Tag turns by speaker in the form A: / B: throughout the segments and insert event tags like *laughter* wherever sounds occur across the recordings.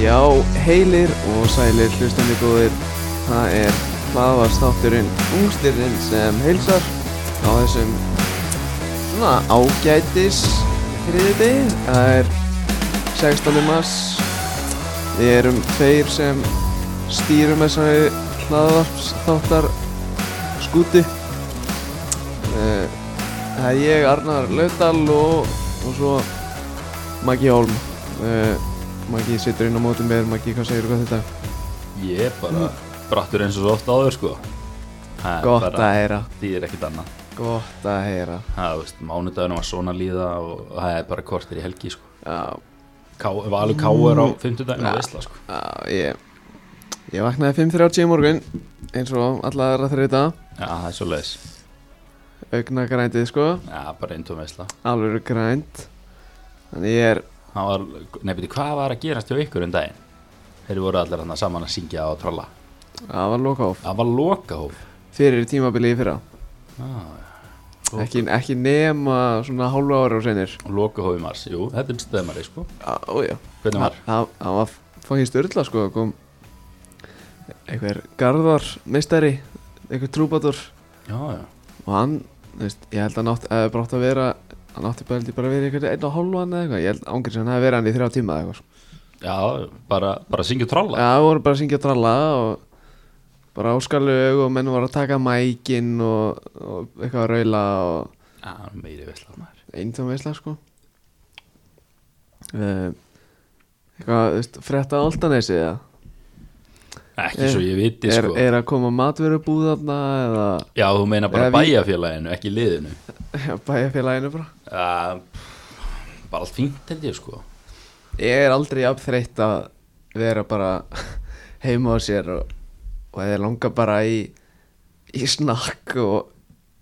A: Já, heilir og sælir hlustandi góðir Það er hlaðvarstátturinn Ungstirinn sem heilsar á þessum svona ágætis þriði degi Það er 16. mars Við erum þeir sem stýrum þessari hlaðvarstáttar skúti Eh, Það er ég, Arnar Laudal og, og svo Maggi Hólm uh, Maggi situr inn á mótum mér, Maggi, hvað segir þú hvað þetta?
B: Ég er bara brattur eins og svo ofta áður sko ha,
A: Gott að heyra
B: Því er ekkit annað
A: Gott að heyra
B: ha, þú veist, Mánudagurinn var svona líða og það er bara kortir í helgi sko
A: Já,
B: Ká, Valur Káur á 50 daginn
A: Mm. Ja.
B: og veistla sko
A: já, ég Ég vaknaði 5.30 í morgun eins og alla aðra þreita
B: Já, það er svo leiðis
A: augna grændið sko,
B: Já, bara einn tóm veistla
A: alveg grænd Þannig ég er
B: Það var, nei beti, hvað var að gerast hjá ykkur um daginn? Þeir voru allir hann saman að syngja og tralla
A: að var loka
B: Það var lokahóf
A: fyrir tímabilið í fyrra
B: ah, Lokahóf.
A: ekki, ekki nema svona hálfu ára og senir
B: Lokahóf í mars, jú, þetta er stöðmari sko
A: Já, já
B: Hvernig var?
A: Það það var fangin störla sko kom einhver garðar meistari einhver trúbator
B: Já, já,
A: og hann, þú veist, ég held að nátt að það brátt að vera hann átti bara, held ég, bara að vera einhvern einn og hálfan eða eitthvað, ég held ángrið sem hann hefði verið hann í þrjá tíma eða eitthvað sko.
B: já, bara, bara syngja og tralla
A: Já, við vorum bara að syngja og tralla og bara áskalug og menn voru að taka mækin og, og eitthvað að raula og
B: Já, meiri veistla maður
A: eintum veistlega sko Eh, eitthvað, þú veist, frétta áltanesi eða
B: Ekki
A: Er-
B: svo ég viti
A: Eh, er,
B: sko
A: er að koma matvörubúð þarna eða *laughs*
B: Já, þú meina bara
A: Eða við-
B: bæjarfélaginu, ekki liðinu
A: Já, bæjarfélaginu bara
B: uh,
A: Ah,
B: Bara allt fínt held ég sko
A: Ég er aldrei jafn þreytt að vera bara heima á sér og, og eða langa bara í í snakk og,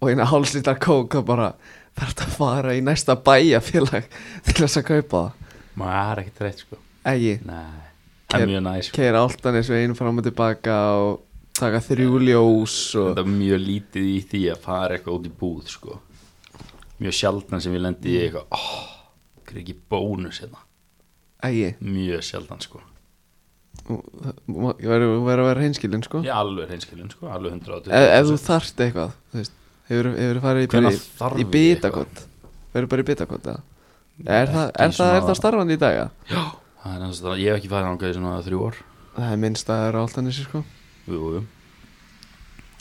A: og eina hálslítar kók og bara þarf að fara í næsta bæjarfélag til þess að kaupa það
B: Maður er ekki treitt sko
A: Egi,
B: Nei, það
A: Ker-
B: er mjög næs sko.
A: keira áltanis veginn fram og tilbaka og taka þrjú ljós og
B: Þetta er mjög lítið í því að fara eitthvað út í búð sko Mjög sjaldan sem ég lendi
A: Mm.
B: í eitthvað oh, Hver er ekki bónus hérna
A: Egi,
B: Mjög sjaldan sko
A: ég verður verður að vera hinskilin sko
B: Ég er alveg reynskilin sko, alveg 180
A: ef, ef þú þarft eitthvað þú veist, hefur, hefur farið í, bara
B: Hvenær þarf
A: í, í
B: ég
A: bitakott verður bara í bitakott eða? er, það,
B: Ekki
A: er, það, er
B: svona-
A: það starfandi í dag ja?
B: Já, það er ennast að ég hef ekki farið þangað í svona þrjú ár
A: það er minnst að það eru áltanis sko
B: Jú, jú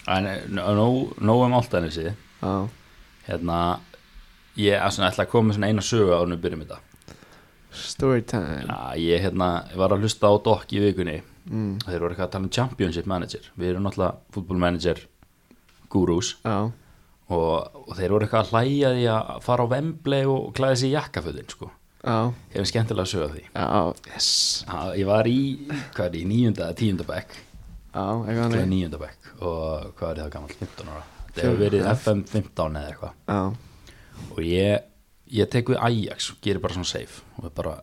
B: En eh, nó- nóg nó um allt ennig síði
A: Já.
B: hérna ég að svona, ætla að koma með svona eina sögu á við byrjum þetta
A: story time
B: ja, ég hérna, ég var að hlusta á Dokk í vikunni
A: mm.
B: þeir voru eitthvað að tala um championship manager við erum náttúrulega fútbolmanager gurús
A: já,
B: og, og þeir voru eitthvað að hlæja því að fara á vemblei og klæða sér í jakkafötin sko.
A: já,
B: ég hef skemmtilega að sögja því
A: já, yes
B: ja, ég var í, hvað er ég, níunda eða tíunda bekk
A: já, eitthvað
B: Ég var í
A: annað
B: níunda bekk og hvað er það gammal, 15 ára það hefur verið FM 15 eða eitthvað
A: já,
B: og ég, ég tek við Ajax og gerir bara svona safe og er bara,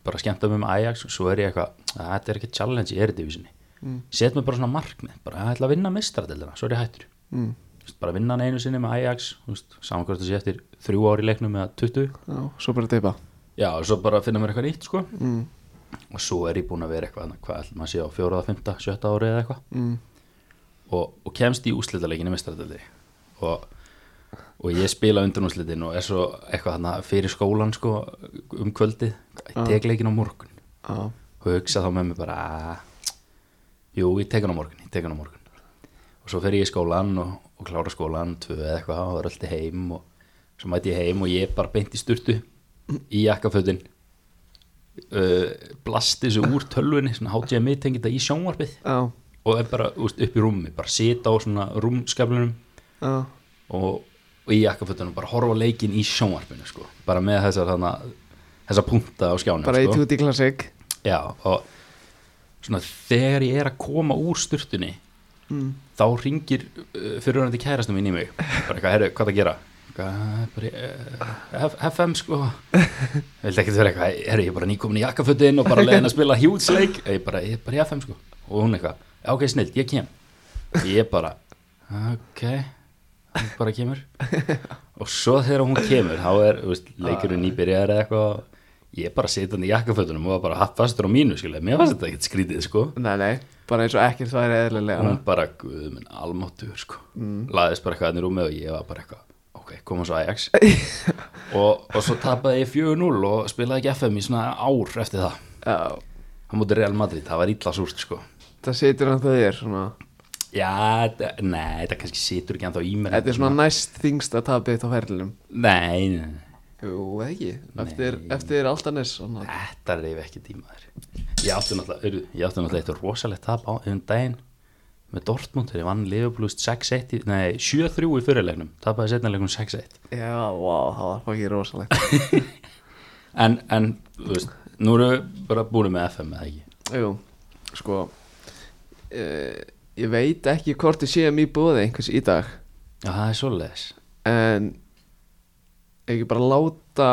B: bara skemmta mig með Ajax og svo er ég eitthvað, "Að þetta er ekki challenge í eredivísinni mm. set mér bara svona markmið bara að ég ætla að vinna mistratildina, svo er ég hættur
A: mm.
B: Þú veist, bara vinna hann einu sinni með Ajax samankvæmst að sé eftir þrjú ár í leiknum eða 20
A: já, svo bara teipa
B: já og svo bara finna mér eitthvað nýtt sko
A: mm.
B: og svo er ég búin að vera eitthvað þarna, hvað ætlum maður að sé á fjóraða, fymta, sjötta ári eða eitthvað
A: Mm.
B: og, og kemst í úslitaleikin í mestaradöldi og, og ég spila undan úslitin og er svo eitthvað þarna fyrir skólan sko, um kvöldið, ég tek leikin á morgun
A: já,
B: og hugsa þá með mér bara "Ah, jú, ég tek hann á morgun, ég tek hann á morgun og svo fer ég í skólan og, og klára skólan, tvö eða eitthvað og er alltaf heim og svo mæti ég heim og ég er bara beint í sturtu í jakkafötin uh, blasti þessu úr tölvunni svona HGMI tengið þetta í sjónvarpið
A: já,
B: og er bara úst, upp í rúmi bara sita á svona rúmskaflunum
A: já
B: og, og í jakkafötunum bara horfa á leikin í sjónvarpinu sko. bara með þessar þarna þessa punta á skjánum
A: bara í
B: sko.
A: tutti classic
B: Já, og svona þegar ég er að koma úr sturtunni
A: mm.
B: þá ringir uh, fyrirhverjandi kærastum minn í mig bara eitthvað, herru, hvað það gera Eitthvað, "Eh, bara, uh, F- FM sko vildi ekkert vera eitthvað, herru, ég er bara nýkomin í jakkafötin og bara leiðin að spila hjútsleik ég er bara, ég er bara í FM sko og hún eitthvað, "Já, ok, snill, ég kem ég er bara, ok hún bara kemur og svo þegar hún kemur þá er, þú veist, leikurinn nýbyrjar eða eitthvað ég bara sitandi í jakkafötunum og var bara hatt fastur á mínu skilja, mér fannst þetta ekkert skrítið sko
A: Nei, nei, bara eins og ekkert væri eðlilega
B: hún bara, guð minn, almáttugur sko
A: Mm.
B: laðist bara eitthvað hann í rúmið og ég var bara eitthvað ok, koma svo
A: *laughs*
B: Ajax og, og svo tapaði ég 4-0 og spilaði ekki FM í svona ár eftir það
A: Já,
B: hann múti Real Madrid, það var illa súrt sko
A: það situr hann það þér svona
B: já, þetta- nei, þetta kannski situr ekki ennþá í mér
A: Þetta er svona næst þingst að tapja þetta á ferlinum
B: nei, nei, nei,
A: Jú, eða ekki, eftir, eftir Altanis svona.
B: þetta reyfi ekki tímaður ég átti náttúrulega, heyrðu, ég átti náttúrulega eitt rosalegt tap á um daginn með Dortmund, þegar ég vann Liverpool 6-1 í- nei, 7-3 í fyrirleiknum tapaði setnileiknum 6-1
A: Já, vá, það var fangir rosalegt
B: en, en, þú veist, nú eru við bara búin með FM eða ekki
A: Jú, sko uh, Ég veit ekki hvort ég séum í búði einhvers í dag
B: já, það er svoleiðis
A: En ekki bara láta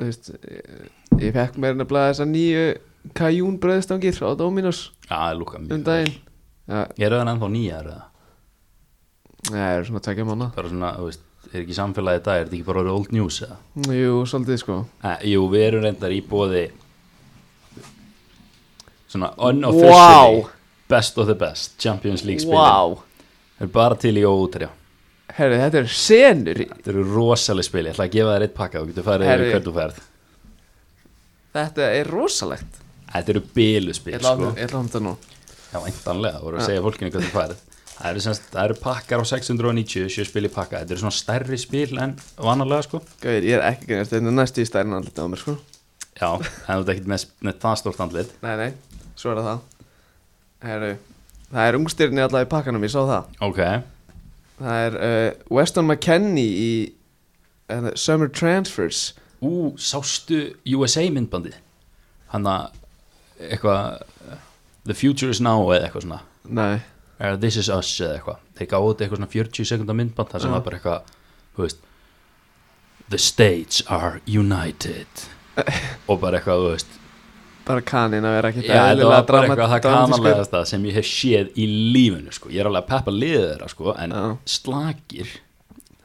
A: þú veist, eh, Ég fekk mér nefnilega þessa nýju Kajún bröðstangir á Dominos
B: já, það er lúka
A: um
B: mjög
A: daginn Já,
B: ég er öðan ennþá nýja, er það
A: það eru svona tvekja mánu
B: bara svona, þú veist, er ekki samfélagið í dag er þetta ekki bara orðið old news eða
A: Jú, svolítið sko
B: Eh, Jú, við erum reyndar í bóði Svona unofficially
A: Wow.
B: Best of the best Champions League spilin
A: Vá,
B: Það er bara til í óútrjá
A: herri, þetta er senur
B: Þetta eru rosaleg spil, ég ætla að gefa þér eitt pakka og getur farið yfir
A: Herri.
B: hvert þú ferð
A: Þetta er rosalegt
B: Þetta eru bílu spil
A: Ég ætla
B: sko.
A: að hafa þetta nú
B: Já, eintanlega, voru að segja fólkinu hvert þú ferð Það eru, semst, það eru pakkar á 690 sjö spil í pakka, þetta eru svona stærri spil en vanalega sko
A: Gauðir, ég er ekki greinast, þetta er næstu í stærna andlita á mér sko
B: Já, en þú ert ekkert með, með það stórt andlit
A: Nei, nei, svo er það Heru, Það er ungstyrni allavega í pakkanum, ég sá það
B: Ok,
A: Það er uh, Weston McKennie í uh, Summer Transfers
B: ú, sástu USA myndbandi hann að eitthvað eh, The Future is Now eða eitthvað svona
A: Nei,
B: eða This is Us eða eitthvað þeir gáðu þetta eitthvað svona 40 sekundar myndband þar sem var bara eitthvað, þú veist The States are *laughs* united og bara eitthvað, þú veist
A: bara kanin að vera ekki
B: Já, þetta var bara eitthvað það kanalegast það sem ég hef séð í lífinu sko. ég er alveg að peppa liðið þeirra sko, en
A: Já.
B: slakir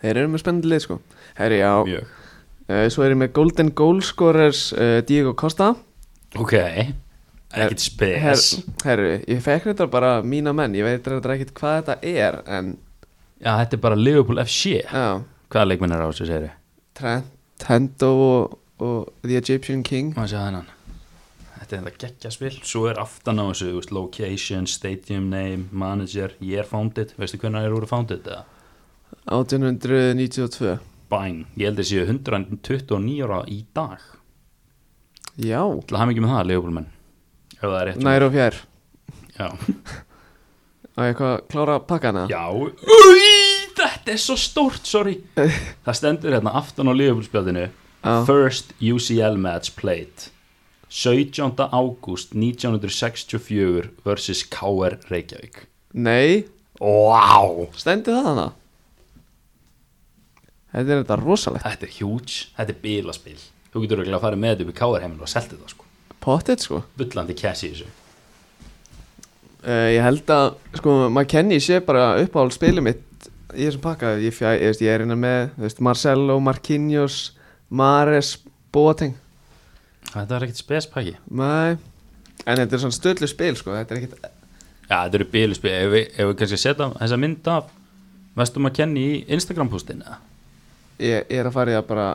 A: Þeir eru með spennandi lið sko Herri, já,
B: mjög
A: uh, svo er ég með Golden Goal Scorers uh, Diego Costa
B: ok, ekkert
A: Her,
B: spes
A: Herri, ég fekk þetta bara mína menn, ég veit þetta ekkert hvað þetta er En,
B: Já, þetta er bara Liverpool FC
A: já,
B: hvaða leikminn er á þessu segir
A: Trent, Hendo og, og The Egyptian King
B: maður sé þennan þetta er þetta geggja spil svo er aftan á þessu, þú veist, location, stadium name manager, ég er founded veistu hvernig er úr founded eða?
A: 1892
B: bæn, ég held að séu 129 ára í dag
A: Já,
B: til að hafa mikið með það, Leopoldmenn ef það er rétt hjá
A: nær og fjær
B: mér. já,
A: Á ég eitthvað að klára pakkana
B: já. Új, þetta er svo stórt, sorry það stendur hérna aftan á Leopoldspjaldinu
A: Já.
B: first UCL match played 17. ágúst 1964 versus KR Reykjavík
A: Nei,
B: Wow.
A: stendi það hana Þetta er þetta rosalegt
B: Þetta er huge, þetta er bílaspil Þú getur örugglega að fara með þetta upp í káarheiminu og selta þetta sko
A: Pottet sko
B: Bullandi cash í þessu
A: uh, Ég held að, sko, maður kenni sé bara uppáhald spilið mitt Í þessum pakka, ég, fjæ, ég, veist, ég er innan með þú veist, Marcelo, Marquinhos, Mares, Boateng
B: Þetta er ekkert spespæki Já,
A: Nei, en þetta er svona stöðlu spil sko Þetta er ekkit,
B: þetta eru bílaspil Ef við, ef við kannski setja þessa mynd af Vestum að kenni í Instagram postinu eða?
A: ég, ég er að fara í að bara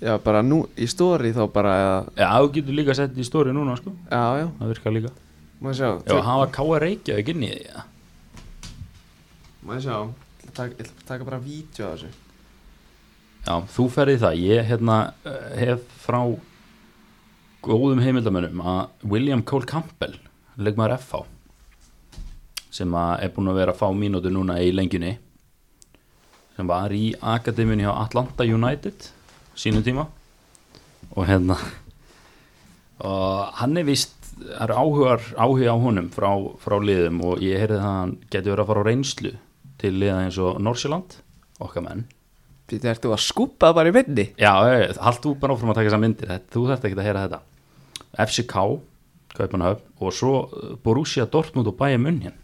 A: Já, bara nú, í stóri þá bara eða,
B: Já, þú getur líka að setja þetta í stóri núna sko
A: Já, já,
B: Það virkar líka
A: maður sjá
B: Já, hafa káar Reykjavík inn í því ja.
A: Maður sjá, ég ætla að taka- ég ætla að taka bara vídeo af þessu
B: Já, þú ferði það Ég hérna eh, hef frá góðum heimildamönnum að William Cole Campbell leikmaður FH sem að er búinn að vera að fá mínútu núna í lengjunni sem var í Akademíunni hjá Atlanta United sínum tíma og hérna og hann er vist það er áhugar, áhuga á honum frá, frá liðum og ég heyrði það að hann getur verið að fara á reynslu til liða eins og Norsjöland okkar menn
A: Býtti, ert þú að skúpa bara í minni?
B: Já, eh, hald þú bara áfram að taka þessar myndir þetta, þú þarft ekki að heyra þetta FCK, Kaupanhöf og svo eh, Borussia Dortmund og Bayern München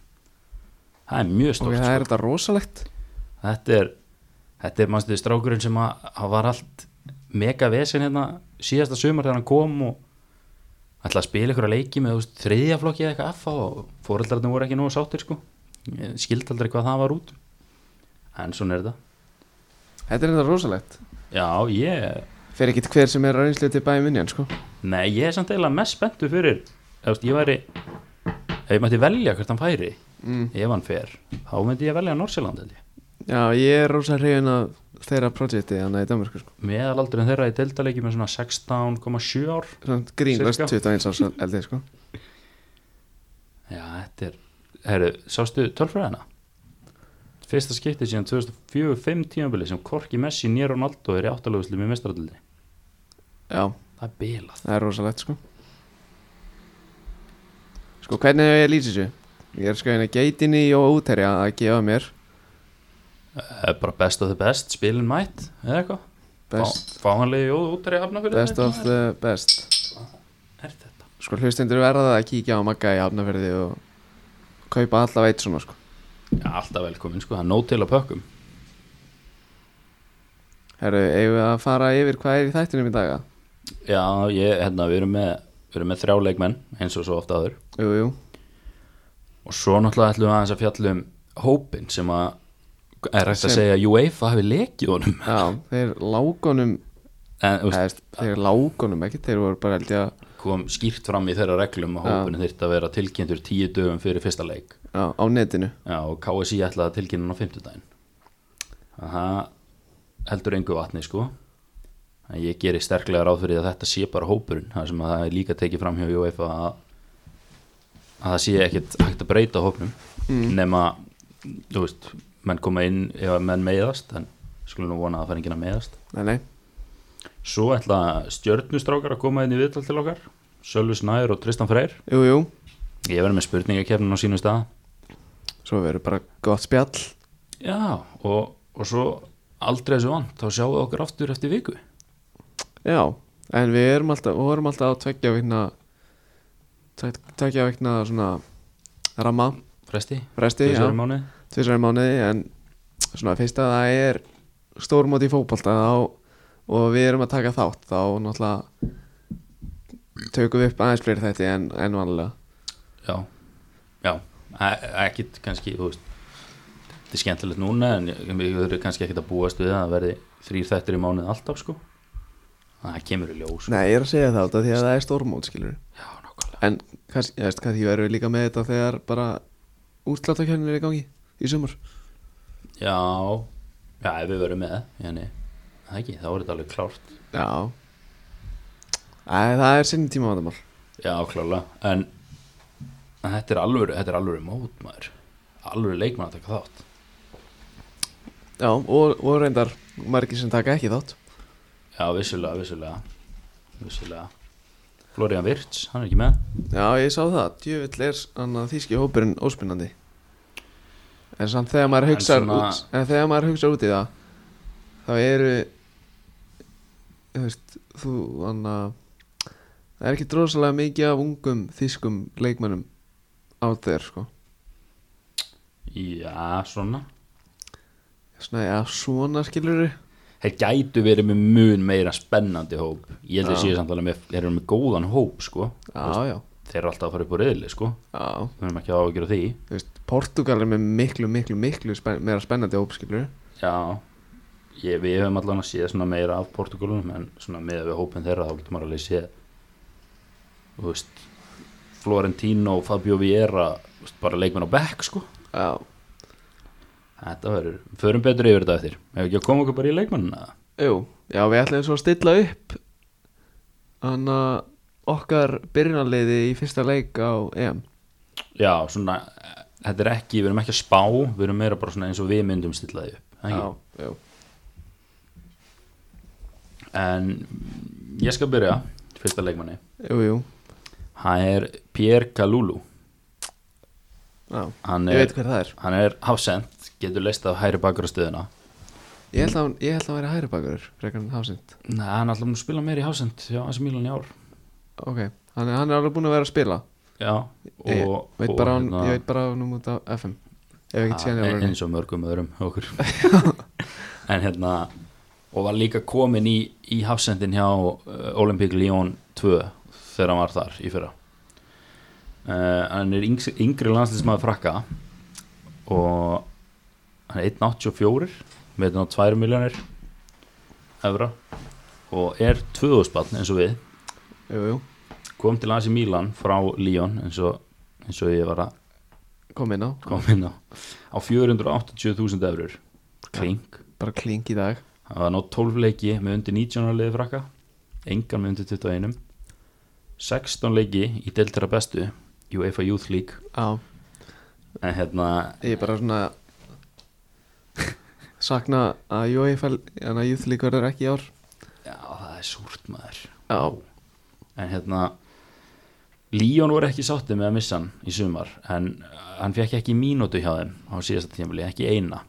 B: það er mjög
A: Ok,
B: stórt
A: það er þetta rosalegt
B: sko. þetta er, þetta er mannstuði strákurinn sem að, að var allt mega vesen hérna síðasta sumar þegar hann kom og ætlaði að spila ykkur að leiki með þú veist, þriðja flokki eða eitthvað FH og foreldrarnir voru ekki nógu sáttir sko Ég skildi aldrei hvað það var út en svona er þetta
A: Þetta er þetta rosalegt
B: Já, ég,
A: Fer ekkit hver sem er á reynslu til bæði minjan sko
B: nei, ég er samt eiginlega mest spenntu fyrir, þú veist, ég væri ef ég mætti velja hvert hann færi
A: mm.
B: ef hann fer, þá myndi ég velja Norsjöland held ég,
A: Já, ég er rosa hrifin af þeirra projekti þannig í Danmarku sko
B: meðal aldrei en þeirra í deildaleiki með svona 16,7 ár
A: Samt grínlöst
B: Cirka.
A: 21 árs eldið sko
B: Já, þetta er, herru, sástu tölfræðina? Fyrsta skiptið síðan 2004-5 tímabili sem Korki Messi, Nér Ronaldo er í áttalöfuslu með mestradöldi
A: Já,
B: Það er bilað
A: það er rosalegt sko Sko, hvernig hefur ég lýst þessu? Ég er sko hérna geitinni og úterja að gefa mér
B: Það er bara best of the best, spilin mætt, eða eitthvað
A: best,
B: Fá- Fáanlegi og útari hafna fyrir
A: best of the best
B: Er þetta?
A: sko hlustendur verða að kíkja á Magga í Hafnafjörði og kaupa allavega eitt svona sko
B: Já, alltaf velkomin, sko, það er nóg til að pökkum
A: Herru, eigum við að fara yfir hvað er í þættinum í daga?
B: Já, ég, hérna, við erum með, við erum með þrjá leikmenn, eins og svo ofta aður
A: Jú, jú,
B: Og svo náttúrulega ætlum við aðeins að fjalla um hópin sem að, er hægt
A: Sem-
B: að segja að UEFA hafi lekið honum
A: já, þeir lágunum
B: En, þú veist,
A: eða, þeir lágunum ekki, þeir voru bara held ég að
B: kom skýrt fram í þeirra reglum að
A: Já.
B: hópurinn þyrfti að vera tilkynntur tíu dögum fyrir fyrsta leik
A: já, á netinu
B: Já, og KSI ætlaði að tilkynna hann á fimmtudaginn Aha, heldur engu vatni sko en ég geri sterklega ráð fyrir því að þetta sé bara hópurinn það sem að það er líka tekið fram hjá UEFA að, að það sé ekkit hægt að breyta hópnum nema, þú veist, menn koma inn ef að menn meiðast en skulum nú vona að það fær enginn að meiðast
A: Nei, nei,
B: Svo ætla stjörnustrákar að koma inn í viðtal til okkar Sölvi Snær og Tristan Freyr
A: jú, jú
B: Ég verði með spurningakefnin á sínum stað
A: svo verður bara gott spjall
B: Já, og, og svo aldrei þessu vant, þá sjáum við okkur aftur eftir viku
A: já, en við erum alltaf, við vorum alltaf á tveggja vikna tvek- tveggja vikna svona ramma,
B: Fresti,
A: fresti, já,
B: þessari mánuði
A: tvisar í mánuði en svona fyrst að það er stórmót í fótbolta þá, og við erum að taka þátt þá náttúrulega tökum við upp aðeins fleiri þætti en, en vanlega
B: Já, já, e, ekkit kannski, þú veist Þetta er skemmtilegt núna en ég- ég verður kannski ekkit að búast við að það verði þrýr þættir í mánuði alltaf sko Það kemur í ljós
A: Nei, ég er að segja það út af því að það er stórmót skilur
B: Já, nákvæmlega
A: en kannski, ég veist hvað því erum við líka með þetta þegar bara útsláttakjörnir er í gangi í sumar
B: Já, já, ef við verðum með, hérna Það ekki, þá er þetta alveg klárt
A: Já Æ, það er sinni tíma vandamál
B: Já, klálega, en en þetta er alvöru, þetta er alvöru mót maður alvöru leikmann að taka þátt
A: Já, og, og reyndar margir sem taka ekki þátt
B: Já, vissulega, vissulega vissulega Florian Virts, hann er ekki með
A: Já, ég sá það, djöfull er hann að þýski hópurinn óspinnandi En samt þegar maður
B: En
A: hugsar
B: svona-
A: út En þegar maður hugsar út í það Þá eru Þú veist, þú hann að Það er ekki drosalega mikið af ungum þýskum leikmönnum á þeir sko
B: Já, svona
A: Svona, já, svona skilur
B: Þeir gætu verið með mun meira spennandi hóp Ég held að
A: Já.
B: séu samt alveg með, þeir eru með góðan hóp sko.
A: Já, já,
B: Þeir eru alltaf að fara upp á reyðli sko.
A: já
B: Við erum ekki að ágjöra því
A: Þú veist, Portugal er með miklu, miklu, miklu spen meira spennandi hóp skilur
B: Já, ég, við hefum allan að séð svona meira af Portugalunum en svona með við hópin þeirra þá getur maður alveg séð Þú veist Florentino, Fabio Vieira þú veist, bara leikmenn á bekk sko
A: Já,
B: Þetta verður, förum betur yfir þetta eftir Hefur ekki að koma okkur bara í leikmennina
A: Jú, já við ætlum svo að stilla upp Þannig að okkar byrjunarliði í fyrsta leik á EM
B: Já, svona, eh, þetta er ekki, við erum ekki að spá Við erum meira bara svona eins og við myndum stilla því upp það ekki?
A: Já, jú.
B: En mm, ég skal byrja, fyrsta leikmanni
A: jú, jú
B: Hann er Pierre Kalulu
A: já.
B: Hann
A: Ég
B: er,
A: veit hver það er
B: hann er hafsend, getur leist af hæri bakur á stöðuna
A: Ég held að hann, ég held að hann væri hæri bakur frekar en hafsind
B: Nei, hann er alltaf múin að spila meir í hafsend Já, þessi Mílan í ár
A: Ok, hann, er- hann er alveg búinn að vera að spila
B: Já, og,
A: Ég veit
B: og
A: bara, hann,
B: hérna-
A: ég veit bara hann út á FM Ef ekki
B: Ah,
A: tjáni á
B: en-
A: hann
B: eins og mörgum öðrum okkur en hérna og var líka komin í, í hafsendin hjá uh, Olympic Lyon 2 þegar hann var þar í fyrra uh, hann er yngri, yngri landslismæður frakka og hann er 1.84 með þannig 2 miljónir evra og er 2000 barn eins og við
A: jú, jú,
B: kom til hans í Mílan frá Lyon eins og, eins og ég var að
A: kom inn á
B: koma inn á á 480.000 eurur kling,
A: bara klink í dag
B: það var nót 12 leiki með undir 19 ára liði frakka engan með undir 21 16 leiki í deltara bestu UEFA Youth League
A: Já,
B: en hérna,
A: ég er bara svona *laughs* sakna að jú, ég fæl en að júð líka verður ekki í ár
B: já það er súrt maður
A: Já,
B: en hérna Líón voru ekki sáttið með að missa hann í sumar en uh, hann fekk ekki mínútu hjá þeim á síðasta tímabili, ekki eina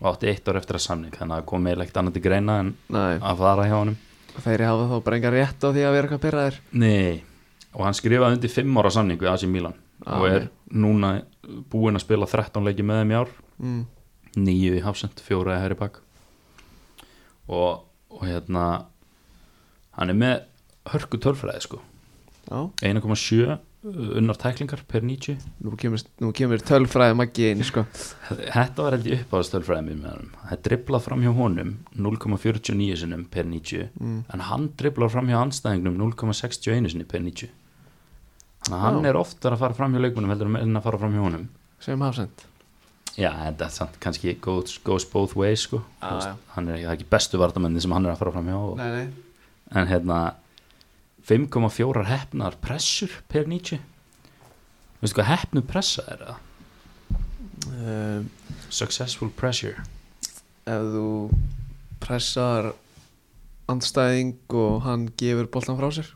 B: og átti eitt ár eftir að samning þannig að kom meðlegt annað til greina en
A: nei,
B: að fara hjá honum
A: þeir hafa þá bara engar rétt á því að vera eitthvað pyrraðir
B: Nei, og hann skrifaði undir 5 ára samning við AC Milan
A: Ah,
B: og er núna búinn að spila 13 leiki með þeim í ár
A: mm.
B: 9 í hafsend, 4 í hæri bak og, og hérna hann er með hörku tölfræði sko
A: Já,
B: 1,7 uh, unnar tæklingar per 90
A: nú kemur, nú kemur tölfræði maggi inn, sko
B: Þetta var held ég uppáðastölfræði mér með hann Það er driblað fram hjá honum 0,49 sinum per 90
A: Mm.
B: en hann driblað fram hjá anstæðingnum 0,61 sinni per 90 Þannig að hann
A: Já.
B: er oftar að fara fram hjá leikmunum heldur en að fara fram hjá honum
A: sem hafsend
B: Já, en þetta er samt kannski goes, goes both ways sko
A: Já,
B: Þú veist,
A: já.
B: Hann er ekki, það er ekki bestu vartamenni sem hann er að fara fram hjá og,
A: Nei, nei
B: en hérna 5,4 hefnar pressur per 90 Veistu hvað hefnu pressa er það?
A: um,
B: Successful pressure
A: Ef þú pressar andstæðing og hann gefur boltan frá sér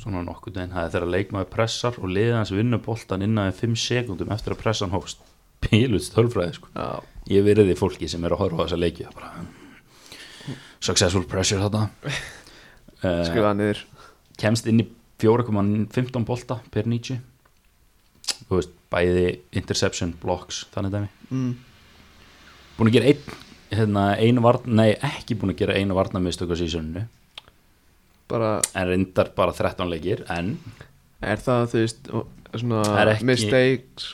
B: svona nokkuð veginn, það er þegar leikmaður pressar og liðið hans vinnur boltan innan við 5 sekundum eftir að pressan hófst pílut stölfræði sko
A: Já,
B: ég verið því fólki sem er að horfa á þessa leiki það er bara, mm, successful pressure þarna uh,
A: skrifa niður
B: kemst inn í 4,15 bolta per 90 þú veist, bæði interception, blocks, þannig dæmi
A: mm.
B: búin að gera einn hérna, einu varna, nei ekki búin að gera einu varna mistök á sísuninu
A: Bara,
B: en reyndar bara 13 leikir en
A: er það, þú veist, og- svona
B: Það er ekki-
A: Mistakes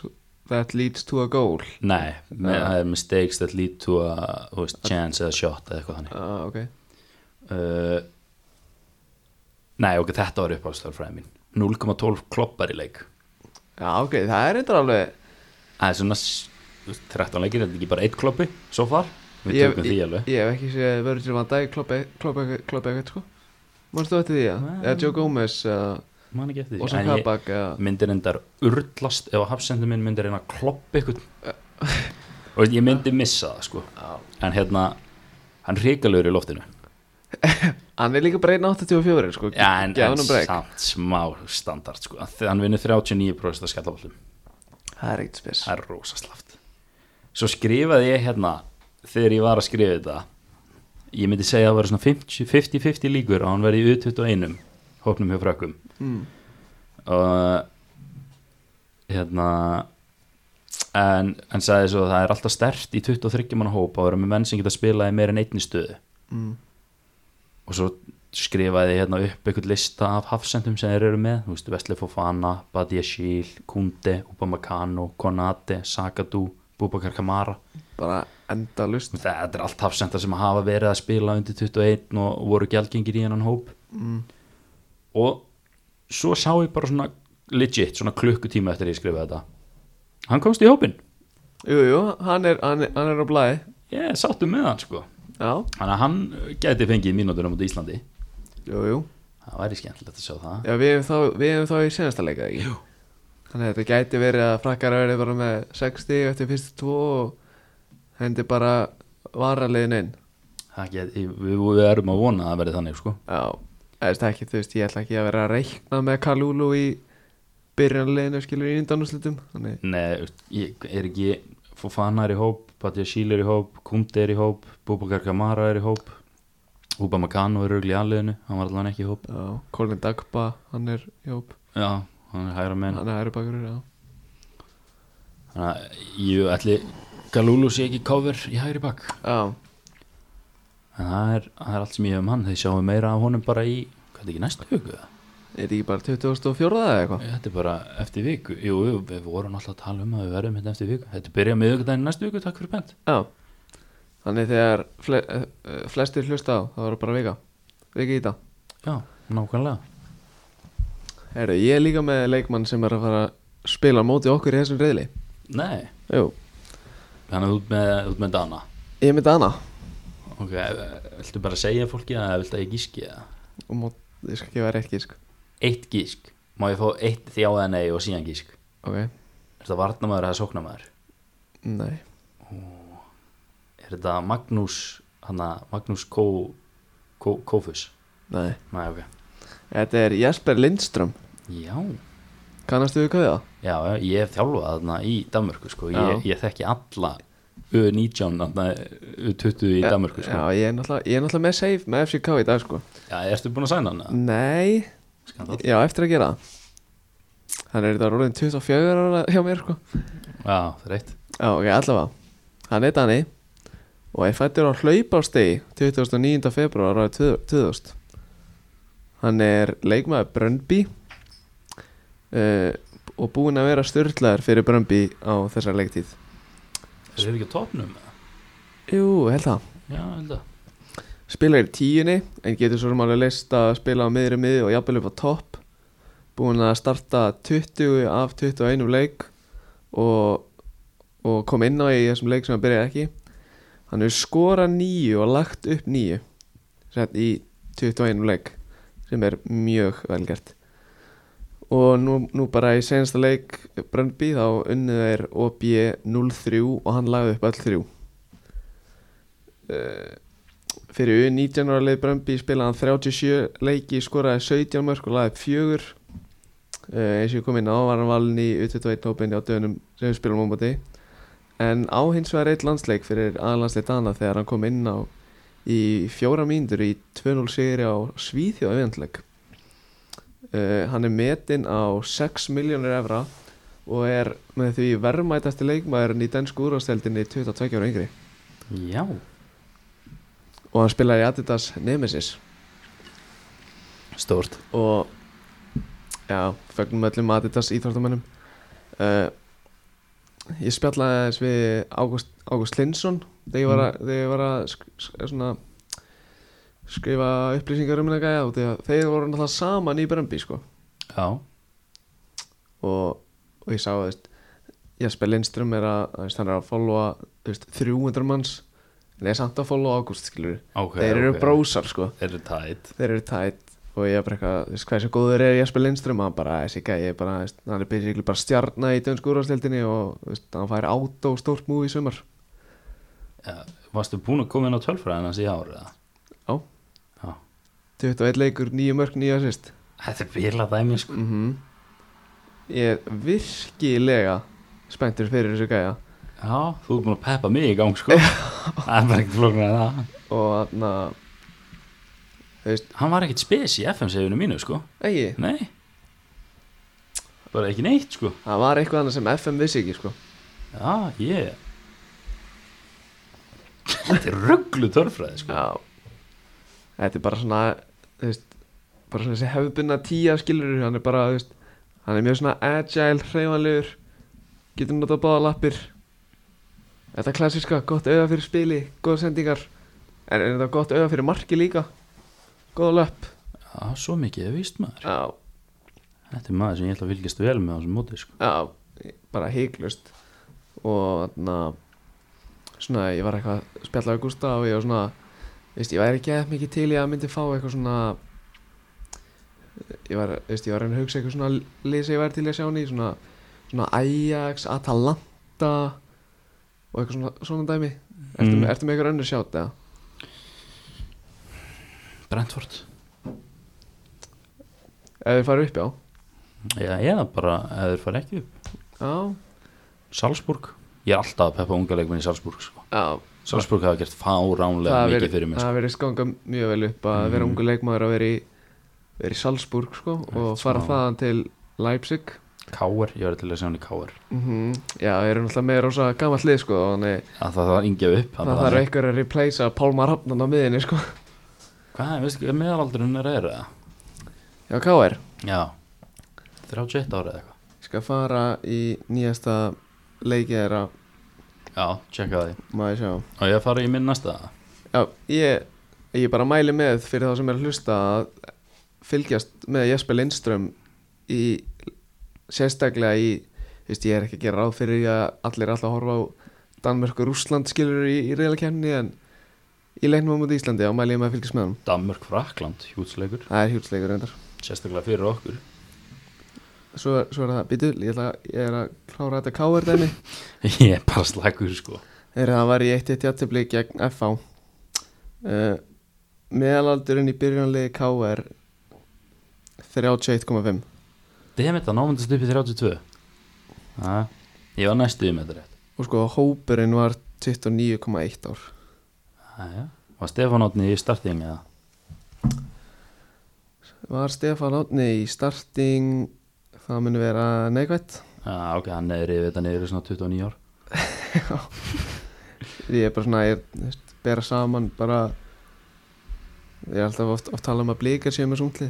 A: that leads to a goal
B: Nei, með,
A: Nei.
B: það er mistakes that lead to a þú veist, chance eða shot eða eitthvað þannig
A: Já, Ah, ok
B: uh, Nei, ok, þetta var uppáðstörfræði mín 0,12 kloppar í leik
A: Já, ok, það er eitthvað alveg
B: Það er svona s- þú veist, 13 leikir, þetta er ekki bara eitt kloppi svo far, við
A: Ég-
B: tökum því alveg
A: Ég hef ekki séð Virgil van Dijk e- kloppa kloppa- kloppa eitthvað, sko Manstu þetta því, já?
B: Nei.
A: Eða Joe Gomez eða
B: Man ekki eftir því
A: Ozan
B: En ég
A: Kabak eða
B: myndi reyndar urlast ef að hafsendur minn myndi reyna að
A: *laughs*
B: kloppa eitthvað og ég myndi missa það sko
A: Já.
B: en hérna, hann ríkalur í loftinu
A: Hann er líka bara 1.84, sko
B: Já, en, en
A: Gjáðanum breg
B: samt smá standard sko. Þegar hann vinnur 39% að skallaballum
A: Það er eitt spes
B: Það er rosa slaft Svo skrifaði ég hérna Þegar ég var að skrifa þetta Ég myndi segja að það var svona 50 50-50 líkur að hann verði í U21 Hópnum hjá frökkum
A: Mm.
B: Og Hérna En, en sagði svo að það er alltaf stert í 23 manna hóp að vera með menn sem geta spilað í meir en einni stöðu
A: mm.
B: og svo skrifaði ég hérna upp einhvern lista af hafsendum sem þeir eru með þú veist, Vesli Fofana, Badiashil Kunde, Upamecano, Konate Sakadu, Bubakar Kamara
A: Bara endalust
B: Þú veist, þetta er allt hafsenda sem hafa verið að spila undir 21 og voru gjaldgengir í hennan hóp
A: mm.
B: og svo sá ég bara svona legit, svona klukkutíma eftir að ég skrifaði þetta hann komst í hópin
A: Jú, jú, hann er, hann, er- hann er á blæði
B: ég yeah, sáttum með hann sko
A: Já,
B: þannig að hann gæti fengið mínútur á móti Íslandi
A: jú, jú
B: það væri skemmtilegt að sjá það
A: Já, við hefum þá, við hefum þá í senasta leika, ekki? Jú Þannig að þetta gæti verið að frakkar verið bara með 60 eftir fyrstu tvo og hendi bara varaliðin inn
B: Það get, við, við erum að vona að það verði þannig sko.
A: Já, eða veist ekki, þú veist, ég ætla ekki að vera að reikna með Kalulu í byrjanleginu skilur í undanúslutum Þannig,
B: Nei, ég er ekki Fofana er í hóp, Batja Síl er í hóp Kumdi er í hóp, Bubakar Kamara er í hóp Uba Makano er örugglega í aðliðinu hann var allan ekki í hóp
A: já, Colin Dagba, hann er í hóp,
B: Já, hann er hægra menn
A: hann er ærubakur, já
B: Þannig að ég ætli Galúlu sé ekki cover í hægri bak
A: Já,
B: en það er, það er allt sem ég hef um hann þið sjáum meira af honum bara í hvað er ekki næstu viku eða?
A: Er ekki bara 2004 eða eitthvað?
B: þetta er bara eftir viku jú, jú, við vorum alltaf að tala um að við verðum hérna eftir viku þetta byrja miðugdæðin næstu viku, takk fyrir bent
A: Já Þannig þegar fle eh, eh, flestir hlusta á þá verður bara vika Vika í þetta
B: já, nákvæmlega
A: Herru, ég er líka með leikmann sem er að fara að spila á móti okkur í þessum reyðli
B: nei,
A: Jú
B: þannig að þú ert með, út með Dana
A: Ég er með Dana
B: ok, eh, viltu bara segja fólki að viltu að ég gíski það
A: og mót, ég skal gefa rétt gísk
B: eitt gísk, má ég fá eitt þjá eða nei og síðan gísk
A: Ok,
B: er þetta varnamaður eða sóknamaður
A: nei
B: er þetta Magnús hana, Magnús Kó Kó- Kófus
A: Nei,
B: nei, ok,
A: þetta er Jesper Lindström
B: já
A: Kannastu við kauða?
B: Já, já, ég hef þjálfað þarna í Danmörku sko.
A: Já.
B: ég, ég þekki alla U19, þarna, U20 í Danmörku sko.
A: Já, ég er náttúrulega, ég er náttúrulega með save með FCK í dag sko
B: já. ertu búin að sæna hana?
A: Nei,
B: Skandal.
A: já, eftir að gera það Hann er þetta rúðin 24 ára hjá mér sko
B: Já, það er eitt
A: Já, ok, allavega Hann er Dani og ég fættur á hlaupástegi 29. februar árið 2000 Hann er leikmaður Bröndby uh, og búinn að vera störtlaður fyrir Bröndby á þessar leiktíð
B: Það er ekki á topnum eða?
A: Jú, held það
B: Já, held að
A: Spilar í tíunni en getur svo sem alveg leist að spila á miðri miði og jafnvel upp á topp Búinn að starta 20 af 21 leik og, og kom inn á í þessum leik sem hann byrjaði ekki Hann hefur skorað nýju og lagt upp nýju sett í 21 leik sem er mjög velgert og nú, nú bara í senasta leik Bröndby þá unnið er OB 0-3 E og hann lagði upp öll Eh, 3 fyrir U19 ára leið Brömbi spilaði hann 37 leiki, skoraði 17 mörg og laði upp fjögur uh, eins og ég kom inn á var hann valin í U21 hópinni á dögunum sem við spilum á móti en á hins vegar eitt landsleik fyrir aðlandsleik Dana þegar hann kom inn á í fjóra mínútur í 2-0 sigri á Svíþjóð eventleik uh, hann er metinn á 6 miljónir evra og er með því verðmætasti leikmaðurinn í densku úrvasteldinni 22 ára yngri
B: Já,
A: og hann spilaði í Adidas Nemesis
B: stórt
A: og já, fögnum öllum Adidas íþróttamönnum uh, ég spjallaði aðeins við Ágúst Ágúst Linsson þegar ég var
B: Mm.
A: að, þegar ég var að sk sk svona, skrifa upplýsingar um minna gæja og þegar þeir voru náttúrulega saman í Brömbi sko.
B: Já,
A: og, og ég sá þú veist, Jesper Lindström er að þú veist, hann er að followa þú veist, 300 manns en er samt að followa Ágúst skilur
B: ok
A: þeir eru
B: ok.
A: brósar sko
B: Þeir eru tætt
A: þeir eru tætt og ég er bara eitthvað, þú veist, hversu góður er Jesper Lindström hann bara, þessi gæi, er bara, þú veist, hann er basically bara stjarna í dönsku úrvarsleildinni og þú veist, hann fær át og stórt múi í sumar
B: Já, Varstu búin að koma inn á tölfræðina hans í ár eða?
A: Já,
B: Já
A: 21 leikur, nýju mörg, nýju assist
B: Þetta er bíla dæmi sko
A: mm Ég er virkilega spenntur fyrir þessu gæja
B: Já, þú ert búin að peppa mig í *laughs* gang sko Það er bara ekkert flóknar en það
A: og þannig að þú veist,
B: Hann var ekkert spes í FM-sefinu mínu sko
A: eigi,
B: Nei Bara ekki neitt sko
A: það var eitthvað annað sem FM vissi ekki, sko
B: Já, ég Þetta er rugglu törfræði sko
A: Já Þetta er bara svona þú veist, bara svona þessi hefðbunna tíja skilur hann er bara, þú veist, hann er mjög svona agile, hreyfanlegur getur notað báða lappir Þetta er klassiska, gott auða fyrir spili góða sendingar en er þetta gott auða fyrir marki líka góða löpp
B: Já, svo mikið er víst maður
A: Já,
B: Þetta er maður sem ég ætla að fylgjast vel með á þessum móti sko
A: já, bara heiklust og þarna svona, ég var eitthvað að spjalla við Gústa og ég var svona, veist, ég væri ekki eða mikið til í að myndi fá eitthvað svona ég var, veist, ég var að reyna að hugsa eitthvað svona lið sem ég væri til í að sjá hann í svona, svona Ajax, Atalanta og eitthvað svona, svona dæmi ertu,
B: Mm.
A: með, ertu með eitthvað önnur sjátt eða?
B: Brentford
A: Ef þið farið upp, já
B: Já, eða bara, eða þeir fara ekki upp
A: Já,
B: Salzburg Ég er alltaf að peppa unga leikmenn í Salzburg sko
A: já
B: Salzburg hafa gert fáránlega
A: það
B: mikið
A: verið-
B: fyrir mig sko. Mhm.
A: það verið skanga mjög vel upp að vera ungu leikmaður að vera í, vera í Salzburg sko, og
B: Rétt,
A: fara
B: smá.
A: þaðan til Leipzig
B: Káur, ég verði til að sjá hann í káur
A: Mhm, Já, við erum náttúrulega með rosa gammal lið sko Þannig
B: að það var yngja upp
A: það þarf einhver að replacea Pálmar Hafnan á miðinni sko *laughs*
B: Hvað, veistu hvað meðalaldurinn er er það?
A: Já, K.R.
B: Já 31 ára eða eitthvað
A: Ég skal fara í nýjasta leikið þeirra
B: Já, tjekka því
A: Maður sjá
B: Og ég fara í minn næsta
A: Já, ég, ég bara mæli með fyrir þá sem er að hlusta að fylgjast með Jesper Lindström í sérstaklega í, þú veist, ég er ekki að gera ráð fyrir því að allir er alltaf að horfa á Danmörk og Rússland skilur í, í reyðalkenni en í leiknum á múti Íslandi og mæli ég með að fylgjast með hann
B: Danmörk Frakland, hjútsleikur
A: Það er hjútsleikur reyndar
B: Sérstaklega fyrir okkur *laughs*
A: Svo, svo er það, býtu, ég, ætla, ég er að klára þetta káver dæmi
B: Ég er bara slagur sko
A: Þegar það var í 1-1 játtöfli gegn FH uh, Meðalaldurinn í byrjunarliði KR 31,5
B: Demita, námundast upp í 32 Já, ég var næstu um þetta rétt
A: Og sko hópurinn var 29,1 ár
B: Jæja, var Stefán Átni í starting eða?
A: Var Stefán Átni í starting Það mun vera neikvætt
B: Já, ok, hann er yfir þetta niður í svona 29 ár
A: Ég er bara svona, ég þú veist, bera saman bara Ég er alltaf oft, oft tala um að blíkar séu með sungli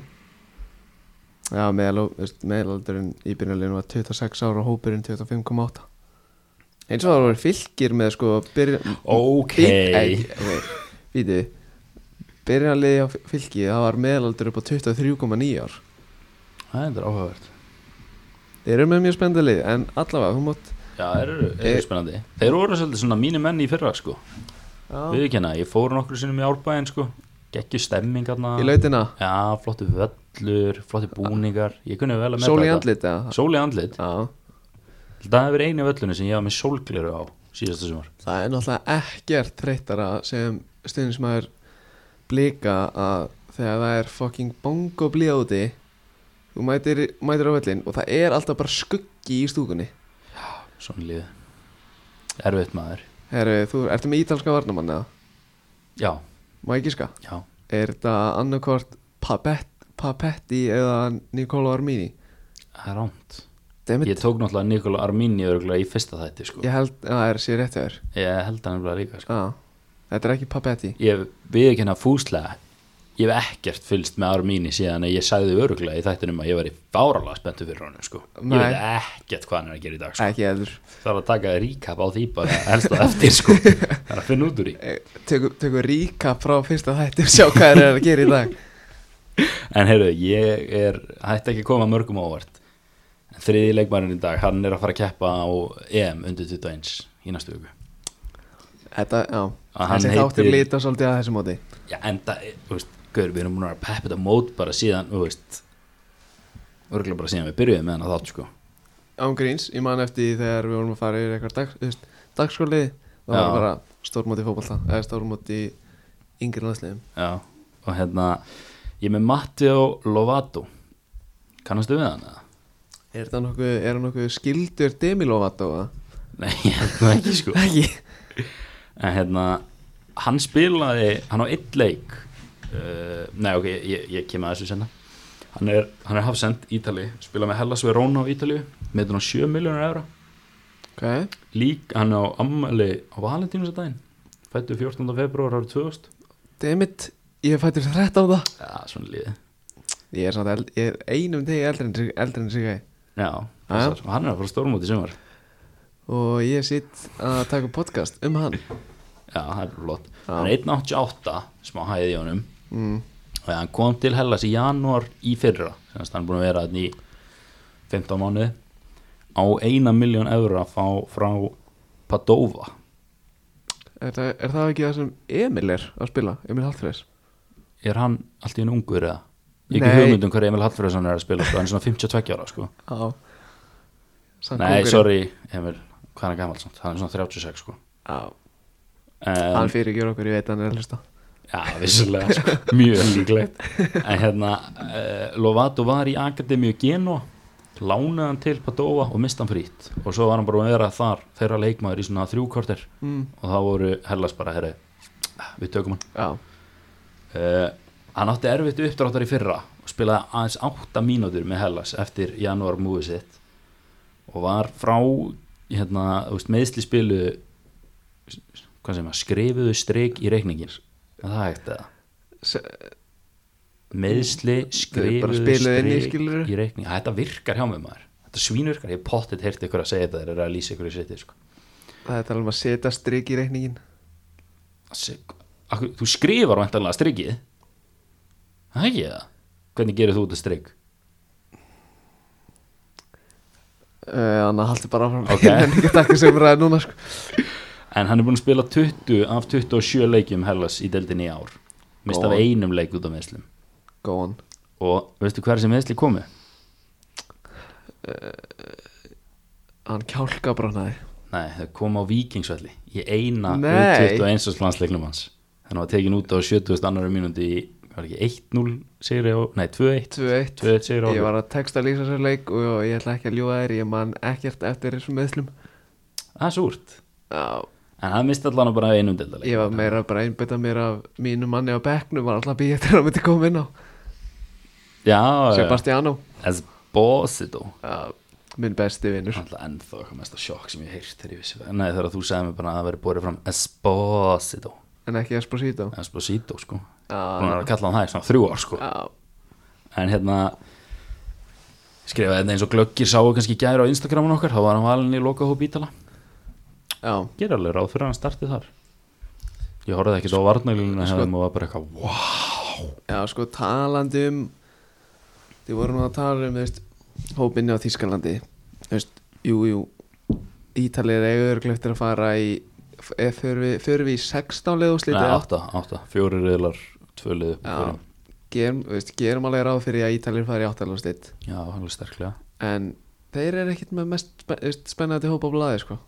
A: Já, meðal, þú veist, meðalaldurinn í byrjunarliðinu var 26 ára og hópurinn 25,8 Eins og það voru fylgir með sko byrjun...
B: Ok
A: Víti, byrjunarliði á fylgi, það var meðalaldur upp á 23,9 ár
B: Það er áhugavert
A: Þeir eru með mjög spennandi lið, en allavega, þú mátt
B: Já, þeir eru, þeir eru
A: Eh.
B: spennandi Þeir voru svolítið svona mínu menn í fyrra sko
A: Já,
B: Viðurkenna, ég fór nokkru sinnum í árbæðin sko Gekki stemming aðna
A: í lautina,
B: Já, flottu völlur, flottu búningar Ég kunni vel að
A: sól í
B: þetta.
A: andlit eða?
B: Sól í andlit
A: Já,
B: Það hefur einu völlunni sem ég hafa með sólgleru á síðasta sumar
A: það er náttúrulega ekkert þreytara sem stundismæður blika að þegar það er fucking bongo blíða úti þú mætir, mætir á vellin og það er alltaf bara skuggi í stúkunni
B: Svona lífið Erfitt maður
A: Herru, þú ertu með ítalska varnamann eða?
B: Já,
A: Má ég giska?
B: já
A: Er þetta annarkvort Papet, Papetti eða Nicolo Armini?
B: Það er rámt
A: Dammit,
B: Ég tók náttúrulega Nikola Armini örgulega í fyrsta þætti sko
A: ég held að það er sér rétt hjá þér
B: Ég held hann nefnilega líka sko
A: ah, Þetta er ekki Papetti
B: Ég við ekki hennar fúslega Ég hef ekkert fylgst með Armini síðan að ég sagði örgulega í þættinum að ég væri fáralega spenntu fyrir honum sko
A: Nei.
B: Ég veit ekkert hvað hann er að gera í dag sko
A: Ekki eður
B: Það er að taka recap á því bara helst á eftir sko Það er að finna út úr því
A: Eh, Tökum tökum recap frá fyrsta þætti og sjá hvað þeir eru að gera í dag
B: En heyrðu, ég er hætti ekki að koma mörgum á óvart En þriði leikmærin í dag, hann er að fara að keppa á EM undir 21 í næstu viku
A: Þetta, já,
B: Að hann
A: þessi þáttir
B: heitir-
A: lita svolítið að þessu móti
B: Já, en það, er, þú veist, gaur, við erum búin að vera að peppa þetta mót bara síðan, þú veist Örgulega bara síðan við byrjuðum með hann að þátt sko
A: Ángríns, ég man eftir því þegar við vorum að fara yfir eitthvað dag, þú veist, dagskóli það var
B: Já.
A: bara stórmóti fótbolta eða stórmóti yngri landsliðum
B: Já, og hérna, ég er með Matteo Lovato Kannastu við hann eða? *laughs*
A: Er þetta nokkuð, er það nokkuð skildur demilovat á það?
B: Nei, ég held það ekki sko
A: Ekki
B: en hérna hann spilaði, hann á einn leik uh, nei ok, ég, ég kem að þessu senna hann er, hann er hafsend Ítali, spilaði með Hellas Verona á Ítali með hann á 7 miljónur evra
A: Ok,
B: lík hann á ammali á Valentínus að daginn fættu 14. februar árið 2000
A: dammit, ég er fættur 13 það
B: já, svona líði
A: Ég er, samt eld, ég er einum degi eldri en, sig- eldri en sig
B: já,
A: Já.
B: þessar, og hann er að fara stórmóti sem var
A: og ég sitt að taka upp podcast um hann
B: já, það er flott
A: Já.
B: hann er 1.88, smá hæði í honum
A: mm.
B: og hann kom til Hellas í janúar í fyrra þannig að hann er búin að vera þannig í 15 mánuði á eina miljón eurra fá, frá Padova
A: er, það, er það ekki það sem Emil er að spila, Emil Hallfræs
B: er hann allt í enn ungur eða? ég
A: Nei.
B: hef ekki hugmynd um hvað Emil Hallfræðsson er að spila sko. hann er svona 52 ára sko.
A: Já Sann
B: nei,
A: kóngurinn.
B: sorry Emil, hvað er hann gammal samt? hann er svona 36 sko.
A: Já,
B: um,
A: Hann fyrir ekki okkur, ég veit að hann er að hlusta
B: já, vissulega, sko. mjög líklegt en hérna uh, Lovato var í Akademíu Genoa lánaði hann til Padova og mista hann frýtt og svo var hann bara að vera þar þeirra leikmaður í svona þrjúkortir
A: mm.
B: og þá voru Hellas bara herri, við tökum hann
A: Já,
B: uh, hann átti erfitt uppdráttar í fyrra og spilaði aðeins átta mínútur með Hellas eftir janúar múið sitt og var frá hérna, þú veist, meðsli spilu hvað sem að skrifuðu strik í reikningin er það hægt eða?
A: S-
B: meðsli
A: Þau bara
B: skrifuðu
A: spiluðu inn í,
B: strik
A: skilurðu?
B: í reikningin þetta virkar hjá mig maður þetta svínvirkar, ég hef pottið heyrti ykkur að segja þetta þegar þeir eru að lýsa ykkur í seti sko.
A: Það er talað um að setja strik í reikningin
B: Sig- Akkur, þú skrifar vantanlega strikið það er ekki það hvernig gerir þú þetta strik?
A: uh, Þannig að haldi bara áfram *laughs*
B: Ok.
A: Ég nenni ekki að taka sem ræði núna sko.
B: En hann er búin að spila 20 af 27 leikjum Hellas í deildinni í ár Mist af
A: Góðan.
B: einum leik út af meðslum
A: Go on
B: Og veistu hver sem meðsli komu?
A: Hann kjálka bránaði
B: Nei, þau komu á vikingsvelli Í eina
A: Nei.
B: 21. landsleiknum hans Þannig var tekin út á 70. annari mínúti í Var ekki 1-0 sigri á Nei, 2-1
A: 2-1
B: 2-1 sigri á
A: Ég var að texta lýsa sér leik og ég ætla ekki að ljúa þér Ég man ekkert eftir þessum meðslum
B: Það er súrt
A: Já,
B: En hann misti allan bara af einum deildaleik
A: Ég var meira bara að einbytta mér af mínu manni á bekknum var alltaf býð eftir að hann myndi koma inn á
B: Ah, Já,
A: Sebastiano
B: Esposito
A: uh, minn besti vinnur
B: Alltaf ennþá eitthvað mesta sjokk sem ég heirt þegar ég vissi það. Nei, þegar þú sagði mér bara að það veri borið fram Esposito
A: en ekki Esposito
B: Esposito sko hún
A: uh,
B: er að kalla hann það í svona þrjú ár sko
A: uh,
B: en hérna skrifaði þetta eins og glöggir sáu kannski gæri á Instagramun okkar þá var hann valin í lokahóp Ítala
A: Já,
B: gerir alveg ráð fyrir að hann startið þar ég horfði ekkert á varnaglunina
A: sko-
B: sko, og var bara eitthvað wow.
A: já, sko talandi um þið voru nú að tala um þú veist, hópinni á Þískalandi veist, jú, jú Ítalir eiga örglega eftir að fara í eh, förum við, förum við í 16
B: Nei,
A: leðuslítið
B: átta, átta, fjóri riðlar tvö lið upp í
A: Já.
B: hverjum.
A: gerum, þú veist, gerum alveg ráð fyrir að Ítalir fara í 8 leðuslít
B: já, alveg sterklega
A: en þeir eru ekkit með mest spe- þú veist, spennandi hópa á blaði sko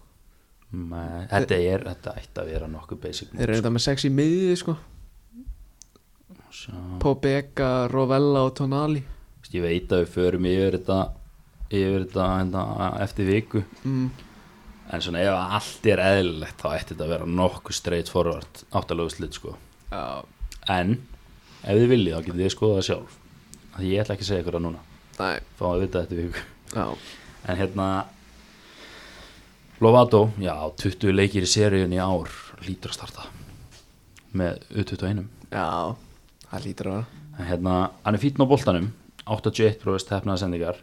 B: Nei, þetta er, þetta ætti að vera nokkuð basic
A: Þeir eru þetta með sex í miðið sko
B: Sjá.
A: Pobeka, Rovella og Tonali
B: Vist, sko. ég veit að við förum yfir þetta yfir þetta hérna, eftir viku
A: mm.
B: en svona ef allt er eðlilegt þá ætti þetta að vera nokkuð straight forward áttalegu slitt sko
A: Já,
B: En ef þið viljið þá getið þið skoðað það sjálf Því ég ætla ekki að segja ykkur það núna
A: næ,
B: Fá að vita þetta viku
A: já
B: En hérna Lovato, já, 20 leikir í seríun í ár Lítur að starta Með U21
A: Já, það lítur að vera
B: En hérna, hann er fítn á boltanum 81% hefnaða sendingar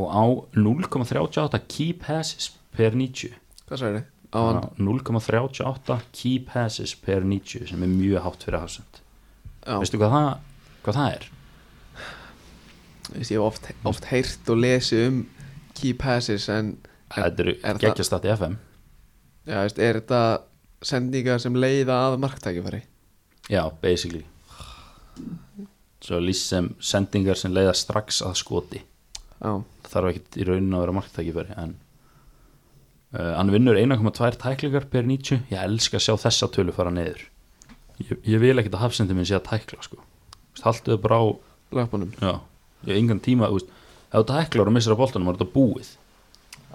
B: Og á 0,38 key passes per 90
A: Hvað sagði þið? Á hann,
B: Þannig að 0,38 key passes per 90 Sem er mjög hátt fyrir hafsend
A: já,
B: Veistu hvað það, hvað það er?
A: veist, ég hef oft, oft heyrt og lesið um key passes en, en
B: Þetta eru
A: er það-
B: geggjast að FM
A: já, veist, er þetta sendingar sem leiða að marktækifæri?
B: Já, basically Svo lýst sem sendingar sem leiða strax að skoti
A: Já,
B: Það þarf ekkert í rauninu að vera marktækifæri en uh, hann vinnur 1,2 tæklingar per 90 ég elska að sjá þessa tölu fara niður ég, ég vil ekkert að hafsendi minn sé að tækla sko. Þú veist, haltu þau bara á
A: löpunum
B: já, ég hef engan tíma þú veist, ef þú tæklar og missir á boltanum er þetta búið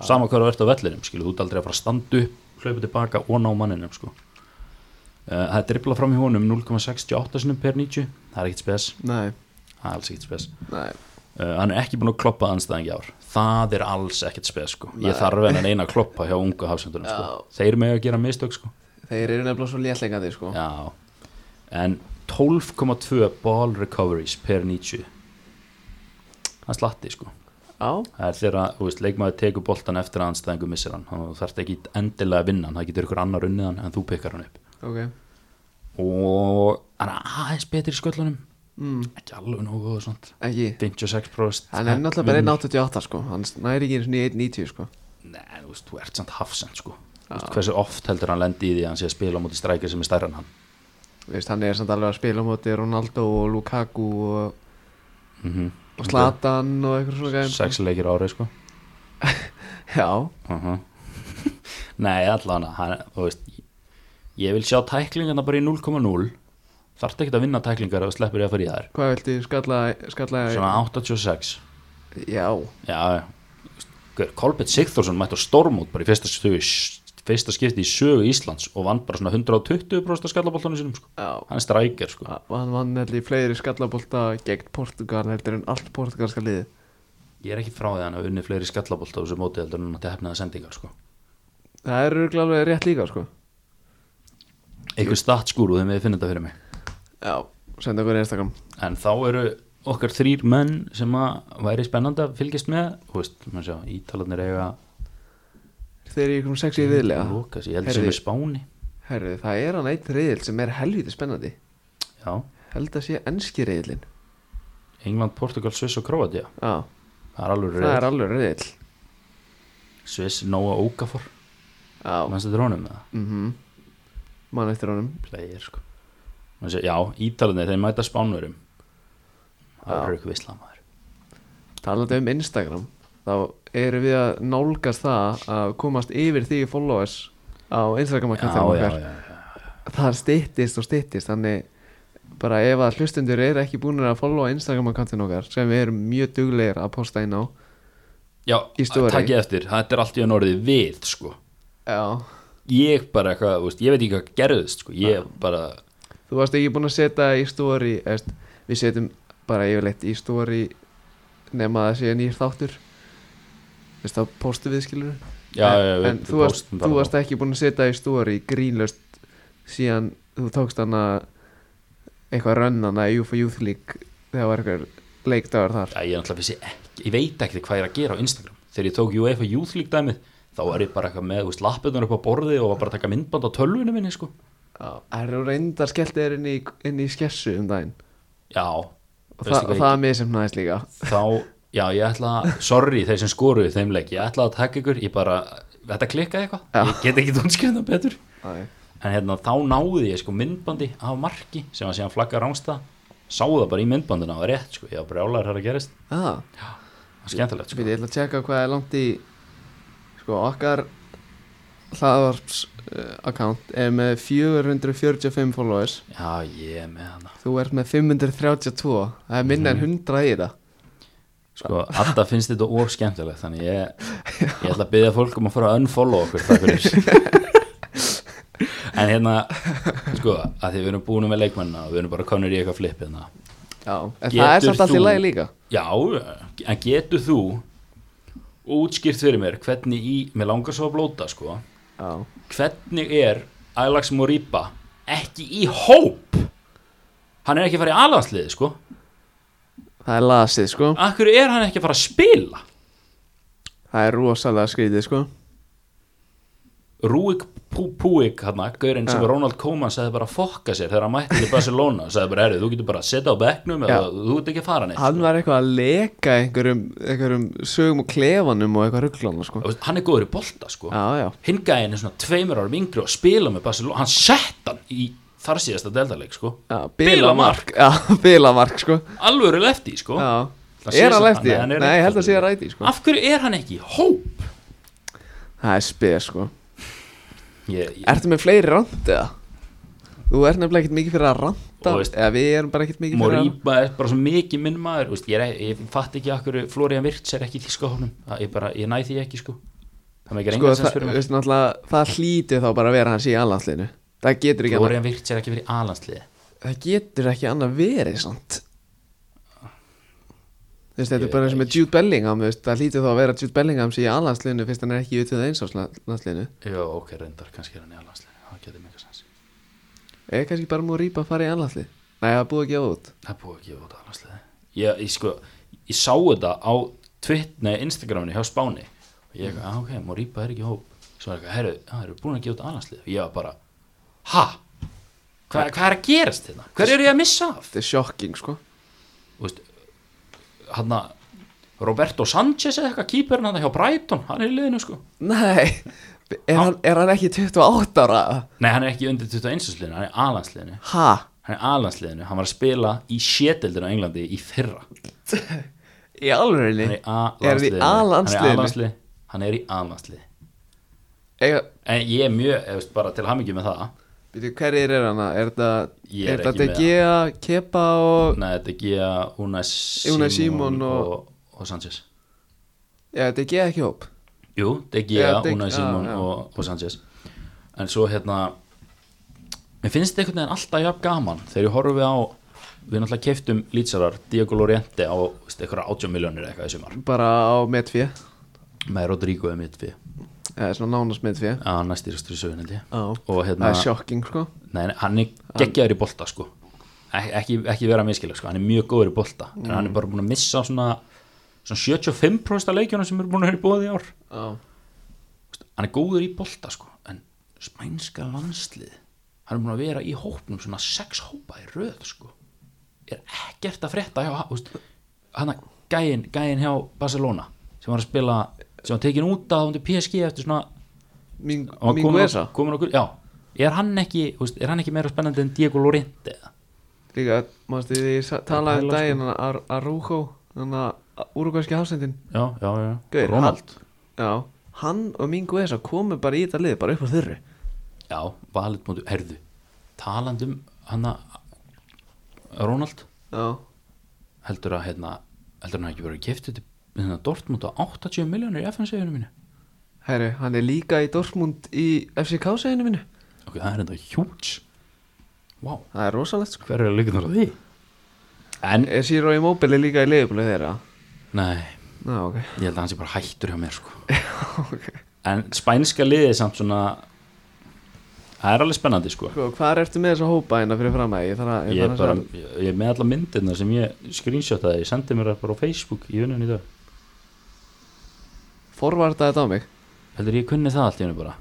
B: sama hvað þú ert á vellinum skilur þú ert aldrei að fara að standa upp hlaupa tilbaka og ná manninum sko. uh, það er dribla fram í honum 0,68 sinum per 90 það er ekkit spes,
A: Nei,
B: það er alls ekkit spes
A: nei,
B: uh, hann er ekki búin að kloppa anstæðingi ár það er alls ekkit spes sko.
A: Nei.
B: ég þarf en að eina að kloppa hjá unga hafsendunum sko. þeir með að gera mistök sko.
A: þeir eru nefnilega svo léttlengandi sko
B: Já, en 12,2 ball recoveries per 90 hann slatti sko
A: Já,
B: það er þegar að, þú veist, leikmaður tekur boltan eftir að anstæðingu missir hann þannig að þú þarft ekki endilega að vinna hann það getur ykkur annar unnið hann en þú pikkar hann upp
A: ok
B: og hann er aðeins betri í sköllunum
A: mm,
B: ekki alveg nógu og svona
A: Ekki
B: 56%
A: Hann er náttúrulega bara 1.88 sko Hann næri ekki einu sinni í 1.90 sko
B: Nei, þú veist, þú ert samt hafsend sko Þú veist, hversu oft heldur hann lendi í því að hann sé að spila á móti strækir sem er stærra en hann
A: Veist, Hann er samt alveg að spila á móti Ronaldo og Lukaku og
B: mm
A: og Zlatan og eitthvað svona gæm
B: sex leikir árið sko
A: já,
B: uh *laughs* Nei, allan hann, þú veist ég vil sjá tæklingarna bara í 0,0 þarft ekki að vinna tæklingar ef þú sleppur ég að fara í þær
A: hvað viltu skalla, skalla
B: svona 86
A: já,
B: Já, Kolbett Sigþórsson mætti á stormút bara í fyrsta, stuði, fyrsta skipti í sögu Íslands og vann bara svona 120% af skallaboltanum sínum sko.
A: já
B: hann er strækir sko.
A: hann vann heldur í fleiri skallabolta gegn Portugal heldur en allt portugalska liði
B: ég er ekki frá því að hann að unni fleiri skallabolt á þessu móti heldur en hann átti hefnaða sendingar sko.
A: Það er örugglega alveg rétt líka sko
B: einhver statskúru þegar við finnum þetta fyrir mig
A: Já, senda okkur í Instagram
B: en þá eru okkar þrýr menn sem að væri spennandi að fylgjast með þú veist, maður sjá, ítalarnir eiga
A: Þeir eru ykkur sexi í viðlega
B: lokas, ég held sem
A: Heyrðu.
B: er spáni
A: Herru, það er hann eitt reyðil sem er helvítið spennandi
B: já,
A: Held að sé enski reyðilin
B: England, Portugal, Sviss og Kroatia
A: Já,
B: það er alveg
A: það er
B: reyð,
A: alveg reyðil
B: Sviss, Nóa, Ókafor
A: Já,
B: mennstu þetta rónum með það,
A: mhm Mann eftir honum
B: player sko Man sjá, já, ítalarnir, þeir mæta spánverum það
A: Já.
B: er ykkur visslamaður
A: Talandi um Instagram Þá erum við að nálgast það að komast yfir því followers á Instagram
B: já,
A: akkantið
B: já,
A: okkar
B: já, já,
A: Það styttist og styttist Þannig bara ef að hlustundur eru ekki búinir að followa Instagram akkantið okkar sem við erum mjög duglegir að posta inn á
B: já,
A: Í story.
B: takk ég eftir þetta er allt í enn orðið við sko
A: Já,
B: ég bara eitthvað, þú veist, ég veit ekki hvað gerðist sko, ég bara,
A: þú varst ekki búin að setja í story eðst, Við setjum bara yfirleitt í story nema að það sé nýr þáttur Veist þá postum við skilur
B: já, já,
A: en,
B: við
A: en þú, varst,
B: postum
A: þú
B: bara þá.
A: varst ekki búin að setja í stóri grínlöst síðan þú tókst hana eitthvað rönnana í UFA Youth League þegar var eitthvað leikdagar þar
B: Já, ég, er náttúrulega vissi ekki, ég veit ekki hvað ég er að gera á Instagram þegar ég tók UEFA Youth League dæmið þá er ég bara eitthvað með þú veist, lappirnar upp á borði og var bara að taka myndband á tölvunum minni sko.
A: Það eru reyndar skellt þér inn í, inn í skessu um daginn
B: já,
A: og
B: veistu
A: það,
B: hvað
A: það er mér sem næst líka
B: ég, þá, já, ég ætla að sorry þeir sem skoruðu þeim leik, ég ætla að taka ykkur ég bara, þetta klikkaði
A: Já.
B: eitthvað ég get ekki tónskjöfna betur
A: Æ.
B: en hérna, þá náði ég sko myndbandi af marki sem að síðan flagga rángsta sá það bara í myndbandina og það var rétt sko. ég var brjálæður að gerist,
A: Ah,
B: það var skemmtilegt sko.
A: býti, ég ætla að tjekka hvað er langt í sko okkar hlaðvarps uh, account er með 445 followers
B: já, ég er með hana
A: þú ert með 532 það er minna en 100 í þetta
B: Sko, alltaf finnst þetta of skemmtilegt þannig ég, ég ætla að byggja fólk um að fara að unfollow okkur það fyrir en hérna sko, að því við erum búin með leikmennina og við erum bara konur í eitthvað flip hérna.
A: Já, en það er
B: Getur
A: samt allt í
B: þú-
A: lagi líka
B: já, en getur þú útskýrt fyrir mér hvernig í, mér langar svo að blóta sko,
A: Já,
B: hvernig er Alex Moriba ekki í hóp hann er ekki að fara í alansliði sko
A: það er lasið sko
B: akkur er hann ekki að fara að spila
A: Það er rosalega skrítið sko
B: Rúik Púik hann gaurinn sem
A: Ja.
B: Ronald Koeman sagði bara að fokka sér þegar hann mætti til Barcelona sagði bara, herru, þú getur bara að setja á bekknum eða
A: Já.
B: þú getur ekki að fara neitt
A: Hann var eitthvað að leka einhverjum, einhverjum sögum og klefanum og eitthvað rugglan sko.
B: Þú veist, hann er góður í bolta sko
A: Já, já,
B: hinn gæinn er svona tveimur árum yngri og spila með Barcelona hann sett hann í þar síðasta deltaleik sko
A: já
B: Bilamark.
A: Já, *laughs* bilamark sko
B: alvöru lefti sko
A: Já
B: Það sé
A: Er hann
B: samt-
A: lefti?
B: Nei, hann er
A: Nei, ég held að
B: réttfættur.
A: sé að ræti sko
B: af hverju er hann ekki í hóp
A: Það er spes sko
B: ég, ég,
A: Ertu með fleiri rand eða? Þú ert nefnilega ekkert mikið fyrir að randa
B: Og veist-
A: Eða við erum bara ekkert mikið fyrir að
B: Moríba er bara svo mikið minn maður þú veist, ég, er- ég fatt ekki af hverju Florian Virts er ekki í þíska hópnum Það- ég, bara- ég næ því ekki sko það með ekki
A: Sko,
B: reyngar sens
A: það,
B: fyrir mig
A: veist, náttúrulega, það hlýtur þá bara að vera hans í alhanslinu Það getur ekki, annað,
B: Florian Virts er ekki verið í alansliði
A: það getur ekki annað verið samt Þú veist, þetta er
B: Ég-
A: bara eins og með Jude Bellingham þú veist, það hlýtur þá að vera Jude Bellingham sem í alhanslinu fyrst hann er ekki utvöð eins á landsliðinu
B: Jó, ok, reyndar, kannski er hann í alansliði Það getur mikið sens
A: eða kannski bara múið rýpa að fara í alhanslið Nei, það er búið að gefa út
B: Það er búið að gefa út alansliði ég, ég sko, ég sá þetta á Twitter, nei, Instagraminu hjá Spáni og ég, ah, ok, Moríba er ekki í hóp Svo er eitthvað, herru, það eru búin að gefa út alansliði og ég var bara, ha? Hva, hvað er að gerast þetta? Hver er ég að missa af?
A: Þetta er sjokking, sko
B: Þú veist, hann að Roberto Sanchez eða eitthvað, kýperinn hann hjá Brighton, hann er í liðinu sko
A: Nei, er hann, er hann ekki 28 ára?
B: Nei, hann er ekki undir 21 sliðinu, hann er í alansliðinu
A: Ha?
B: hann er alansliðinu, hann var að spila í sjeteldinu á Englandi í fyrra
A: Í alvörinni?
B: hann
A: Er
B: er í
A: hann í
B: A-landsliðinu
A: A-landsliðinu?
B: A-landsliði hann er í A-landsliði
A: Eiga,
B: en ég er mjög, ég veist, bara til hamingju með það
A: Býtu, hverjir er hana? Er þetta
B: Ég er
A: er þetta
B: ekki með
A: DG, Kepa og
B: Nei, þetta er Gia, Unas
A: Unai
B: Simon,
A: Simon
B: og,
A: og-
B: og, Sanchez
A: Já, DG ekki hóp
B: Jú, þetta er Gia,
A: Já, þetta er-
B: Unas
A: já,
B: Simon
A: já.
B: og, og Sanchez en svo hérna mér finnst þetta einhvern veginn alltaf jafn gaman þegar ég horfi á við náttúrulega keftum lýtsarar Diego Loriente á veist, einhverja 80 miljónir eitthvað í sumar
A: bara á metfjö
B: með Rodrigo um mitt við
A: eða svona nánast metfjö
B: að næstýrastur í sögun held ég
A: Já.
B: og
A: það
B: hérna,
A: er sjokking sko
B: nei, nei, hann er geggjaður í bolta sko Ek, ekki, ekki vera miskileg sko, hann er mjög góður í bolta en hann er bara búin að missa svona, svona 75% af leikjunum sem eru búin að vera í bóði í ár
A: Já.
B: hann er góður í bolta sko en spænska landslið hann er búin að vera í hópnum svona sex hópa í röð sko er ekkert að frétta hjá úst, hann að gæin, gæin hjá Barcelona sem var að spila sem var tekin út af undir PSG eftir svona
A: Ming-
B: hann var
A: Minguesa
B: á- komin okkur, já er hann ekki, úst, er hann ekki meira spennandi en Diego Lorente eða?
A: líka, mástu því ég sa- talaði um
B: Pæla, sko.
A: daginn að Arúko þannig að úrugvæski hafsendin
B: já, já, já,
A: Gaur,
B: Ronald
A: já, hann og Minguesa komu bara í þetta lið bara upp á þurru
B: já, valið mútu, herðu talandum hann að um Ronald
A: já,
B: heldur að hérna, heldur hann hafi ekki verið kiftið til hérna, Dortmund á 80 miljónir í FN-seginu mínu
A: herru, hann er líka í Dortmund í FCK-seginu minni
B: ok, það er enda huge wow,
A: það er rosalegt sko
B: hver er að líka þar að því en,
A: er Siro í móbili líka í liðbúlið þeirra
B: nei,
A: já, ok, *laughs*
B: ég held að hann sé bara hættur hjá mér sko
A: ok
B: en spænska liðið er samt svona það er alveg spennandi sko
A: Sko, hvað ertu með þessa hópa hérna fyrir fram að ég þarf að
B: ég er,
A: þarf
B: bara,
A: að sjá-
B: ég ég er með alla myndirna sem ég screenshotaði, ég sendi mér það bara á Facebook í vinnunni í dag,
A: forvarta þetta á mig
B: heldur ég kunni það allt í hennu bara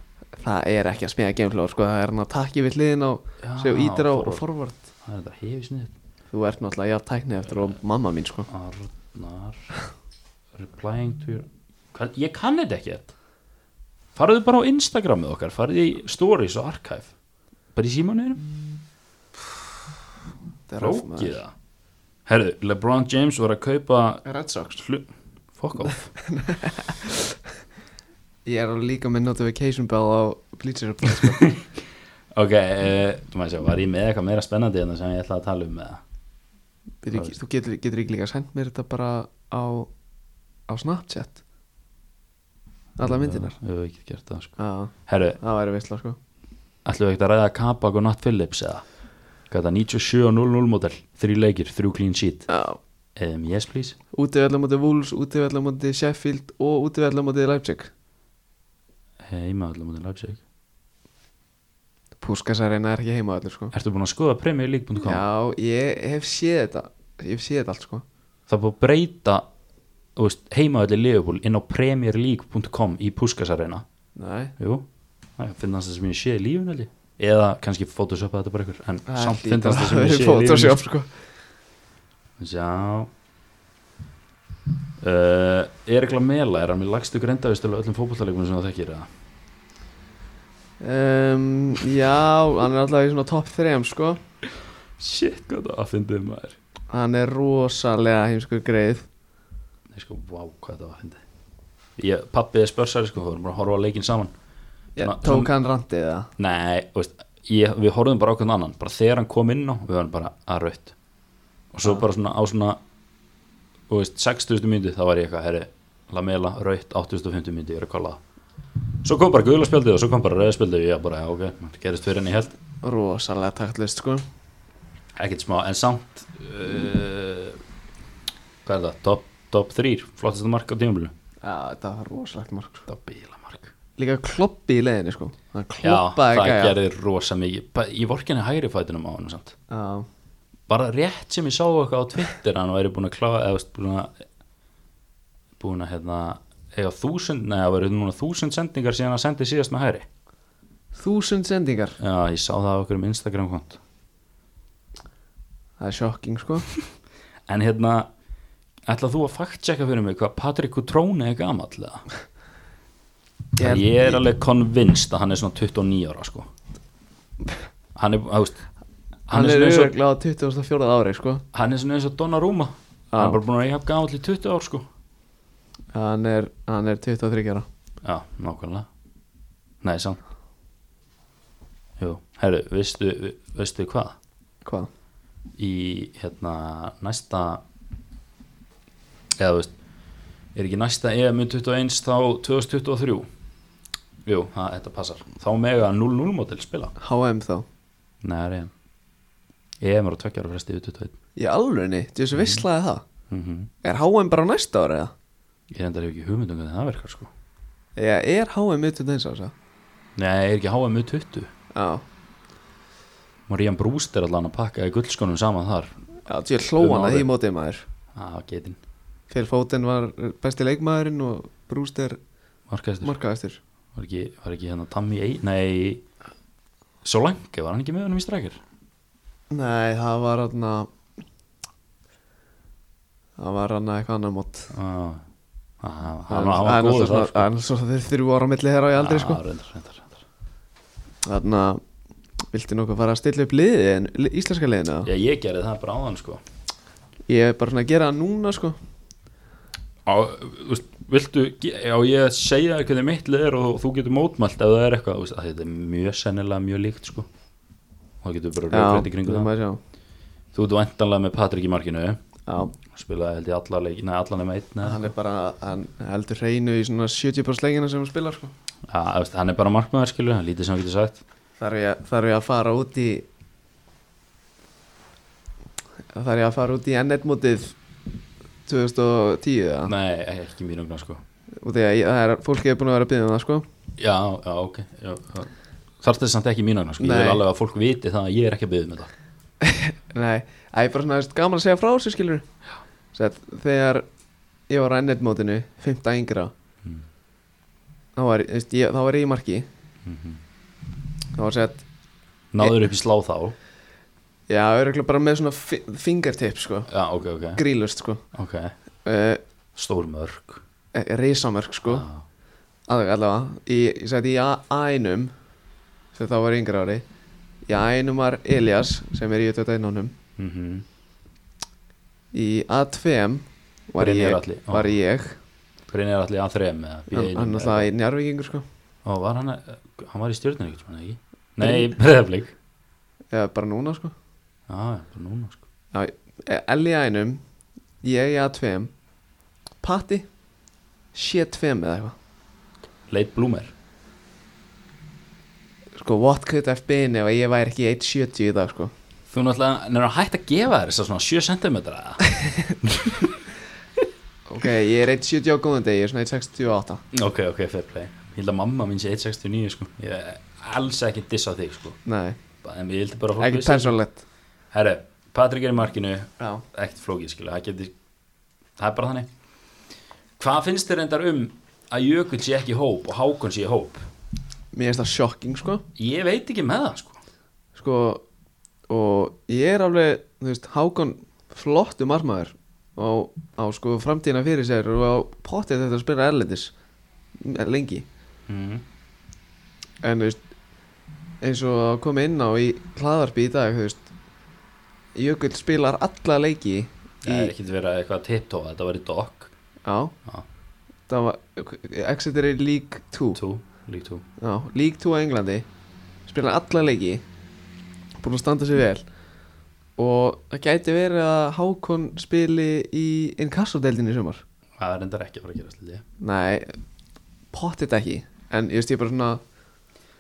A: það er ekki að smega gameflow sko, það er hann að takki við hliðin á
B: Já,
A: sem ítir á
B: forvörn.
A: forvart
B: það er þetta hefisnið
A: þú ert náttúrulega jafn tæknið eftir og mamma mín sko
B: Arnar replying to your Hva? ég kann þetta ekki farðu bara á Instagramið okkar farðu í stories og archive bara í símanuðinu,
A: Það er rough, maður.
B: flókið það herru, LeBron James var að kaupa
A: Red Sox
B: hlu... fuck off
A: ég er líka með notification bell á Bleacher Report sko.
B: ok, eh, þú maður sér, var ég með eitthvað meira spennandi en það sem ég ætlaði að tala um með
A: Byrju, ekki- þú getur, getur ekki líka sendt mér þetta bara á á Snapchat alla myndinar
B: ég hef ekki gert það sko
A: Já,
B: herru,
A: það væri veistla sko
B: ætlum við ekkert að ræða Kabak og Nat Phillips eða hvað er það, 97 og 00 model þrjú leikir, þrjú clean sheet
A: Já.
B: um, yes please
A: útivallamóti Wolves, útivallamóti Sheffield og útivallamóti Leipzig
B: heima allir mútið Leipzig
A: Púskasarina er ekki heima allir sko
B: Ertu búin að skoða premjörlík.com?
A: Já, ég hef séð þetta Ég hef séð þetta allt sko
B: Það er búin að breyta þú veist, heimaöldi Liverpool inn á premjörlík.com í Puskasarena
A: Nei
B: Jú, það finnast það sem ég sé í lífun held ég Eða kannski photoshopa þetta bara ykkur En samt
A: *laughs*
B: finnast það sem ég sé í lífun
A: Photoshop sko
B: Já uh, Erikla Mela, er hann með lagstu greindavistölu öllum fótbollalegunum sem það þekkir eða?
A: um, Já, hann er alltaf í svona top 3 sko
B: Shit, hvað það aðfindið maður
A: Hann er rosalega heimskur greið
B: Nei sko, wow, hvað það aðfindið Ég, pappi er spörsari sko, við vorum bara að horfa á leikinn saman
A: ég,
B: Svona-
A: Tók hann randið það
B: Nei, þú veist, ég, við horfum bara á hvernig annan bara þegar hann kom inn á, við varum bara að raut og svo bara svona á svona þú veist, 6000 myndi þá var ég eitthvað, herri, lamela, raut 8050 myndi, ég er að kalla svo kom bara guðlarspjaldið og svo kom bara rauðspjaldið og ég bara, já, ok, það gerist fyrir henni ég held
A: Rosalega taktlist sko
B: ekkert smá, en samt uh, hvað er það, top, top 3 flottasta mark á tímabili
A: Já, þetta var rosalegt mark sko.
B: það bíla mark
A: Líka kloppi í leiðinni sko Hann
B: já, það
A: kloppaði gæja
B: gerði rosa mikið Bara- ég vor ekki henni hægri fætinum á hann samt
A: Já,
B: bara rétt sem ég sá eitthvað á Twitter að hann væri búin að klára eða veist, búin að búin að hérna eiga þúsund, neða verið hérna núna þúsund sendingar síðan að sendi síðast með hæri
A: þúsund sendingar
B: já, ég sá það á okkur um Instagram kont
A: Það er sjokking sko
B: en hérna, ætlað þú að fact-checka fyrir mig hvað Patrik Kutróni er gamall eða?
A: Ég-
B: ég, er alveg convinced að hann er svona 29 ára sko hann er, þú veist
A: Hann er
B: svona eins og-
A: auðvitað á 24 ári sko
B: hann er svona eins og Donnarumma
A: Já.
B: hann er bara búin að eiga gamall í 20 ár sko
A: Hann er, hann er 23 ára
B: Já, nákvæmlega Nei, samt Jú, herru, veistu, veistu hvað?
A: Hvað?
B: Í hérna næsta eða þú veist er ekki næsta EM 21 þá 2023 Jú, það, þetta passar Þá mega 0-0 mótil spila
A: HM þá
B: Nei, það er EM EM er á tveggjar og fresti utu tveit
A: Í alvegni, þú
B: Mhm.
A: veist, visslaði það
B: mm
A: Er HM bara næsta ára eða?
B: Ég reyndar hef ekki hugmyndum hvernig það verkar sko
A: Já, er HM mitt um þess að
B: Nei, er ekki HMU 20
A: Já,
B: Marían Brúst er allan að pakka í gullskonum saman þar
A: já, þú er hlóan
B: Um
A: að
B: árið.
A: því mótið maður
B: Á, getinn
A: Fyrir fótinn var besti leikmaðurinn og Brúst er
B: Markaðistur
A: markaðastur
B: var, ekki- var ekki hérna Tammy Ei Nei, Solange var hann ekki með honum í strækir
A: Nei, það var hann Það var hann eitthvað annar mót
B: ah, ah,
A: Hann
B: Hann var- hann
A: hann
B: var
A: er
B: góður
A: svona-
B: þar sko.
A: hann er svona þeir þrjú ára á milli þeirra á ég aldrei sko
B: Já, reyndar, reyndar, reyndar.
A: Þannig að Viltu nokkuð fara að stilla upp liðið en li- íslenska liðinu? eða?
B: Já, ég gerði það bara áðan sko
A: Ég er bara svona að gera það núna sko
B: á, þú veist, viltu, á ég að segja þér hvernig mitt lið er og þú getur mótmælt ef það er eitthvað, þú veist, að þetta er mjög sennilega mjög líkt sko og það getur bara rauðbreyndi kringu það
A: maður sjá
B: þú ert vantanlega með Patrik í markinu
A: Já,
B: spilaði held ég alla leik, neða allan nema einn eða-
A: hann er bara, hann heldur hreinu í svona 70% leikina sem hann spilar sko
B: Já, þú veist, hann er bara markmaður skilu, hann lítið sem hann getur sagt
A: Þarf ég, þarf ég að fara út í Þarf ég að fara út í N1 mótið 2010 eða?
B: nei, ekki mjög nögnar sko
A: Og því að ég- það er, fólki er búin að vera að byggja um það sko
B: já, já, ok já, já. þarf þetta samt ekki mjög nögnar sko, ég
A: Nei.
B: vil alveg að fólk viti það að ég er ekki að um byggja með það
A: Nei, það er bara svona veist, gaman að segja frá þessu skilur Sett, Þegar ég var á N1 mótinu 5. yngra
B: Mm.
A: þá, var, ég- þú veist, ég, þá var ég í marki
B: Mhm.
A: Þá var sett
B: náður upp í slá þá
A: Já, öruglega bara með svona fi- fingertip sko
B: já, ok, ok,
A: Grílust sko
B: ok
A: uh,
B: stór mörg
A: Rísamörk sko
B: já,
A: Alveg allavega Ég, ég sagði í A- A1 Þegar þá var ég yngra ári Í A1 var Elias sem er í 21 honum
B: mm -hmm.
A: Í A2 var
B: Brynjar
A: ég,
B: Atli, já.
A: var ég
B: Hvernig er allir að þrem eða
A: Hann, hann alltaf í njárvíkingur sko
B: Og var hann, að- hann var í stjórnir ekkert svona ekki? Nei, breðaflik
A: Eða bara núna sko
B: Já, já, bara núna sko
A: Já, Elli í A1 Ég í A2 Patti C2 eða eitthvað
B: Leit Blúmer
A: Sko, what could have been ef ég væri ekki í 1.70 í dag sko
B: Þú náttúrulega, nefnir að hægt að gefa þér þess að svona 7 cm
A: Ok, ég er 1.70 á góðan degi, ég er svona 1.68
B: Ok, ok, fair play Ég held að mamma mín sé 169 sko Ég er alls ekki að dissa þig sko
A: Nei,
B: Bara- En ég hildi bara að fólk
A: ekki
B: vissi-
A: persónlegt
B: Herru, Patrik er í markinu
A: Já
B: Ekkert flókið skilja, það geti Það er bara þannig Hvað finnst þér reyndar um að Jökull sé ekki í hóp og Hákon sé í hóp?
A: Mér finnst það sjokking, sko
B: Ég veit ekki með það sko
A: Sko, og ég er alveg, þú veist, Hákon flottu marmaður og á sko framtíðina fyrir sér og á pottið þetta að spila erlendis lengi
B: mm.
A: en þú veist, eins og að koma inn á í hlaðarpi í dag, þú veist Jökull spilar alla leiki
B: Það er ekkert verið eitthvað tiptóa, þetta var í DOC
A: Já,
B: Já.
A: það var Exeter er í League 2
B: 2, lík 2
A: Já, League 2 á Englandi spila alla leiki búin að standa sér vel og það gæti verið að Hákon spili í inkassodeldinni í sumar
B: Það er endar ekki að fara að gerast lítið
A: Nei, pottit ekki en ég veist ég bara svona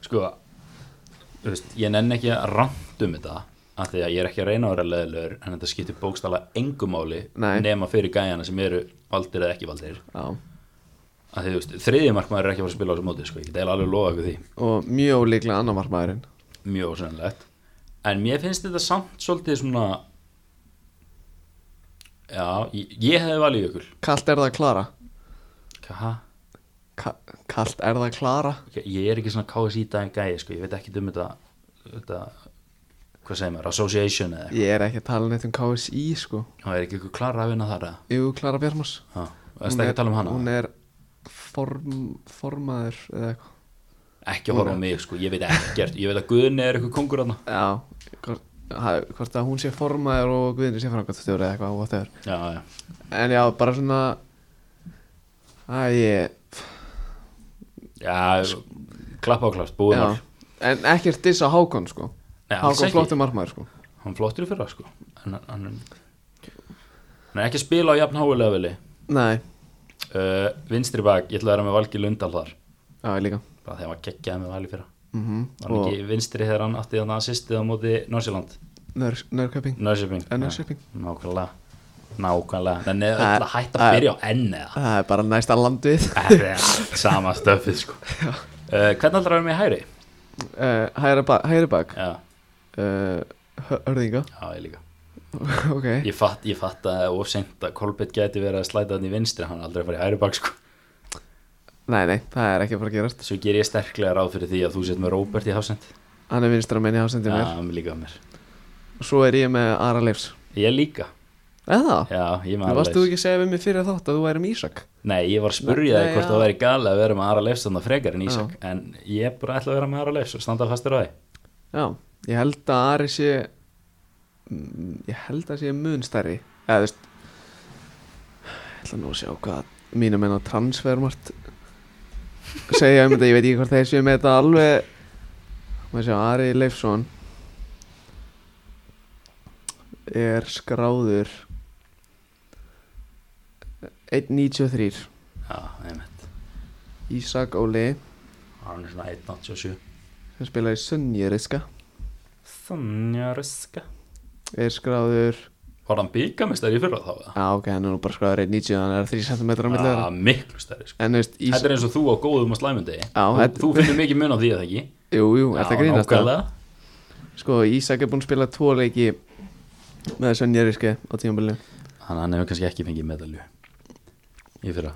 B: Sko, þú veist, ég nenn ekki að ranta um þetta af því að ég er ekki að reyna að vera leðilegur en þetta skiptir bókstala engumáli
A: Nei.
B: nema fyrir gæjana sem eru valdir eða ekki valdir
A: já,
B: af því, þú veist, þriðjumarkmaður er ekki að fara að spila á þessu móti sko, ég get eiginlega alveg lofa ykkur því
A: og mjög ólíklega annar marmaðurinn
B: mjög ósennilegt en mér finnst þetta samt svolítið svona já, ég, ég hefði valið ykkur
A: Kalt er það að klara
B: Kaha?
A: Ka Kalt er það að klara
B: Ok, ég er ekki svona KSI daginn gæi sko, ég veit ekki um þetta, þetta hvað segir maður, association eða eitthvað
A: Ég er ekki að tala neitt um KSI sko
B: það er ekki ykkur klara að vinna þar eða
A: Jú, Klara Bjarmas
B: Já, það er ekki að tala um hana
A: Hún er form, formaður eða eitthvað
B: ekki horfa á mig sko, ég veit ekkert ég veit að Guðni er ykkur kongur hana
A: Já, hvort, ha- hvort að hún sé formaður og Guðni sé framkvæmstjóri eða eitthvað whatever.
B: já, já,
A: En já, bara svona Æ, ég
B: já klappa á klart, búið
A: já.
B: mál
A: En ekkert diss á Hákon sko
B: Nei, alls
A: Hákon
B: ekki.
A: flottur marmaður sko
B: hann flottur í fyrra sko hann, hann, hann er ekki að spila á jafn háulega veli
A: Nei,
B: uh, vinstri bak, ég ætla að vera með Valgi Lundal þar
A: já, ég líka
B: bara þegar maður geggjaði með Valgi fyrra
A: mm
B: var hann ekki vinstri þegar hann átti þannig að assistið á móti Norsjöland
A: Nör- Nörköping
B: Nörsjöping
A: Eh, Nörköping
B: Nákvæmlega Nákvæmlega Þannig er
A: Það er-
B: öll að hætta
A: það
B: að
A: er-
B: byrja á N eða
A: Það er bara næsta landið
B: *laughs* Það er allt sama stöfið sko uh, Hvernig aldrei erum við hægri?
A: uh, Hægra bak, hægra bak.
B: Já,
A: Uh, hö- Hörðinga *laughs*
B: já, ég líka
A: Ok
B: Ég fatt, ég fatt að of seint að Kolbett geti verið að slæta hann í vinstri Hann er aldrei að fara í hægri bak sko
A: Nei, nei, það er ekki að fara að gerast
B: Svo ger ég sterklega ráð fyrir því að þú sett með Róbert í hásend
A: Hann er vinstra menn í hafsendi mér
B: Já, mér líka mér
A: Svo er ég með Ara Leifs
B: Ég líka
A: Eða?
B: Já, ég
A: Nú
B: með
A: varst
B: Arleifs
A: þú ekki að segja við mig fyrir þátt að þú væri um Ísak
B: Nei, ég var að spurja
A: Nei,
B: þig
A: já.
B: hvort það væri gali að vera með Ara Leifs þannig frekar en Ísak En ég bara ætla að vera með Ara Leifs og standa fastur á því
A: Já, ég held að Ari sé Mm, Ég held að sé mun stærri Eða þú veist Ég ætla nú að sjá hvað mínum enn á transfermart segja um þetta, ég veit ekki hvort þeir séu með þetta alveg maður sjá, Ari Leifsson er skráður 1.93
B: Já, einmitt
A: Ísak Óli
B: Hann er svona 1.87
A: sem spilaði Sunnjuriska
B: Sonja Röska
A: er skráður
B: Var hann byggamestari í fyrra þá? eða?
A: Já, ok, hann er nú bara skráður 1.90 þannig að það er 3 cm á milli
B: Ah,
A: þeirra
B: miklu stærri sko.
A: En þú veist, Ís...
B: Þetta er eins og þú á góðum og slæmundi
A: Já, þetta-
B: Þú finnir mikið mun á því að það ekki
A: jú, jú, er það grínast það?
B: nákvæmlega.
A: Sko, Ísak er búinn að spila tvo leiki með Sönjariske á tímabilinu
B: Þannig að hann hefur kannski ekki fengið medalju Í fyrra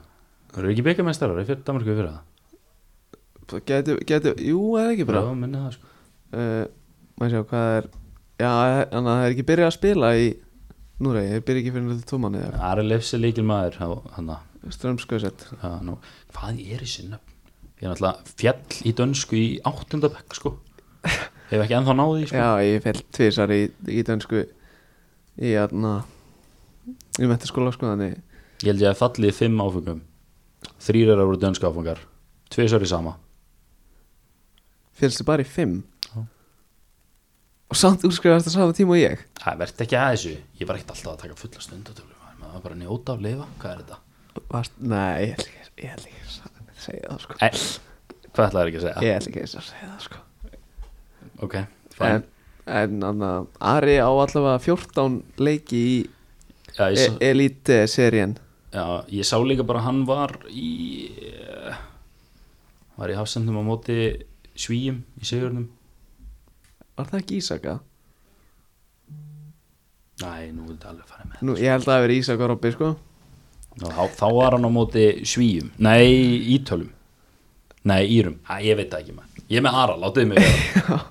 B: Það eru ekki byggamestarar í fyrra Danmarku í fyrra
A: Gætu, gætu, jú, er það ekki bara
B: Já, minna það sko
A: uh, Maður sjá, hvað er Já, þannig að það er ekki byrjað að spila í Núrei, það byrja ekki fyrir náttúrulega tóman eða
B: Ari Leifs er líkil maður á- hann að-
A: Strömskvöset
B: Já, nú, hvað er þessi nöfn? Ég er náttúrulega fjall í dönsku í áttundabekk sko Hefur ekki ennþá náði sko.
A: Já, ég fell tvisar í, í dönsku Í aðna Í mentaskóla sko, þannig
B: Ég held ég að fallið í fimm áfengum Þrýr er að voru dönsku áfengar Tvisar í sama
A: Félstu bara í fimm
B: Já.
A: Og samt úrskrifast á sama tíma og ég
B: Það verði ekki að þessu Ég var ekkert alltaf að taka fulla stundatölu maður var bara að njóta af lifa, hvað er þetta?
A: Vast, Nei, ég ætla ekki, ég ætla ekki að sa- segja það sko
B: E, hvað ætlaður ekki að segja?
A: Ég ætla ekki að segja það sko
B: Ok,
A: En,
B: fæn
A: en anna, Ari á allavega 14 leiki í
B: já, ég,
A: e
B: sá-
A: Elite serien
B: já, ég sá líka bara að hann var í eh, Var í hafsendum á móti svíjum í sigurnum
A: Var það ekki Ísaka?
B: Næ, nú vildi alveg fara með
A: Nú, ég held að það hafi verið Ísaka og Robby sko *laughs*
B: Nú, þá, þá var hann á móti svíjum Nei, ítölum Nei, írum, Æ, ég veit það ekki maður Ég er með Ara, látiði mig vera
A: *laughs*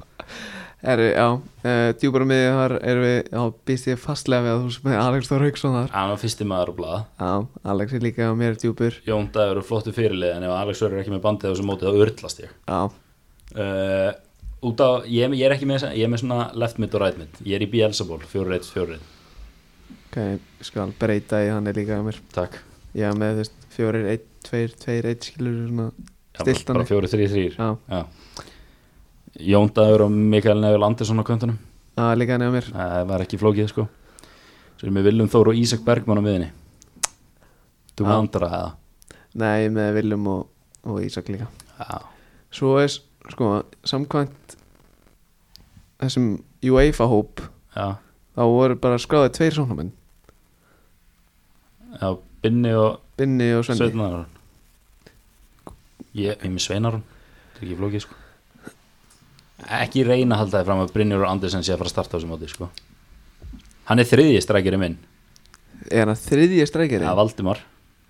A: Er, já, uh, djúpar með þar erum við, já, býst ég fastlega við að þú sem með Alex Þór Hauksson þar
B: Hann var fyrsti maður á blaða
A: Já, Alex er líka og mér er djúpur
B: Jón Dagur eru flottu fyrirlið En ef Alex verður ekki með bandið á þessu móti þá örlast ég
A: Já,
B: uh, Út á, ég, er- ég er ekki með þessa- Ég er með svona left mid og right mid Ég er í Bielsaból, fjóru reitt, fjóru reitt
A: ok, ég skal breyta í hann er líka að mér
B: Takk
A: Já, með þú veist, fjórir, einn, tveir, tveir, einn skilur svona
B: Já,
A: Stillt
B: Bara
A: hann.
B: fjóru, þrý, þrýr
A: Já,
B: Já. Jón Dagur og Mikael Nefil Andersson á köntunum
A: að líka hann á mér
B: Það var ekki flókið sko Svo erum við Viljum Þór og Ísak Bergmann á miðinni Þú með
A: Já.
B: andra eða
A: Nei, með Viljum og, og Ísak líka
B: Já,
A: Svo er, s- sko, samkvæmt þessum UEFA hóp
B: já,
A: þá voru bara skráðið tveir sóknarmenn
B: já Binni og
A: Binni og Svenni
B: Sveinaron Ég ég er með Sveinaron Það er ekki flókið sko Ekki reyna að halda þið fram að Brynjur og Andersen sé að fara að starta á þessu móti sko Hann er þriðji strækjari minn
A: Er hann þriðji strækjari?
B: Það er Valdimar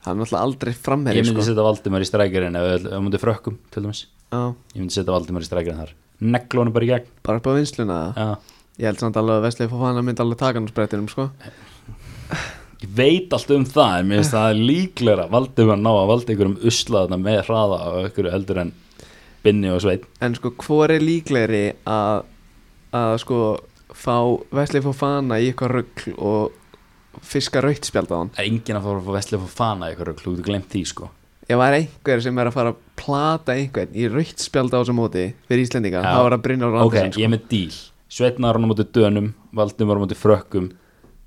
A: Hann er alltaf aldrei
B: Ég
A: framherri,
B: myndi
A: sko
B: setja Valdimar í strækjarin ef við mútið frökkum til dæmis
A: Já,
B: Ég myndi setja Valdimar í strækjarin þar Neglónu bara í gegn
A: bara upp á vinsluna ja.
B: Já
A: Ég held samt alveg að Veslið Fofana myndi alveg taka hann á sprettinum, sko
B: Ég veit allt um það, en mér finnst það líklegra Valdimar ná að valda einhverjum uslaðna með hraða og einhverju heldur en Binni og Sveit
A: En sko, hvor er líklegri að, að sko fá Veslið Fofana í eitthvað rugl og fiska rautt spjald á hann?
B: Það er enginn að fara að fá vestlið að fana einhverju klútu glemt því sko
A: Ef það er einhver sem er að fara að plata einhvern í rautt spjald á þessu móti fyrir Íslendinga,
B: Já.
A: þá er það Brynjar
B: Ok,
A: Andersen sko.
B: ég er með díl Sveitnar á móti dönum, Valdimar á móti frökkum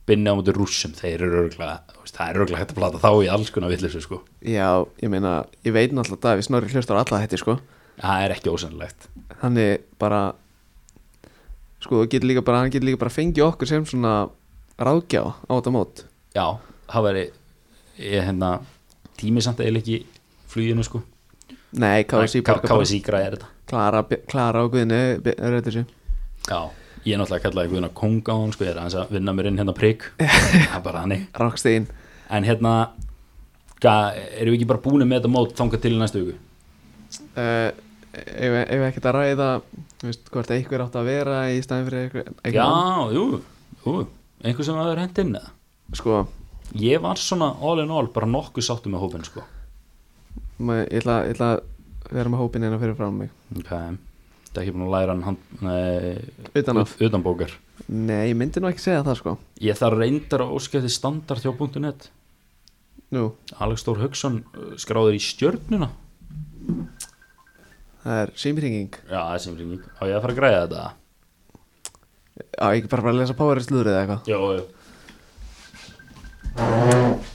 B: Binni á móti rússum Þeir eru örgulega, það er örgulega hægt að plata þá í alls konar villisu sko
A: sko. Já, ég meina, ég veit náttúrulega Davíð Snorri hlustar á alla þetta sko
B: Það er ekki ósennilegt
A: Þannig bara sko, getur líka bara, hann getur líka bara fengið okkur sem svona ráðgjá á þetta mót
B: já, það væri ég hérna, tími samt eða ekki fluginu sko
A: Nei, KSI borgar bara-
B: KSI græðir þetta
A: Klara, Bj- Klara og Guðni Röður sér
B: já, ég er náttúrulega kallaði Guðna Konga á hann sko, ég er aðeins að vinna mér inn hérna
A: *laughs*
B: prik það er bara hannig
A: Rockstein
B: en hérna hvað, erum við ekki bara búinu með þetta mót þangað til í næstu hugu
A: uh, Ef við ekkert að ræða þú veist, hvort einhver átt að vera í stæðin fyrir einhver, einhver
B: já,
A: annan?
B: jú, jú, einhver sem aður hendinn eða
A: Sko,
B: ég var svona all in all bara nokkuð sáttu með hópin sko
A: ma- ég ætla, ég ætla að vera með hópinn hérna fyrir fram mig
B: ok, þetta er ekki búin að læra hann hand, nei,
A: Utan af
B: ut- utanbókar
A: Nei, ég myndi nú ekki segja það sko
B: ég þarf reyndar að óskæfti standard hjá .net
A: Nú,
B: Alex Þór Hauksson uh, skráður í stjörnuna
A: það er símringing
B: já, það er sem ringing, á ég að fara að græða þetta
A: Já, ég bara bara að lesa Power slúður eða eitthvað
B: já, já,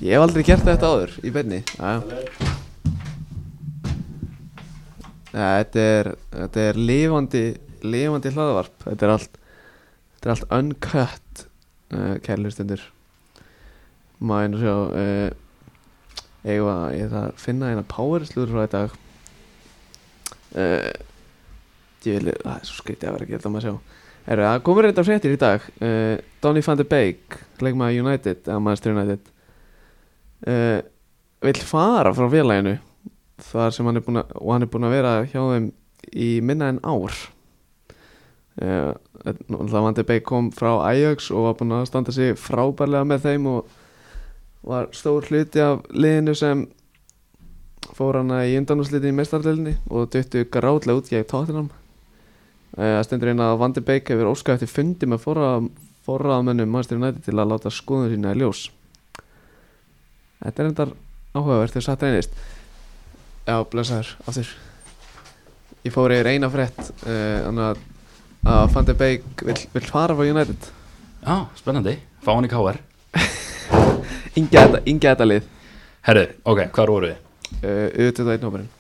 A: Ég hef aldrei gert þetta áður í beinni Já, já. Ja, Þetta er, þetta er lifandi, lifandi hlaðvarp Þetta er allt, þetta er allt uncut uh, Kærlustundur Má einu sjá uh, Ég var ég ætla að finna eina powerslúður frá í dag uh, Ég vil, það er svo skrítið að vera að geta maður að sjá Eru, það komur reynda fréttir í dag uh, Donny van de Beek, leikmaður United, eða Manchester United uh, vill fara frá félaginu þar sem hann er búin að og hann er búin að vera hjá þeim í minna en ár uh, það vandi Beik kom frá Ajax og var búin að standa sig frábærlega með þeim og var stór hluti af liðinu sem fór hana í undanúslitin í mestarleilinni og duttu gráðlega út gegn tóttinam það stendur inn að Vandi Beik hefur óskað eftir fundi með forra- forráðamönnum Manchester United til að láta skoðun sína í ljós Þetta er endar áhugavert þegar satt reynist Já, blessaður, aftur Ég fór yfir eina frétt uh, Þannig að að Van de Beek vill, vill fara frá United
B: já, spennandi fá hann í KR
A: Inga þetta, inga þetta lið
B: herru, ok, hvað voru við?
A: uh, Utöðu einn hóparinn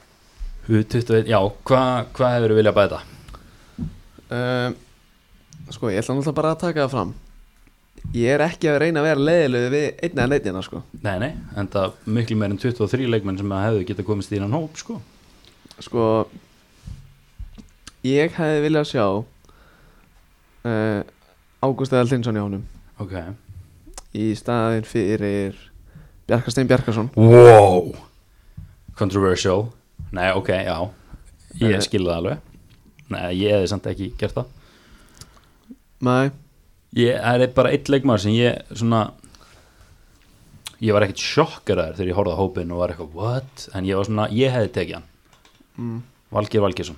B: U21, já, hvað hva hefur við viljað bæta?
A: uh, Sko, ég ætla náttúrulega bara að taka það fram Ég er ekki að reyna að vera leiðilegu við einn eða neitt hérna, sko
B: Nei, nei, en það miklu meir en 23 leikmenn sem að hefðu geta komist í innan hóp, sko
A: Sko Ég hefði viljað sjá uh, Ágúst eða Linsson í honum
B: Ok
A: í staðin fyrir Bjarkarstein Bjarkarsson
B: Wow Controversial Nei, ok, já
A: Nei.
B: Ég skilði það alveg Nei, ég hefði samt ekki gert það
A: Nei,
B: Ég það er bara eitt leikmaður sem ég svona Ég var ekkert sjokkaraður þegar ég horfði á hópinn og var eitthvað, what? En ég var svona, ég hefði tekið hann
A: Mm.
B: Valgeir Valgeirsson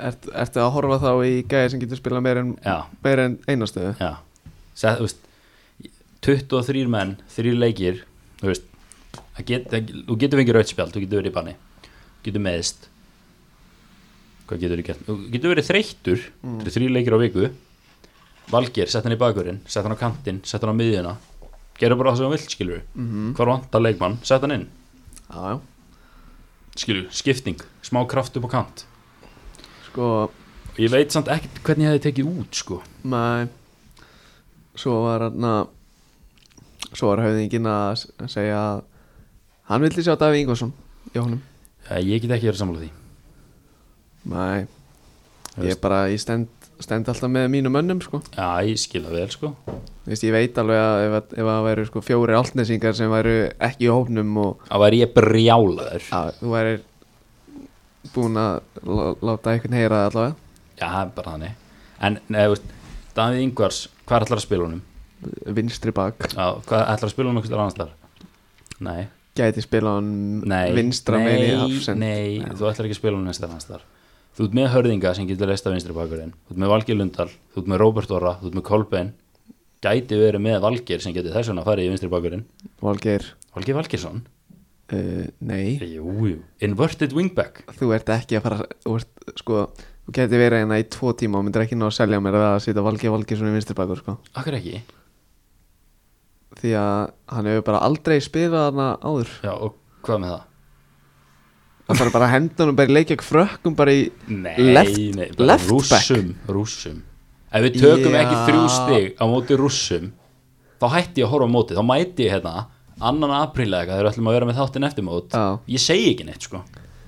A: ert, ertu að horfa þá í gæði sem getur spilað meir en,
B: Já,
A: meir en einastöðu?
B: já Sæð, þú veist 23 menn, 3 leikir þú veist það get, það, þú getur fengið rautspjald, þú getur verið í banni þú getur meðist hvað getur þú gert? þú getur verið þreyttur,
A: Mm.
B: þetta er 3 leikir á viku Valgir, sett hann í bakurinn sett hann á kantinn, sett hann á miðjuna gerðu bara það sem hann vill, skilur við
A: Mm -hmm.
B: hvar vantar leikmann, sett hann inn,
A: Já, já.
B: skilur við skipting, smá kraft upp á kant
A: Sko,
B: og ég veit samt ekkert hvernig ég hefði tekið út, sko
A: nei, svo var hann að, svo var höfðingin að s- segja að hann vildi sjá Daví Ingvarsson í honum.
B: Eh, ég get ekki verið sammála því
A: Nei,
B: Þú
A: ég
B: veist,
A: bara, ég stend, stend alltaf með mínum mönnum, sko.
B: já, ég skil það vel, sko
A: Þú Veist, ég veit alveg að ef, að- ef að væru sko fjóri altnesingar sem væru ekki í hópnum og
B: Það væri ég brjálaður
A: Já, þú værir búin að lá- láta einhvern heyra það allavega
B: Já, það er bara þannig En, nei, þú veist, Davíð Ingvars, hvað ætlar að spila honum?
A: vinstri bak
B: Já, hvað ætlar að spila honum einhvers annars þar? Nei,
A: gæti spila hann
B: nei
A: vinstra megin í
B: Nei,
A: hafsend
B: nei, þú ætlar ekki að spila honum einhvers annars þar Þú ert með hörðinga sem getur lesta vinstri bakurinn Þú ert með Valgeir Lundal, þú ert með Róbert Orra, þú ert með Kolbein Gæti verið með Valgeir sem getur þess vegna að fara í vinstri bakurinn
A: Valgeir,
B: Valgeir Valgeirsson?
A: uh, nei
B: Jú, jú Inverted wingback
A: þú ert ekki að fara þú ert, sko, þú gæti verið hérna í tvo tíma og myndir ekki ná að selja mér það að sita Valgeir Valgeir svona vinstri bakur sko.
B: Akkur ekki
A: því að hann hefur bara aldrei spilað hana áður
B: Já, og hvað með það?
A: Það þarf bara að henda hann og bara leikja krökkum bara í
B: Nei,
A: Left-
B: nei, bara
A: left back.
B: rússum, rússum Ef við tökum
A: Já.
B: ekki þrjú stig á móti rússum þá hætti ég að horfa á móti, þá mæti ég hérna annan aprílega þegar við ætlum að vera með þáttinn eftir mót
A: Já.
B: ég segi ekki neitt sko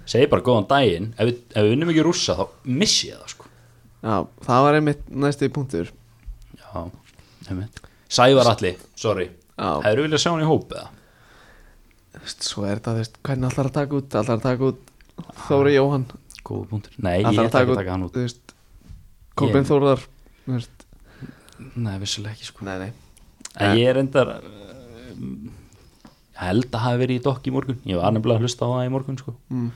B: segi bara góðan daginn, ef við, ef við vinnum ekki rússa þá missi ég það sko
A: Já, það var einmitt næsti punktur
B: Já, einmitt. Sævar Alli, sorry
A: Já.
B: Hefur viljað sjá hann í hóp eða?
A: Þú veist, Svo er þetta, þú veist, hvernig allar að taka út Allar að taka út Þóri Jóhann
B: Góða punktur Nei, ég
A: Allar
B: ætla
A: að taka
B: ekki að
A: út,
B: taka hann út
A: þú veist Kolbjörn
B: Ég-
A: Þórðar Þú veist,
B: Nei, vissulega ekki sko
A: nei, nei
B: En ég er endar held að hafi verið í dokk í morgun ég var nefnilega að hlusta á það í morgun sko.
A: Mm.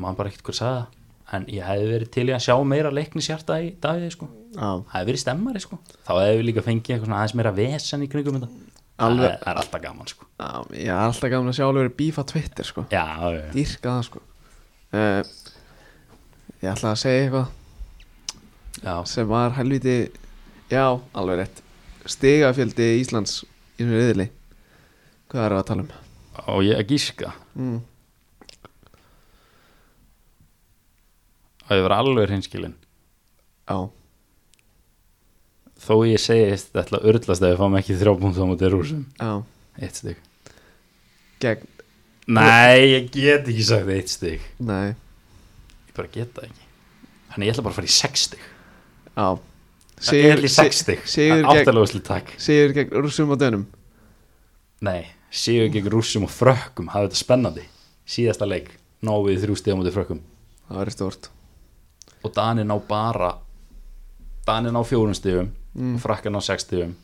B: maður bara ekkert hver sagði það en ég hefði verið til í að sjá meira leiknis hjarta í dagið sko.
A: Já,
B: hefði verið stemmari sko. þá hefði við líka fengið eitthvað svona aðeins meira vesen í kringum þetta það
A: Alveg.
B: er- það er alltaf gaman sko.
A: já, ég er alltaf gaman að sjá alveg bífa Twitter, sko
B: já, já, já.
A: Dýrka það, sko uh, Ég ætla að segja eitthvað
B: já.
A: sem var helviti Já, alveg rétt Stigafjöldi Íslands í þessu riðli Hvað erum við að tala um?
B: og ég að gíska
A: Mm.
B: og ég var alveg hinskilin
A: Já,
B: þó ég segist ætla að urðlast ef við fáum ekki þrjábúnt á móti rúsum
A: já
B: eitt stygg
A: Gegn,
B: nei, ég get ekki sagt eitt stygg
A: nei,
B: ég bara get það ekki þannig ég ætla bara að fara í 60
A: já
B: það er í
A: sig-
B: 60
A: sigur gegn-
B: áttalega úrslit takk
A: Sigur gegn Rússum og Dönum
B: nei, séu gegn rússum og frökkum hafa þetta spennandi síðasta leik ná við þrjú stíða mútið frökkum
A: Það verður stórt
B: og Dani ná bara Dani ná fjórum stíðum
A: Mm.
B: og frakkar ná sex stíðum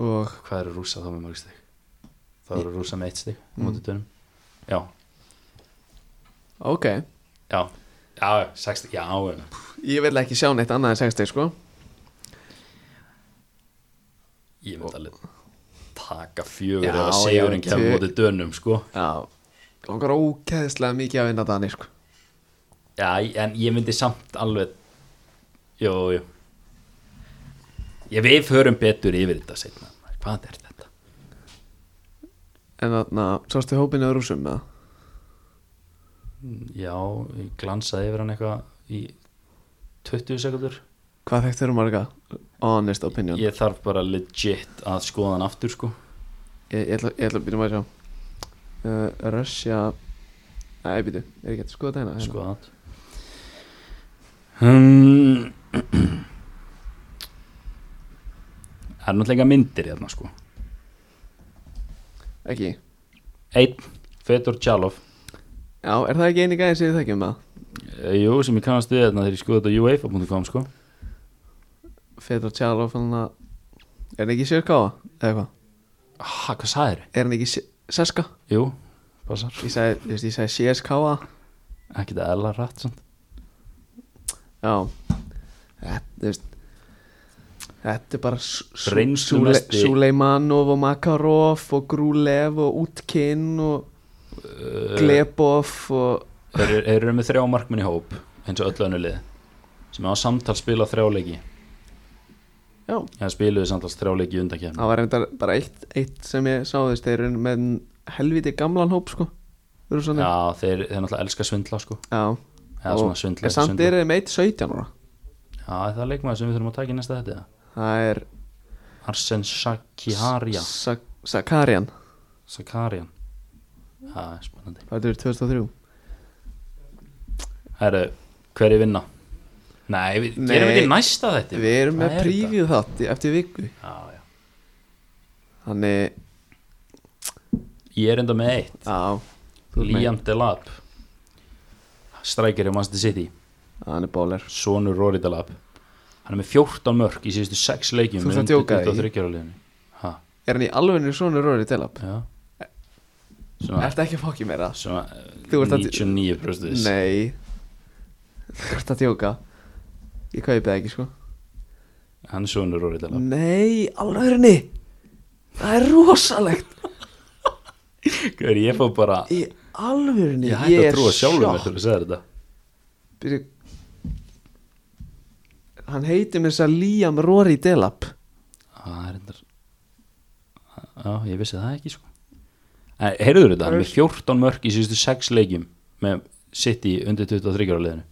A: Og
B: hvað eru rússa þá með mörg stíð þá eru rússa með eitt stíð
A: Mm.
B: mútið dönum já,
A: ok
B: já, já, sex stíð já, já
A: Ég vil ekki sjá neitt annað en 60 sko
B: ég myndi alveg taka fjögur
A: Já,
B: eða sigurinn
A: já,
B: kemur
A: tö-
B: mútið dönum sko
A: Já Langar ókeðslega mikið að vinna Dani sko
B: Já, en ég myndi samt alveg Jú, jú Ég við förum betur yfir þetta setna Hvað er þetta?
A: En þarna, sástu hópinu að Rússum með
B: Já, ég glansaði yfir hann eitthvað í 20 sekundur
A: Hvað þekktu eru marga? Honest opinion Ég,
B: Ég þarf bara legit að skoða hann aftur sko
A: ég, ætla, ég ætla að byrja maður að sjá uh, Russia Nei, býtu, er ekki hægt að skoða þetta hérna?
B: Skoða hann hmm. Það er náttúrulega myndir hérna sko
A: Hérna. Ekki
B: Einn, Fedor Tjalov
A: Já, er það ekki eini gæðin sem við þekkjum það?
B: Eh, Jú, sem ég kannast við þarna þegar ég skoða þetta á UEFA.com sko
A: Fedor Tjálov hann að Er hann ekki sérkáa? Eða hvað?
B: Ha, hvað sagðir
A: Er hann ekki seska?
B: Jú, passar
A: Ég sagði, þú veist, ég sagði CSKA
B: Ekki það eðla rætt samt
A: Já Þetta, þú veist Þetta er bara
B: Reynslumesti.
A: Suleimanov og Makarov og Grulev og Utkin og
B: Eh.
A: Glebov og
B: Þeir eru- þeir eru með þrjá markmenn í hóp eins og öll önnu lið sem hafa samtal spilað þrjáleiki
A: Já,
B: eða spiluðu samtals þrjáleiki undankjæm
A: það var reyndar bara eitt, eitt sem ég sá þess þeir eru með helviti gamlan hóp sko Rússanir.
B: Já, þeir, þeir náttúrulega elska svindla sko
A: Já
B: eða
A: Og-
B: svona svindla
A: En
B: ekki
A: samt
B: svindla.
A: eru þeir með eitt 17 ára
B: Já, er það er leikmaður sem við þurfum að taka í næsta þetta
A: Það er
B: Arsen Sakiharja
A: Sak Sakarian
B: Sakarjan Já, spennandi
A: Þetta er 2003
B: Herru, hverju vinna? Nei, við,
A: Nei.
B: gerum við þetta í næsta þetta
A: Við erum með preview þátt í- eftir viku
B: Já, já
A: Þannig,
B: Ég er enda með eitt
A: já þú ert með-
B: Liam Delap Strækjari á Manchester City
A: Hann er bóler
B: Sonur Rory Delap Hann er með 14 mörg í síðustu 6 leikjum
A: Þú ert að djóka, ekki?
B: ekki?
A: Er hann í alvegni svona Rory Delap?
B: Já Svona,
A: Ertu ekki að fokki meira?
B: svona
A: Þú ert að-
B: 99 prostus
A: Nei Þú ert að djóka Ég kaupi það ekki sko
B: Hann er sonur Rory Delap
A: Nei, alvegni Það er rosalegt
B: Hver, ég fór bara
A: Í alvegni
B: Ég hætti að trúa sjálfum mér til að segja þetta
A: Byrju Hann heitir mér þess að Liam Rory Delap
B: Það er endar Já, ég vissi það ekki sko heyrður þetta, með 14 mörg í síðustu 6 leikjum með City undir 23 ára liðinu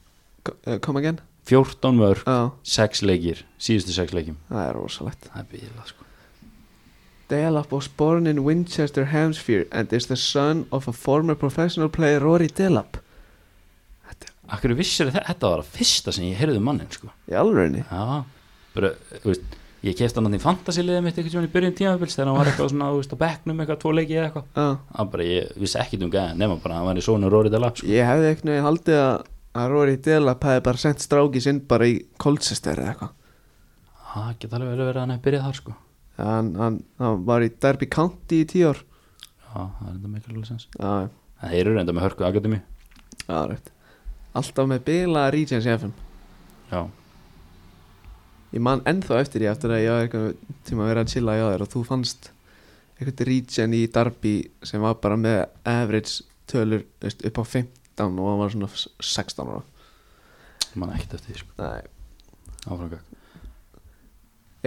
A: K- eh, Come again?
B: 14 mörg,
A: Já,
B: 6 leikir síðustu 6 leikjum,
A: það er rosalegt
B: það er bíla sko.
A: Delap was born in Winchester, Hampshire and is the son of a former professional player Rory Delap
B: Akkur vissir þetta, þetta var að fyrsta sem ég heyrði um mannin sko.
A: Í alvegni?
B: Já, bara, þú veist Ég kefti hann að því fantasiliðið mitt einhvern veginn í byrjun tímaféls þegar hann var eitthvað svona, þú veist, á bekknum eitthvað, tvo leiki eða eitthvað.
A: Já
B: Hann bara, ég vissi ekkit um gæðan, nema bara, að hann var í sónu Róri Dalap, sko.
A: Ég hefði einhvern veginn haldið að að Rory Delap hefði bara sendt stráki sinn bara í Colchester eða eitthvað
B: Það geta alveg verið að hann hefði byrjað þar, sko.
A: hann, hann, hann var í Derby County í tíu ár
B: Já, það er enda mikilvæg sens.
A: Já,
B: En þeir eru enda með hörku akademi.
A: já, rétt Alltaf með bila Regents FM
B: Já,
A: Ég man ennþá eftir því eftir að ég var eitthvað tíma að vera að chilla hjá þér og þú fannst eitthvað Regen í Darby sem var bara með average tölur þú veist, upp á 15 og hann var svona 16 ára
B: ég man ekkit eftir því, sko.
A: Nei,
B: Áfram gag.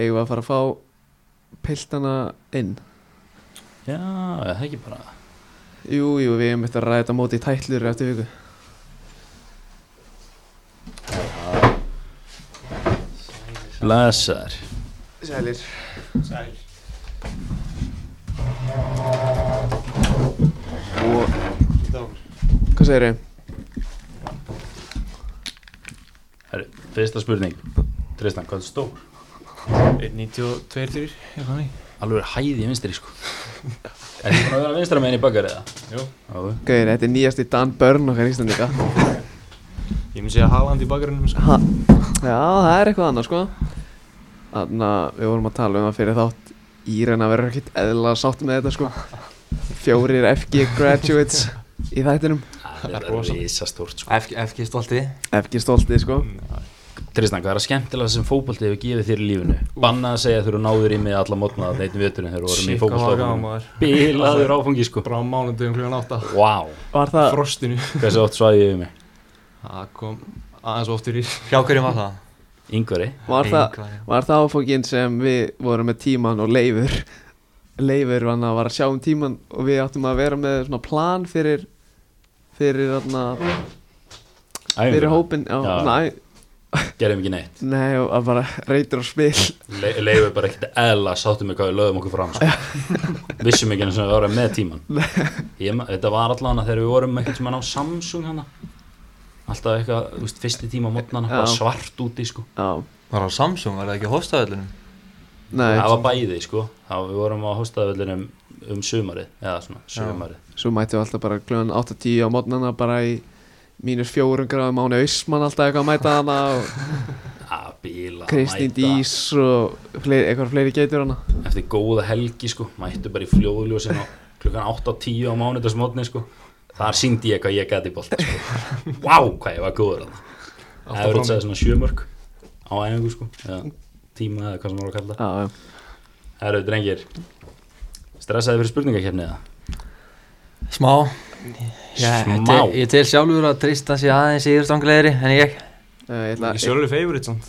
A: eigum við að fara að fá piltana inn
B: Já, það er ekki bara.
A: Jú, jú, við erum eftir að ræða þetta móti í tætlur eftir viku
B: Blessaður.
A: Sælir Sæl Og Hvað segir þið?
B: Herru, fyrsta spurning. Tristan, hvað er stór?
C: 1.92 eitthvað þannig
B: Alveg er hæði í vinstri, sko. *laughs* Er þið búin að vera vinstra meginn í bakar eða?
C: Jú.
B: Já,
A: Gauðir, þetta er nýjasti Dan Börn okkar Íslandika
C: Ég myndi segja Haaland í bakarinnum sko.
A: ha. Já, það er eitthvað annað sko Þannig að við vorum að tala um það fyrir þátt Íren að vera ekkert eðla sátt með þetta sko Fjórir FG graduates í þættinum
B: Það
C: er
B: er
C: rosa.
B: risastórt, sko.
D: FG, FG stolti
A: FG stoltið sko
B: Tristan, hvað er að skemmtilega sem fótbolti hefur gefið þér í lífinu? Bannað að segja að þú eru náður í mig alla mótna að neitt viðturinn þegar við vorum í fótbolti
C: maður
B: Bilaður áfangi sko Ah. Vá,
C: Bara á mánudögum klugan átta
B: wow.
A: Var það
C: Frostinu
B: hversu oft svæði ég við mig?
C: Það kom aðeins oftur í
D: Hjá hverjum var það?
B: Yngvari?
A: Var það
D: Einhverjum.
A: Var það áfókin sem við vorum með tíman og leifur Leifur hann að var að sjá um tíman og við áttum að vera með svona plan fyrir fyrir, þarna, fyrir hópin já,
B: Já.
A: Næ,
B: Gerðum ekki neitt
A: Nei, og að bara reytur á spil
B: Le Leifur bara ekkert eðla sáttum við hvað við lögum okkur fram sko. Vissum ekki eins og við vorum með tíman ég, ma- Þetta var allan að þegar við vorum eitthvað sem að ná Samsung hana Alltaf eitthvað, þú veist, fyrsti tíma mótnana
A: Já.
B: bara svart úti sko
A: Já,
D: Var það á Samsung, var það ekki á hóstaðöllunum?
A: nei,
B: Það var bæði sko það, Við vorum á hóstaðvöldinum um sumarið Eða svona, sumarið
A: svo mættum við alltaf bara kljóðan 8-10 á mótnana bara í mínus fjórum gráðum áni Ausmann alltaf eitthvað að mæta hana og
B: Að bíla,
A: Kristín Dís og fleiri, eitthvað fleiri geitur hana
B: Eftir góða helgi sko Mættu bara í fljóðljósin á klukkan 8.10 á mánudagsmótni sko Þar síndi ég hvað ég gæti í
A: *laughs*
B: bolta sko Vá, hvað ég var góður hann Efrið sagði svona sjömörk Á æfingu sko eða, Tíma eða hvað sem voru að kalla það.
A: Já, já,
B: Herru, drengir Stressaði fyrir spurningakefni eða?
D: Smá Já,
B: Smá.
D: Ég, tel- ég tel sjálfur að Tristan sé aðeins yfirstanglegri en ég
A: Eh, ég ætla
C: Ég sjálfur favorite samt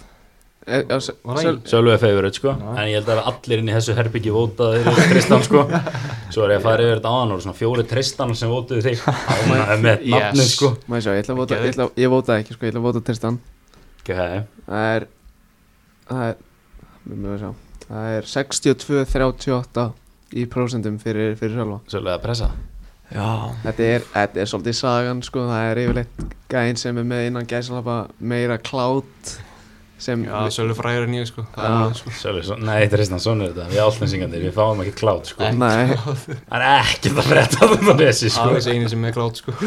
A: eh, já, s-
C: Var það
A: sjálf-
B: Sölvi er favorite sko En ég held að allir inn í þessu herbyggi votaði
A: *laughs*
B: Tristan sko Svo er ég að fara yfir þetta áðan og svona fjóri Tristan sem votuðu
A: *laughs*
B: þig Ánægði með nafnið
C: Yes.
B: sko
A: Má ég sjá, ég ætla að vota,
C: Geðveikt.
A: ég ætla, ég vota ekki sko, ég ætla að vota Tristan
B: okay.
A: Það er, það er, við mögum að sjá, það er 62-38 í prósentum fyrir, fyrir sjálfa.
B: Sölvi að pressa
D: Já
A: Þetta er, þetta er svolítið sagan sko, það er yfirleitt gæinn sem er með innan gæsalapa meira klátt sem,
C: Já, sjálfur fræður en ég sko Það er
A: Já.
C: alveg, sko.
B: Sölvi, svo, nei Tristan, svona er þetta Við állensingandi, við fáum ekki klátt sko
A: nei,
B: Það er ekkert að frétta þetta þessi sko
C: Aðeins eini sem er klátt sko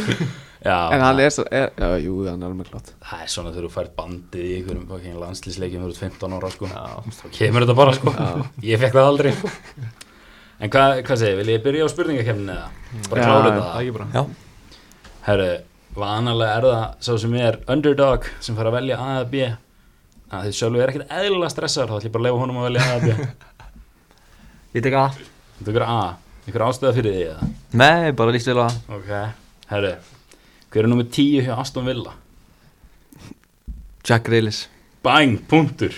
B: Já,
A: en hann er, svo- er, já, jú, hann er alveg klátt.
B: það er svona þegar þú fært bandið í einhverjum fucking landslýsleikjum þú ert 15 ára sko
C: Já
B: Þá kemur þetta bara sko
A: Já.
B: Ég fekk það aldrei sko En hvað, hvað segir, vil ég byrja á spurningakefninu eða? Bara
A: Já, já.
B: klára þetta
C: Það er ekki bara
D: Já
B: Herru, vanalega er það sá sem er underdog sem fara að velja A eða B að þið sjálfu er ekkert eðlilega stressaður þá ætlum ég bara að leifa honum að velja A eða *laughs* B
D: Við tek að
B: Þetta er ykkur A, ykkur ástæða fyrir því eða
D: Nei, bara líst vel á það
B: Ok, herru, hver er nummið 10 hjá Aston Villa?
D: Jack Reilis
B: Bang, punktur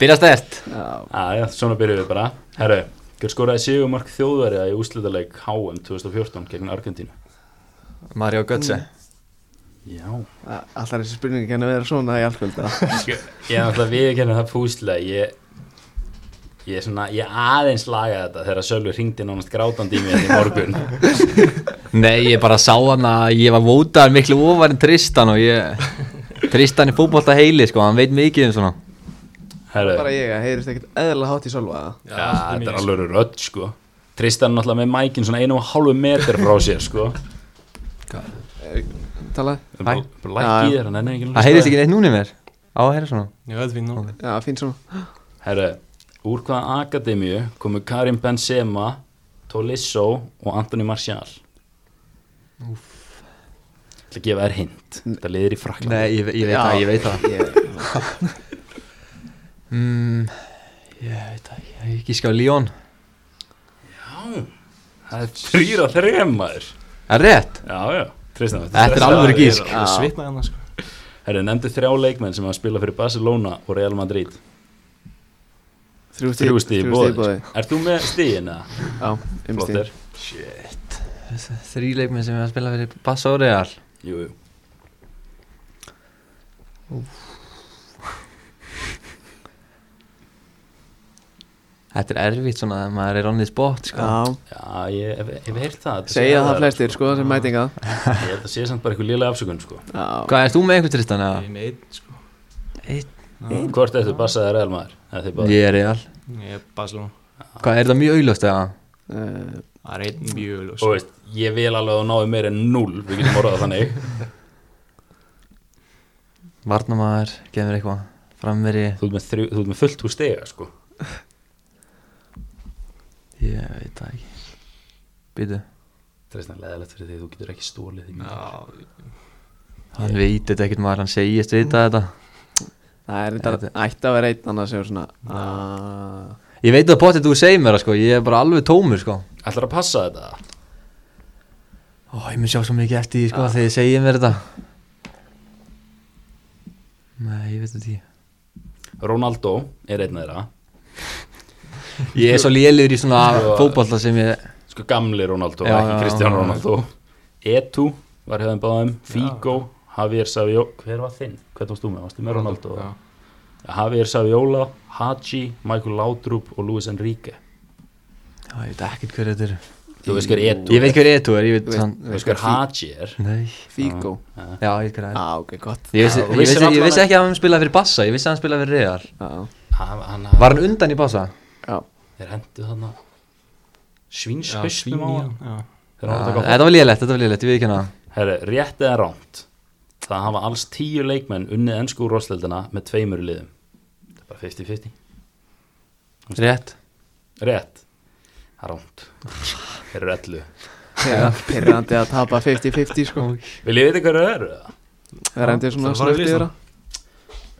D: Byrja stert
A: Já,
B: Aðja, svona byrjum við bara Herru, Hver skoraði Sigurmark þjóðverja í úslitaleik HM 2014 gegn Argentínu?
D: Mario Götze
B: Já
A: Alltaf þessi spurningi kannu vera svona í allkvölda
B: Sko, Ég er náttúrulega viðkennið það fúslega ég, ég, er svona, ég aðeins laga þetta þegar Sölvi ringdi nánast grátandi í mér í morgun
D: Mm. Nei, ég bara sá hann að ég var vótaður miklu ofar en Tristan og ég *laughs* Tristan er fótbolta heili sko, hann veit mikið um svona
A: *laughs* Bara
B: Herru,
A: ég að heyrist ekkert eðla hátt í solva
B: ja, þetta er alveg rödd sko Tristan er náttúrulega með mækin svona einum og hálfu metr frá sér sko
A: Tala
B: Bara bara lækki í þér, hann er ekki
D: Það sko- heyrðist ekki neitt núna í mér Á að heyra svona
C: Já, þetta er fín nú
A: Já, fín svona
B: Herru, úr hvaða akademíu komu Karim Benzema, Tolisso og Anthony Martial? Úff Það að gefa þér hint Þetta liðir í Fraklandi
D: Nei, ég, ég veit það, ég veit það
A: Ég,
D: *laughs* mm, Ég veit það, ekki. ég gíska á Leon
B: Það er þrýra þrejum maður
D: Er rétt?
B: Já, já, Tristan
D: Þetta er alvöru gísk.
C: Ég svitnaði hann sko
B: Herru, nefndu þrjá leikmenn sem að spila fyrir Barcelona og Real Madrid
A: þrjú stig-
B: Þrjú stíði
A: þrjú stig í
B: bóði Er þú með stíðina?
A: Já, um stíð
B: Flottir
D: Þrý leikminn sem er að spila fyrir Basso og Real
B: Jú, jú
D: Þetta er erfitt svona, þegar maður er on the spot sko
A: Já,
B: Já, ég hef- hef heyrt það
A: segja
B: Þetta sé
A: það
B: erfiðara,
A: flestir sko sem mætinga
B: sko. *laughs* Ég held að sé samt bara eitthvað lélega afsökun sko.
A: Já,
D: Hvað, ert þú með einhvern Tristan?
C: Ég
D: eða?
C: er með einn sko
B: Mm. Hvort eftir Barca eða Real maður? Eða þið báðir?
D: Ég er Real
C: Ég er Barcelona
D: Hvað, er það mjög auðlöst eða?
A: uh,
C: Það er einn mjög ljós
B: Og veist, ég vil alveg að þú náðu meir en 0 Við getum orðað það þannig
D: Varnamaður, gefur eitthvað Frammeri,
B: Þú ert með, þrjú, þú ert með fullt úr stiga sko.
D: ég veit það ekki Býtu,
B: Tristan, leðilegt fyrir því þú getur ekki stólið því
C: Já,
D: hann veit þetta ekkert maður, hann segist vita þetta
A: Það er þetta ætti að vera einn annars sem er svona "Ah, aaaah
D: Ég veit að potið þú segir mér það sko, ég er bara alveg tómur sko
B: Ætlar að passa þetta?
D: Ó, ég mun sjá svo mikið eftir því sko þegar ég segir mér þetta Nei, ég veit þetta ekki
B: Ronaldo er einn þeirra
D: *laughs* Ég er svo lélugur í svona
B: Sko-
D: fótballa sem ég
B: sko gamli Ronaldo,
D: Já,
B: ekki
D: já,
B: Kristján
D: já.
B: Ronaldo Etu var hefðan báðum Figo, Javier Saviola hver var þinn? Hvernig varst þú með? Varstu með Ronaldo?
C: Já.
B: Javier Saviola, Haji, Michael Laudrup og Luis Enrique
D: Já, ég veit ekkert hver þetta er
B: þú veist hver Etu
D: Ég veit hver Etu er, ég
A: Þú
D: veit
A: veist-
D: hann
B: þú veist hver Haji er
D: Nei,
A: Figo
D: já, ég veit hver
A: Já,
D: það er
A: ok, gott
D: Ég
B: Já,
D: vissi,
B: þú vissir
D: ég, vissi, ég
B: allan
D: vissi
B: að-
D: ekki að hann spilaði fyrir Bassa, ég vissi að hann spilaði fyrir Real
A: Já,
B: hann, hann,
D: Var hann undan í Bassa?
A: já
B: þeir hendu þarna
C: Já,
B: svinshaustum
C: svín
B: á
C: í
B: hann
C: hann Já,
B: þeir hann tók á
D: Þetta var lélegt, þetta var lélegt, ég veit ekki hann
B: herru, rétt eða ránt það hafa alls tíu leikmenn unnið ennsku úr rosleldina með tveimur liðum þetta er bara 50-50
D: Rétt
B: Rétt Það er Ránt Þeir eru ellu
A: Já, Pirrandi að tapa 50-50 sko
B: Vil ég vita hverju það eru?
A: Það er endur svona
C: Það var í
A: snöft yfir það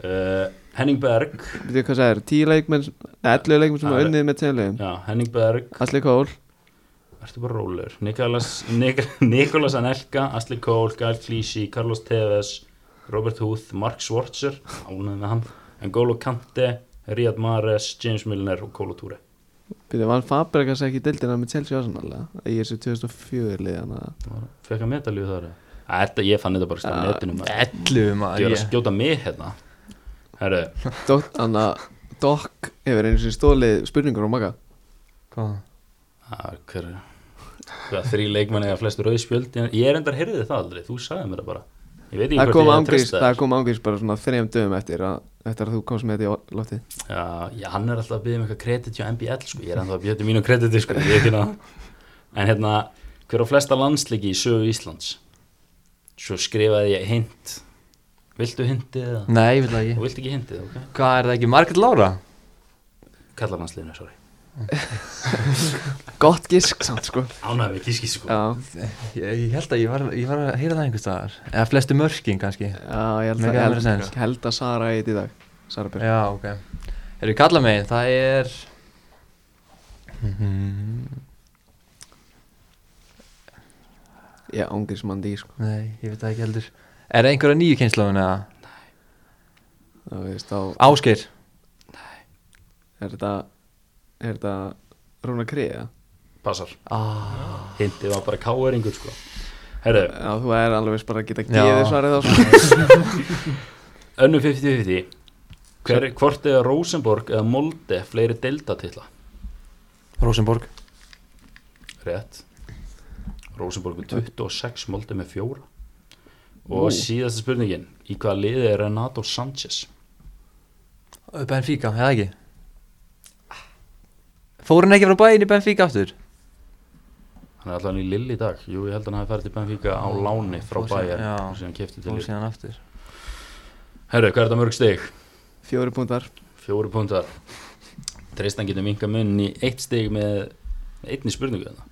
B: Uh, Henning Berg
A: Veitu hvað það er, 10 leikmenn, 11 leikmenn sem
B: Það
A: er
B: er-
A: unnið með 10 leikum
B: Já, Henning Berg
A: Asli Kól,
B: Ertu bara rólur Nikolas, Nik *laughs* Nikolas Anelka Asli Kól, Gael Klísi Carlos Tevez Robert Huth Mark Schwarzer Ánæði með hann N'Golo Kante Riyad Mahrez James Milner og Kolo Ture
A: veitu, vann Fabregas ekki deildina með Chelsea ásannalega Í þessu 2004 liðana
B: Fekka medalju þar eða? Æ, Þetta, ég fann þetta bara stað netinu maður.
D: 11
B: Ég
D: maður
B: er
D: ég-
B: að skjóta mig hérna Herru,
A: Dok, anna, Dok hefur einu sem stólið spurningur og maga
D: Hvað?
B: Það er hver Það þrý leikmenn eða flest rauðspjöld Ég er endar heyrði það aldrei, þú sagði mér það bara Ég veit ekki
A: Það
B: hvort
A: kom
B: ég hef
A: ángriðs,
B: treyst
A: það kom ángriðs bara svona þrejum dögum eftir að, eftir að þú komst með þetta í loftið
B: Já, já, hann er alltaf að byggja um eitthvað kredit hjá MBL sko. Ég er ennþá að byggja til mínum krediti sko. ég er ekki ná- En hérna, hver á flesta landsleiki í sögu Íslands Svo skrifaði ég hint Viltu hintið eða?
D: Nei, ég veit það
B: Þú
D: ekki
B: vilt ekki hintið, ok?
D: Hvað er það ekki, Margaret Laura?
B: Kallar landsliðinu, sorry
A: Gott gisk samt sko
B: Ánægði við kískis sko
A: Já,
D: Ég, ég held að ég var, ég var að heyra það einhvers staðar Eða flestu mörkin kannski
A: já ég held,
D: Make
A: að, ég
D: that make
A: held,
D: sense.
A: ég held að Sara eitt í dag Sara Björk
D: Já, ok Eru kalla mig, það er
A: Já, ángriðs mandi sko
D: Nei, ég veit það ekki heldur Er það einhverja nýju kynslóðin eða?
A: Það veist, þá
D: Ásgeir
A: er þetta Er þetta Rúna Kriða
B: Passar
E: ah,
B: Hindi var bara káeringur sko Herðu,
A: Já, þú er alveg veist bara að geta
E: Já.
A: gefið svarið þá sko.
B: önnu 50-50 Hver, Hvort eða Rosenborg eða Molde fleiri deildatitla?
E: Rosenborg
B: Rétt Rosenborg með 26, Molde með 4 Og síðasta spurningin Í hvaða liði er Renato Sanchez?
E: Benfica, eða ekki Fór hann ekki frá bæinn í Benfica aftur?
B: Hann er alltaf hann í Lill í dag Jú, ég held að hann hafi farið til Benfica á láni frá
E: Fór síðan-
B: Bayern
E: já.
B: og síðan kefti til
E: Fór
B: Lill
E: síðan aftur
B: Herru, hvað er þetta mörg stig?
A: Fjóri púntar
B: Fjóru púntar Tristan getur minka munn í eitt stig með einni spurningu hérna.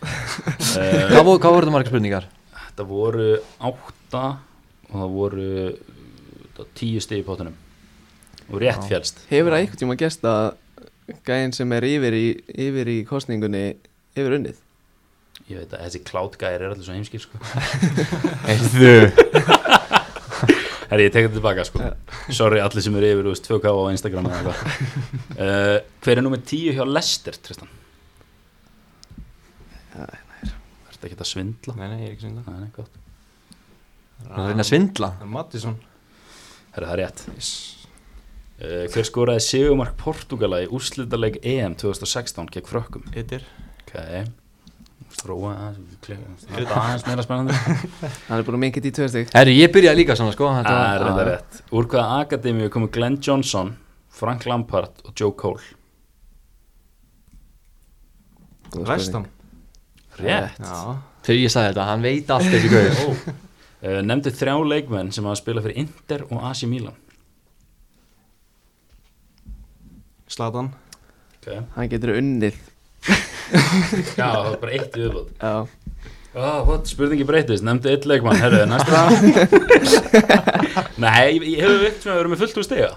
B: þarna uh,
E: Hvað, vo- hvað voru þetta margar spurningar?
B: Þetta voru átta og það voru uh, tíu stig í pottunum og rétt fjálst
A: Hefur það einhvern tíma gæst að gæinn sem er yfir í, yfir í kostningunni yfir unnið?
B: Ég veit að þessi klátgæðir er allir svo heimskir sko
E: Heyrðu
B: Herri, ég tek þetta tilbaka sko Sorry allir sem eru yfir, þú veist, 2K á Instagram eða eitthvað uh, Hver er númer 10 hjá Lester, Tristan? Ertu ekki að svindla?
C: Nei, nei, ég er ekki svindla
B: Nei, nei, gott
E: Það er að
A: Ah.
E: svindla
C: Mattisson
B: Herri, það er rétt uh, Hver skoraði segumark Portugala í úrslitaleg EM 2016 gegn frökkum?
C: Ytir
B: Ok Stróa aðeins Þetta aðeins meira spennandi
A: Hann er búin að minka þetta í tvö stygg
E: Herru, ég byrjaði líka svona
A: Ah,
E: sko
B: Það er
E: var-
B: þetta rétt Úr hvaða akademíu komu Glenn Johnson, Frank Lampard og Joe Cole?
C: Vestam
B: Rétt
C: Já
E: Þegar ég sagði þetta, hann veit allt þessi gauð
B: oh. uh, Nemndu þrjá leikmenn sem hafa spilað fyrir Inter og AC Milan
C: Slatan
B: okay.
A: Hann getur unnið
B: Já, það er bara eitt í viðbót
A: Já,
B: oh, what? Spurningi breytist, nefndu eitt leikmann Herðu, næsta Nei, ég, ég hefur veikt sem að vera með fullt úr stiga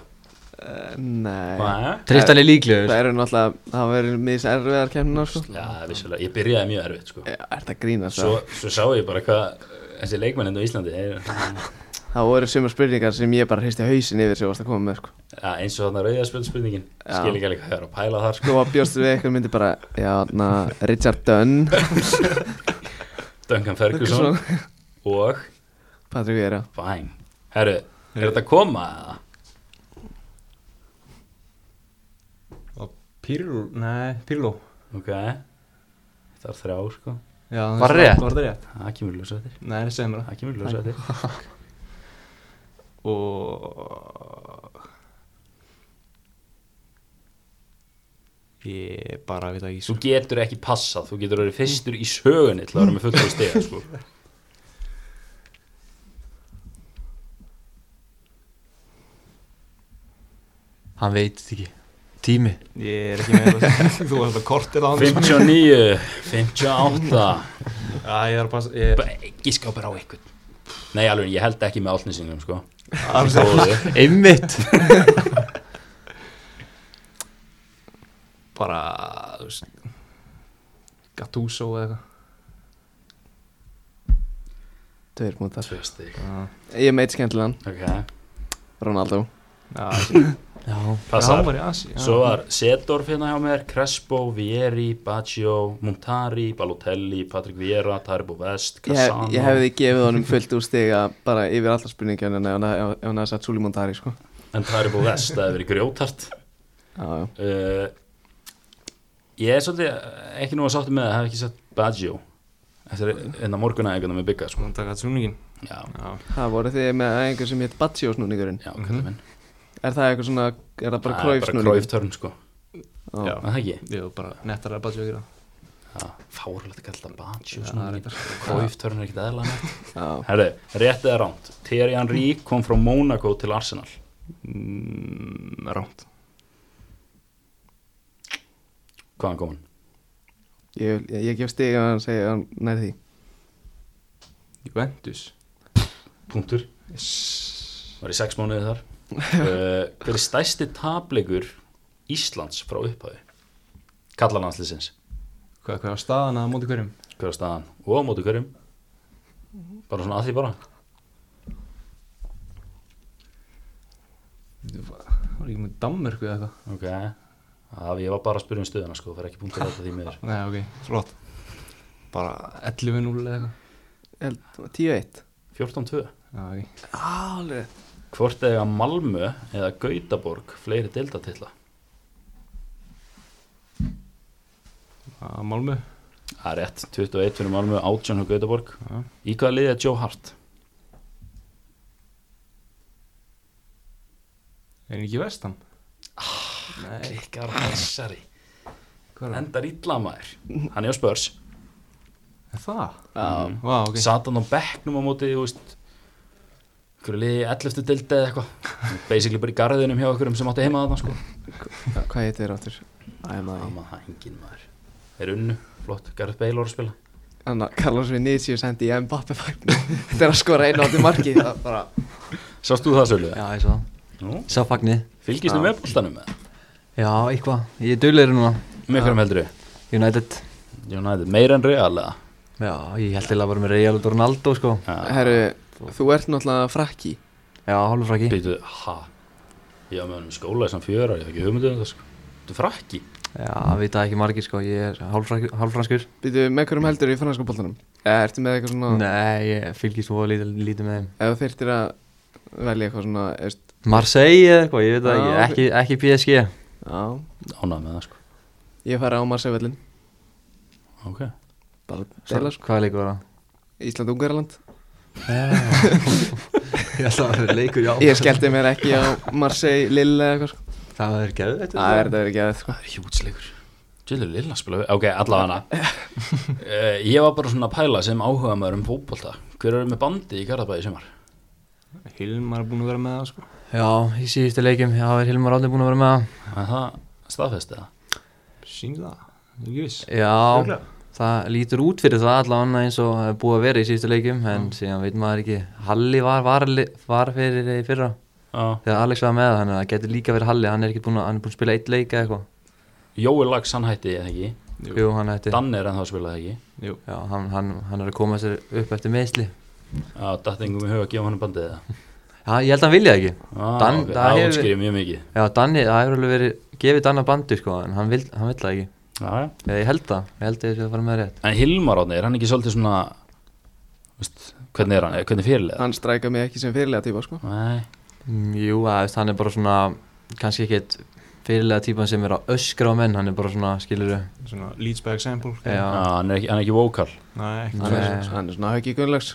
A: Eh, nei
B: Nei
E: Tristan er líklegur
A: Það eru náttúrulega, það verður mis erfiðar kemna sko.
B: Já, vissulega, ég byrjaði mjög erfitt sko.
A: Er þetta grínast?
B: svo,
A: Svo...
B: svo sá ég bara hvað þessi leikmenn endur í Íslandi er,
A: Það voru sumar spurningar sem ég bara hristi hausin yfir sem þú varst að koma með sko.
B: Já, eins og þarna rauðarspjöld spurningin
A: Já.
B: skil ekki alveg hvað það er að pæla þar sko.
A: Þú var bjóst við eitthvað myndi bara Já, na, Richard Dunn
B: Duncan Ferguson og
A: Patrik Vera
B: Bang Herru, er þetta að koma? eða?
C: Pirlo Nei, Pirlo
B: Ok Það er þrjá sko
C: Já,
E: Var rétt?
C: Var það rétt?
B: Það kemur ljósa eftir
C: Nei, það er sem það
B: Það kemur ljósa eftir
C: Og Ég bara veit það ekki
B: Þú
C: sko.
B: getur ekki passað, þú getur verið fyrstur í sögunni til að vera með fullt á stiga *laughs* sko
E: Hann veit þetta ekki Tími
C: Ég er ekki með *laughs* þetta Þú varst að kortir á hann sko.
B: 59, 58
C: Já, ég er að passa Ég er
B: Gíska bara á einhvern Nei alveg, ég held ekki með álnisingum sko
C: alls
B: Góður.
E: Einmitt
C: bara þú veist, Gattuso eða
A: Tveir mútar
B: Tvö stig
C: eitthvað
A: Ég meit skemmtilegan
B: Ok,
A: Ronaldo
C: Já, já,
E: Já
B: passar
C: hann var í Asi já.
B: Svo var Sedorf hérna hjá mér, Crespo, Vieri, Baggio, Montari, Balotelli, Patrick Viera, Taribo Vest,
A: Ég, hef,
B: Cassano.
A: ég hefði gefið honum fullt úr stiga bara yfir alla spurningar en ef hann- ef ef hann hefði sett Sulimon Dari sko.
B: En Taribo Vest, það hefði verið grjótart.
A: Já, já.
B: Uh, ég er svolítið ekki nú að sáttu með það, hef ekki sett Baggio. Eftir enna morgunæguna með bygga, sko.
C: Hún taka tjóningin
B: Já,
C: Já,
A: Það voru þið með einhver sem hétt Batsjó snúningurinn
B: já, kallið minn.
A: Er það eitthvað svona, er það Mhm. bara
B: Það er
A: kræf
B: Bara
A: snúningur?
B: kræftörn, sko.
C: já.
B: Var Það ekki?
C: Ég var bara nettar að bara tjókira
B: Já, fárulegt að kalla það Baggio,
C: Já,
B: svona. Kræftörn er ekkit aðlega nætt.
A: Já,
B: Herðu, rétt eða rámt. Thierry Henry kom frá Monaco til Arsenal.
C: mm, Rámt
B: Hvaðan kom hann?
A: ég, ég, ég gef stiga að hann segja hann nær því
C: Juventus
B: Punktur Var í sex mánuði
C: *laughs*
B: þar uh, Hver er stæsti tapleikur Íslands frá upphafi? Kallalandslisins
C: Hvað, hvað var staðan að móti hverjum?
B: Hver er staðan? Og á móti hverjum? Bara svona að því bara
C: Var ekki með Danmörku eða eitthvað
B: Ok, það af ég var bara að spyrja um stöðuna sko, fer ekki punkt að þetta því miður
C: Nei, ok, flott Bara 11-0 eða eitthvað
A: 10-1
B: 14-2
C: Já, ok
A: Alveg
B: Hvort eiga Malmö eða Gautaborg fleiri deildatilla?
C: Já, Malmö
B: Það er rétt, 21 fyrir Malmö, 18 fyrir Gautaborg
C: Já.
B: Í hvaða liði er Joe Hart?
C: Er hann ekki vestan? Nei,
B: Klikkar þessari
C: hvað er hann?
B: Endar illa maður Hann er á spörs
C: Er það?
B: um,
C: Vá, ok
B: Sat hann á bekknum á móti, þú veist Hverju liði í 11. deildi eða eitthvað Basically bara í garðinum hjá okkurum sem átti heima þarna sko
A: Hvað heitir þér áttur? Æmaði
B: Amma hangin maður Er unnu, flott, Garð Bale voru að spila
A: Þannig að Carlos Vinicius hendi í Mbappe fagnu Þetta er að skora einu átti marki Það bara
B: Sást þú það sölu?
D: Já, ég svo
B: Nú,
D: Sá fagnið
B: fylgist þú með bóltanum með?
D: Já, eitthvað, ég er dugleiri núna
B: Með hverjum heldur
D: United
B: United, meira en Real eða?
D: Já, ég held til að bara með Real og Ronaldo sko
B: Já.
A: Herru, þú ert náttúrulega frakki
D: Já, hálfraki
B: Býtu, ha Ég var með hann í skóla í samt fjöra, ég hef ekki hugmyndið um það sko Þú frakki
D: Já, vita ekki margir sko, ég er hálfraki- hálfranskur
A: Býtu, með hverjum heldur í franska bóltanum? Eða ertu með eitthvað svona
D: Nei, ég fylgist þú að lítið líti með þeim
A: Ef þú þyrtir að velja eitthvað svona eist,
D: Marseille eða eitthvað, ég veit það
A: Já,
D: ekki, ekki, ekki PSG
A: Já
B: Ánað með það sko
A: Ég færi á Marsevellin
B: Ok
A: Bara deila sko
D: Hvað leikur var það?
A: Ísland-Ungarland
D: Ég held að það var leikur, já
A: Ég skellti mér ekki á Marseille, Lille eða eitthvað sko
D: Það er geðvægt
A: Það er þetta verið ekki að sko
B: Það er hjútsleikur Jöldur Lilla spila við Ok, allavega hana Eh, Ég var bara svona að pæla sem áhuga maður um fótbolta Hver eru með bandi í Garðabæði í sumar?
C: Hilmar er búin að vera með það, sko
D: Já, í síðustu leikum, já, er Hilmar Átni búin að vera með það
B: Er það staðfest eða?
C: Sýn það, ég er ekki viss
D: Já,
C: Örugglega.
D: það lítur út fyrir það allavega eins og er búið að vera í síðustu leikum En síðan veit maður ekki, Halli var, var, var fyrir í fyrra
B: Já
D: Þegar Alex var með það, þannig að það getur líka verið Halli Hann er ekki búin að, hann er búin að spila eitt leik eða eitthvað
B: Jói Lags hann hætti eða ekki
C: Jú.
D: Jú, hann hætti
B: Danni er ennþá að spila eða ekki
C: Jú,
D: Já, hann, hann, hann er að koma sér upp eftir meðsli
B: Já, dattingum í huga að gefa hann bandið eða
D: Já, ég held að hann vilja það ekki
B: ah,
D: *laughs* Dan-
B: ok,
D: það
B: Það
D: hefur-
B: útskýrir mjög mikið
D: Já, Danni, það hefur alveg verið, gefið Danna bandi sko, en hann vil, hann vil það ekki
B: Já, já
D: Eða ég held það, ég held að ég sé að fara með rétt
B: En Hilmar átni, er hann ekki svolítið svona veist, Hvernig er hann? Eh, Hvernig fyrirlega?
A: Hann strækja mig ekki sem fyrirlega típa sko
B: Nei,
D: Mm, Jú, að, veist, hann er bara svona kannski ekkert fyrirlega típan sem er að öskra á menn, hann er bara svona, skilur
C: svona leads by example sko.
D: Já,
B: já, hann, er ekki, hann er ekki vókal
C: Nei, ekki
A: Hann er,
D: Nei.
A: hann er svona höggi gunnlegs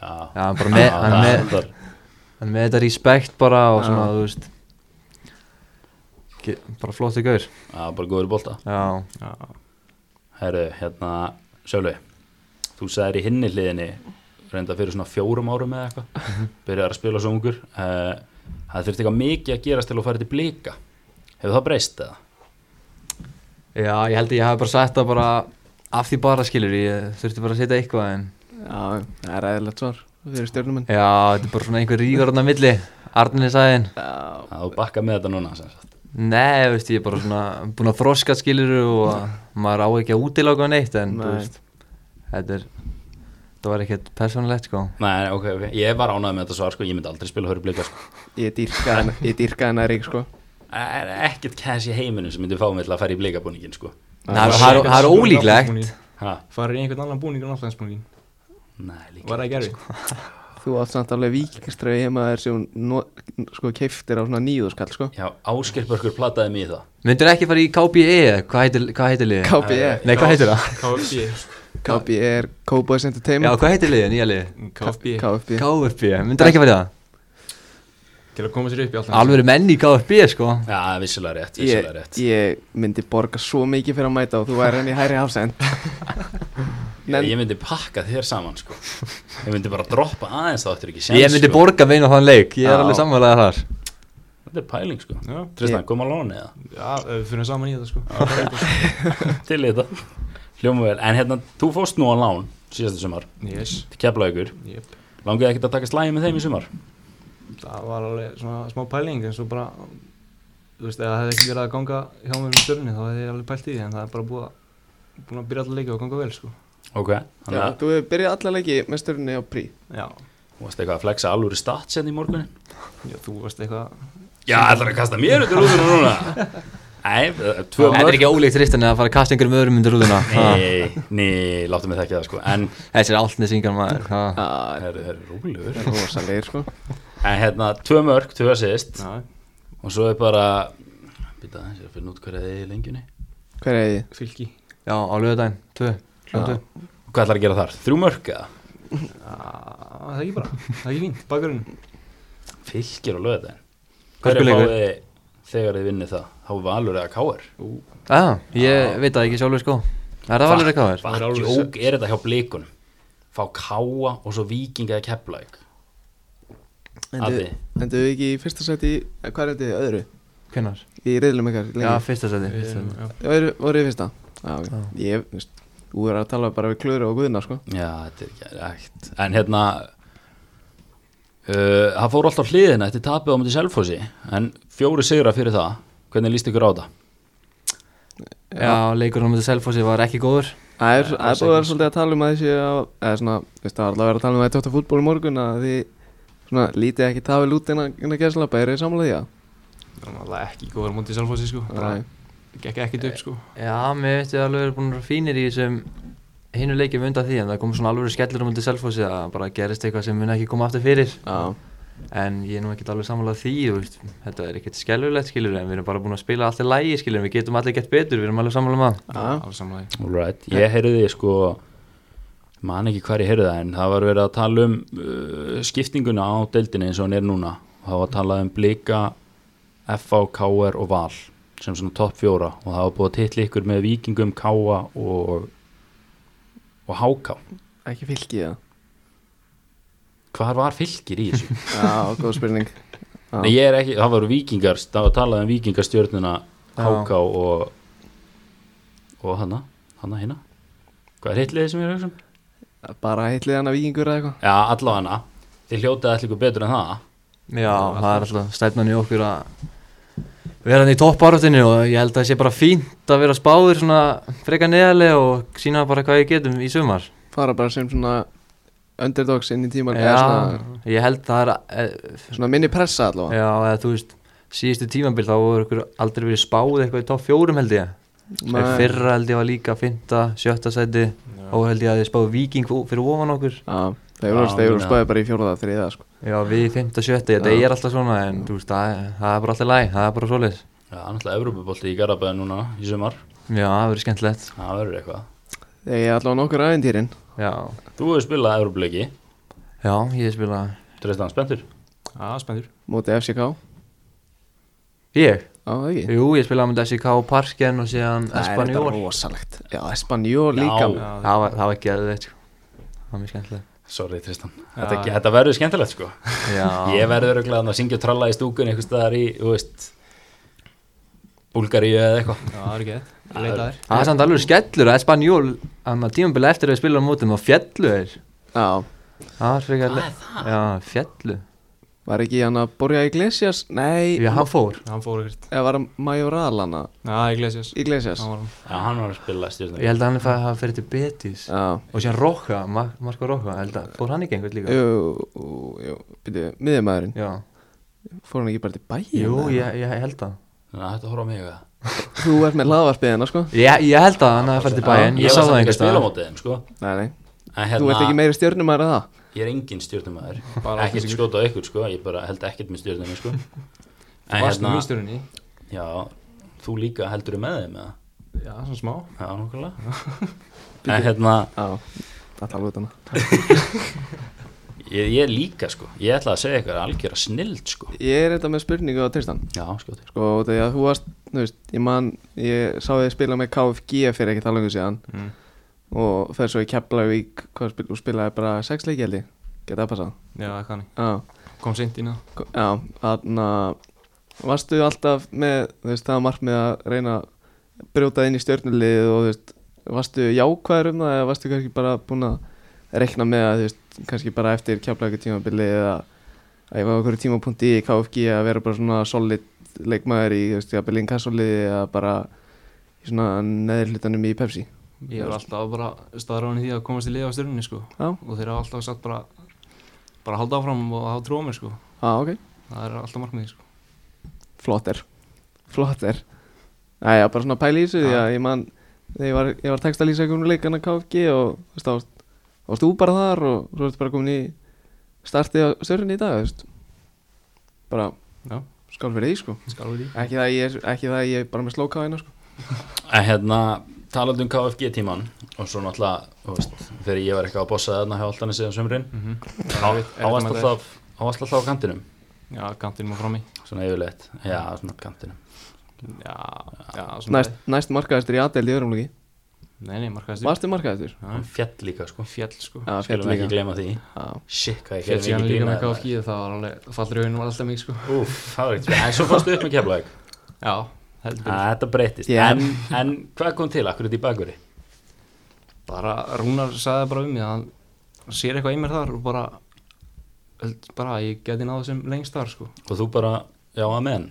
B: Já,
D: já hann bara með, hann
B: það
D: með,
B: endar-
D: hann með þetta respekt bara og
A: Já.
D: svona, þú veist ge- bara flottu gaur
B: Já, bara góður í bolta
D: Já,
C: Já,
B: Herru, hérna, Sölvi Þú sagðir í hinni hliðinni reynda fyrir svona fjórum árum eða *laughs* eitthvað byrjar að spila svo ungur Eh, Það þurfti eitthvað mikið að gerast til að fara til blika Hefur það breyst eða?
D: já, ég held að ég hafi bara sett það bara af því bara, skilur ég þurfti bara að setja eitthvað en
A: Já, það er eðlilegt svar fyrir stjórnumenn
D: já, þetta er bara svona einhver rígar hann að milli Arnir sæðin
A: Já,
B: Það þú bakka með þetta núna sem sagt.
D: Nei, veist, ég er bara svona búin að þroska skilur og maður á ekki að útiláka neitt en þú
A: Nei.
D: veist, þetta er þetta var ekkert persónulegt sko
B: Nei, ok, ok, ég var ánægð með þetta svar sko, ég myndi aldrei spila fyrir blika sko.
A: ég dýrka hana, ég dýrka hana rík sko
B: Það er ekkert cash í heiminum sem myndi fá mig til að fara í blikabúningin sko.
D: Nei, það er- það er- það er ólíklegt
B: ha,
C: Farið í einhvern annan búning en allansbúningin
B: Nei, líka
C: Var það gerði?
A: Þú átt samt alveg vikingströfi heima þér sem hún no- sko keiftir á svona nýðu skall sko
B: Já, Áskerpörkur plattaði mig í það
D: Myndir ekki fara í KBE, hvað heitir, hvað heitir liðið?
A: KPE,
D: Nei, hvað heitir það?
C: KFB
A: KPE er Cowboys
D: Já,
A: Entertainment
D: hvað heitir liðið, nýja liðið?
C: KFB
A: KFB
D: KFB, myndir ekki fara í það?
C: Til að koma sér upp í allan
D: Alveg menn í KFB sko
B: Já, það er vissulega rétt,
A: ég,
B: vissulega rétt
A: ég myndi borga svo mikið fyrir að mæta og þú væri henni í hæri
B: *laughs*
A: hafsend
B: ég, ég myndi pakka þér saman sko Ég myndi bara droppa aðeins þá áttur ekki séns
D: Ég myndi
B: sko.
D: borga meina þann leik, ég er
A: Já.
D: alveg samvælega þar
B: Þetta er pæling sko
C: Já,
B: Tristan,
A: Ég-
B: koma að lóni eða
C: já, við fyrir saman í þetta sko Það er eitthvað.
B: Til í þetta Hljóma vel En hérna, þú fórst nú á lán síðasta sumar
C: *laughs* Yes,
B: Til Keflavíkur
C: jöp
B: Langiði ekkert að taka slægi með þeim í sumar
C: Það var alveg svona smá pæling en svo bara Þú veist, ef það hefði ekki verið að ganga hjá mér um stjörni þá hefði ég alveg pælt í því en það er bara búið að búin að byrja allir leikið og ganga vel sko
B: Ok
A: Já,
B: Þannig að
A: þú hefur byrjað alla leiki með stjórnni á prí
C: Já,
B: þú varst eitthvað að flexa alvöru stats hérna í morgunin
C: já þú veist eitthvað
B: Já, ætlar að kasta mér út úr rúðuna núna Nei, eh, tvö
D: Þetta er
B: mörg
D: ekki ólíkt Tristan eða að fara að kasta einhverjum öðrum undir rúðuna Ha.
B: Nei, nei, láttu mig þekkja það sko En,
D: Þessi er altnisingar maður ha.
A: Það
B: herru, herru, rólegur
A: er rosalegir sko
B: En hérna, tvö mörg, tvö assist
C: Já,
B: Og svo er bara Býta aðeins, ég er að finna út hverja þið er í lengjunni
A: Hver er þið?
C: fylki
D: Já, á lögadaginn, tvö
C: Klöntu
B: Hvað ætlar að gera þar? Þrjú mörg eða?
C: Það er ekki bara, það er ekki fínt, bakverðin
B: Fylgir og löða
D: Hvað
B: Hverju
D: spilaðu
B: fáið þið þegar þið vinnið það? Há valur eða káir?
D: Já, ég veit það ekki sjálfur sko Er það valur eitthvað þér?
B: Hvað
C: Það er alveg
B: jók er þetta hjá blikunum? Fá káa og svo vikinga eða keplæk Addi,
A: Endur við ekki í fyrsta seti Hvað er þið? Öðru?
D: Hvenær?
A: Í reyðlum ykkar lengi?
D: Já, fyrsta seti fyrsta sæti.
A: Öðru, voru í fyrsta? Já, ok
D: Já.
A: Ég, þú veist Þú er að tala bara við klöru og guðna sko
B: já þetta er ekki rægt En hérna uh, Það fór alltaf hliðina Þetta er tapið á mútið selfósi En fjóri sigra fyrir það Hvernig líst ykkur á það?
D: Já, leikurinn á mútið Selfossi var ekki góður
A: Það er, það er búið að vera svolítið að tala um að þessi eða svona, þú veist, það var alltaf að vera að tala um að þetta fútból í morgun að því svona lítið ekki tafi lút innan, innan gæslappa, er þið samlega því að?
C: Það er náttúrulega ekki góður á móti sjálfósi sko
A: Nei.
C: Það gekk ekki upp sko
D: Já, mér veist ég alveg verið búin að vera fínir í þessum hinu leikjum undan því en það kom svona alveg skellur á mútið Selfossi að bara gerist eitthvað sem mun ekki koma aftur fyrir
A: Já,
D: en ég er nú ekkert alveg samanlega því þú veist, þetta er ekkert skellulegt skilur en við erum bara búin að spila allt í lægi skilur við getum allir gett betur, við erum alveg um samanlega maður
A: Já.
C: Alveg samlega
B: Alright, ég heyrði sko man ekki hvar ég heyrði það en það var verið að tala um uh, skiptinguna á deildinni eins og hann er núna og það var að tala um blika FA, KR og Val sem svona topp fjóra og það var búið að titla ykkur með vikingum, KA og og HK
A: ekki fylgið það.
B: Hvar var fylgir í þessu?
A: Já, góð spurning. Já.
B: Nei, ég er ekki, það voru vikingar, það var að tala um vikingastjörnuna HK og og hana, hana hérna Hvað er hitlið sem ég er að hugsa um?
A: Bara heitlið hana vikingur eða eitthvað.
B: Já, allavega Þið hljótið allir ykkur betur en það
D: Já, það er alltaf stefnan í okkur að vera hann í topparáttinu og ég held að það sé bara fínt að vera spáður svona freka neðarlega og sína bara hvað við getum í sumar
A: Fara bara sem svona underdogs inn í tíman, eða
D: Já,
A: svona,
D: ég held það er að- eh,
A: svona minni pressa allavega.
D: Já, eða þú veist, síðustu tímabil þá voru ykkur aldrei verið spáð eitthvað í topp fjórum held ég Nei.
A: Nei.
D: Fyrra held ég var líka fynda, sjötta sæti og held ég að þið spáðu viking fó- fyrir ofan okkur
A: Já, þeir voru,
B: Já,
A: þeir voru
B: meina-
A: spáðið bara í fjóraða þriða, sko.
D: Já, við fynda, sjötta, þetta
A: Já.
D: er alltaf svona en þú veist, það, er- það er bara alltaf læg, það er bara svoleiðis
B: Já, náttúrulega Evrópubolti í Garabæði núna í sumar
D: Já, það verður skemmtilegt
B: Það verður eitthvað
A: Þegar ég allavega nokkur ævintýrin.
D: Já,
B: Þú hefur spilað Evrópuleiki
D: já, ég spila
B: Tristan, spenntur?
C: Já, spennur
A: Móti FCK.
D: Ég?
A: Já, það ekki.
D: Jú, ég spila á myndi SK Parken og síðan
A: Það er
D: Espanjól
A: þetta rosalegt. Já, Espanjól líka.
B: Já.
D: Það var, það var geðveikt, sko Það var mjög skemmtilegt
B: Sorry Tristan Þetta, þetta verður skemmtilegt sko
D: Já,
B: Ég verður örgulega að syngja og tralla í stúkun einhvers staðar í, þú veist Búlgaríu eða eitthvað
C: Já, það er ekki þetta Leita þér
D: það er samt alveg skellur að Espanjól Þannig að tímabili eftir að við spila á mótum og fjellu þeir
A: Já,
D: Það var frekar le- Já, fjellu
A: Var ekki hann að borja Iglesias? Nei,
D: Já, hann fór
C: Hann fór ekkert
A: eða var hann Majoral hann að
C: Já, Iglesias
A: Iglesias?
C: Hann var hann
B: Já, hann var að spila
D: Ég
B: stjórnum
D: held að hann fæði að fyrir til Betis
A: Já,
D: Og síðan Rocha, Mar Marko Rocha held að, Fór hann ekki einhvern líka?
A: jú, jú, byrju, miðjumæðurinn,
D: Já
A: fór hann ekki bara til bæin?
D: Jú, ég, ég held að
B: Þannig að þetta horfa á mig eða
A: Þú ert með hlaðvarpiðina, sko?
D: Ég, ég held að hann hafi farið til bæinn Ég
B: Ég
D: sá
B: var
D: það
B: samt ekki að
D: einhvers
B: spila á
D: staðar.
B: mótið þeim sko
A: Nei, nei,
B: En
A: þú ert ekki
B: hérna,
A: meiri stjörnumæður að það?
B: ég er engin stjórnumæður
C: Bara
B: Ekkert skjóta á ykkur sko, ég bara held ekkert með stjórnum sko En
C: Varst nú
B: hérna,
C: í stjórninni
B: já, þú líka heldur með þeim eða?
C: Já, svona smá
B: Já, nokkulega En hérna,
A: Já, það tala út hana.
B: ég, ég líka sko Ég ætla að segja eitthvað algjör að snild sko
A: Ég er þetta með spurningu á Tristan,
B: Já, skjóttir
A: sko, þegar þú varst, þú veist, ég man, ég sá þig spila með KFG fyrir ekki talangu síðan
C: Mm.
A: og fer svo í Keflavík, hvað spil, þú spilaði bara sex leiki held ég, geta það passað?
C: Já, það kanni
A: Já.
C: Kom seint inn á
A: Já, þarna varstu alltaf með þú veist, það markmið að reyna að brjóta inn í stjörnulið og þú veist, varstu jákvæður um það eða varstu kannski bara búin að rekna með að þú veist, kannski bara eftir kjaflæku tímabili eða að ég var okkur tímapunkti í KFG að vera bara svona solid leikmaður í þú veist, jafnvel inkassoliði eða bara í svona neðri hlutanum í Pepsi
C: Ég var alltaf bara staðráðin í því að komast í liða á stjórninni sko
A: Já,
C: Og þeir hafa alltaf satt bara Bara að halda áfram og hafa trú á mér sko
A: á, Ah, ok,
C: Það er alltaf markmiði sko
A: flott er flott er Já, já, bara svona pæli í þessu því að ég man þegar ég var, ég var texta lýsa einhvern leikann að KFG og þú veist, þá varst- þá varst þú bara þar og svo ertu bara komin í startið á stjörnunni í dag, þú veist bara,
C: Já.
A: skál fyrir því, sko
C: Skálur því
A: ekki það að ég er, ekki það að ég er bara með slókáina, sko
B: En hérna, talandi um KFG tíman og svo náttúrulega, þú veist, þegar ég var eitthvað að bossa þarna hjá alltaf síðan sömurinn
C: Mhm. Erfitt- erfitt
B: áast
C: maður
B: alltaf á varst alltaf á kantinum,
C: Já, kantinn má fram í
B: svona yfirleitt já, svona kantinum
C: Já, já, svona
A: næst, næst markaðistur í aðdeld í öðrum lóki
C: Nei, nei, markaðist
A: varstu markaðistur?
B: hann fjall líka, sko,
C: Fjall, sko
A: Já,
B: skulum
A: fjall
B: ekki
A: líka
B: gleyma því
A: Já.
B: shit, hvað ég
C: Fjall síðan
B: gerði
C: líka
B: mikið
C: með
B: grín að
C: KFG Það var alveg, fallriðunum var alltaf mikið, sko
B: það. úff, það var ekkert en svo fórstu upp með keflaug,
C: Já, heldur betur.
B: þetta breytist
A: Já.
B: en, en hvað kom til, akkur þetta í bakveri
C: bara Rúnar sagði bara um mig að hann sér eitthvað í mér þar og bara held bara að ég geti náðu sem lengst þar sko
B: og þú bara, já, amen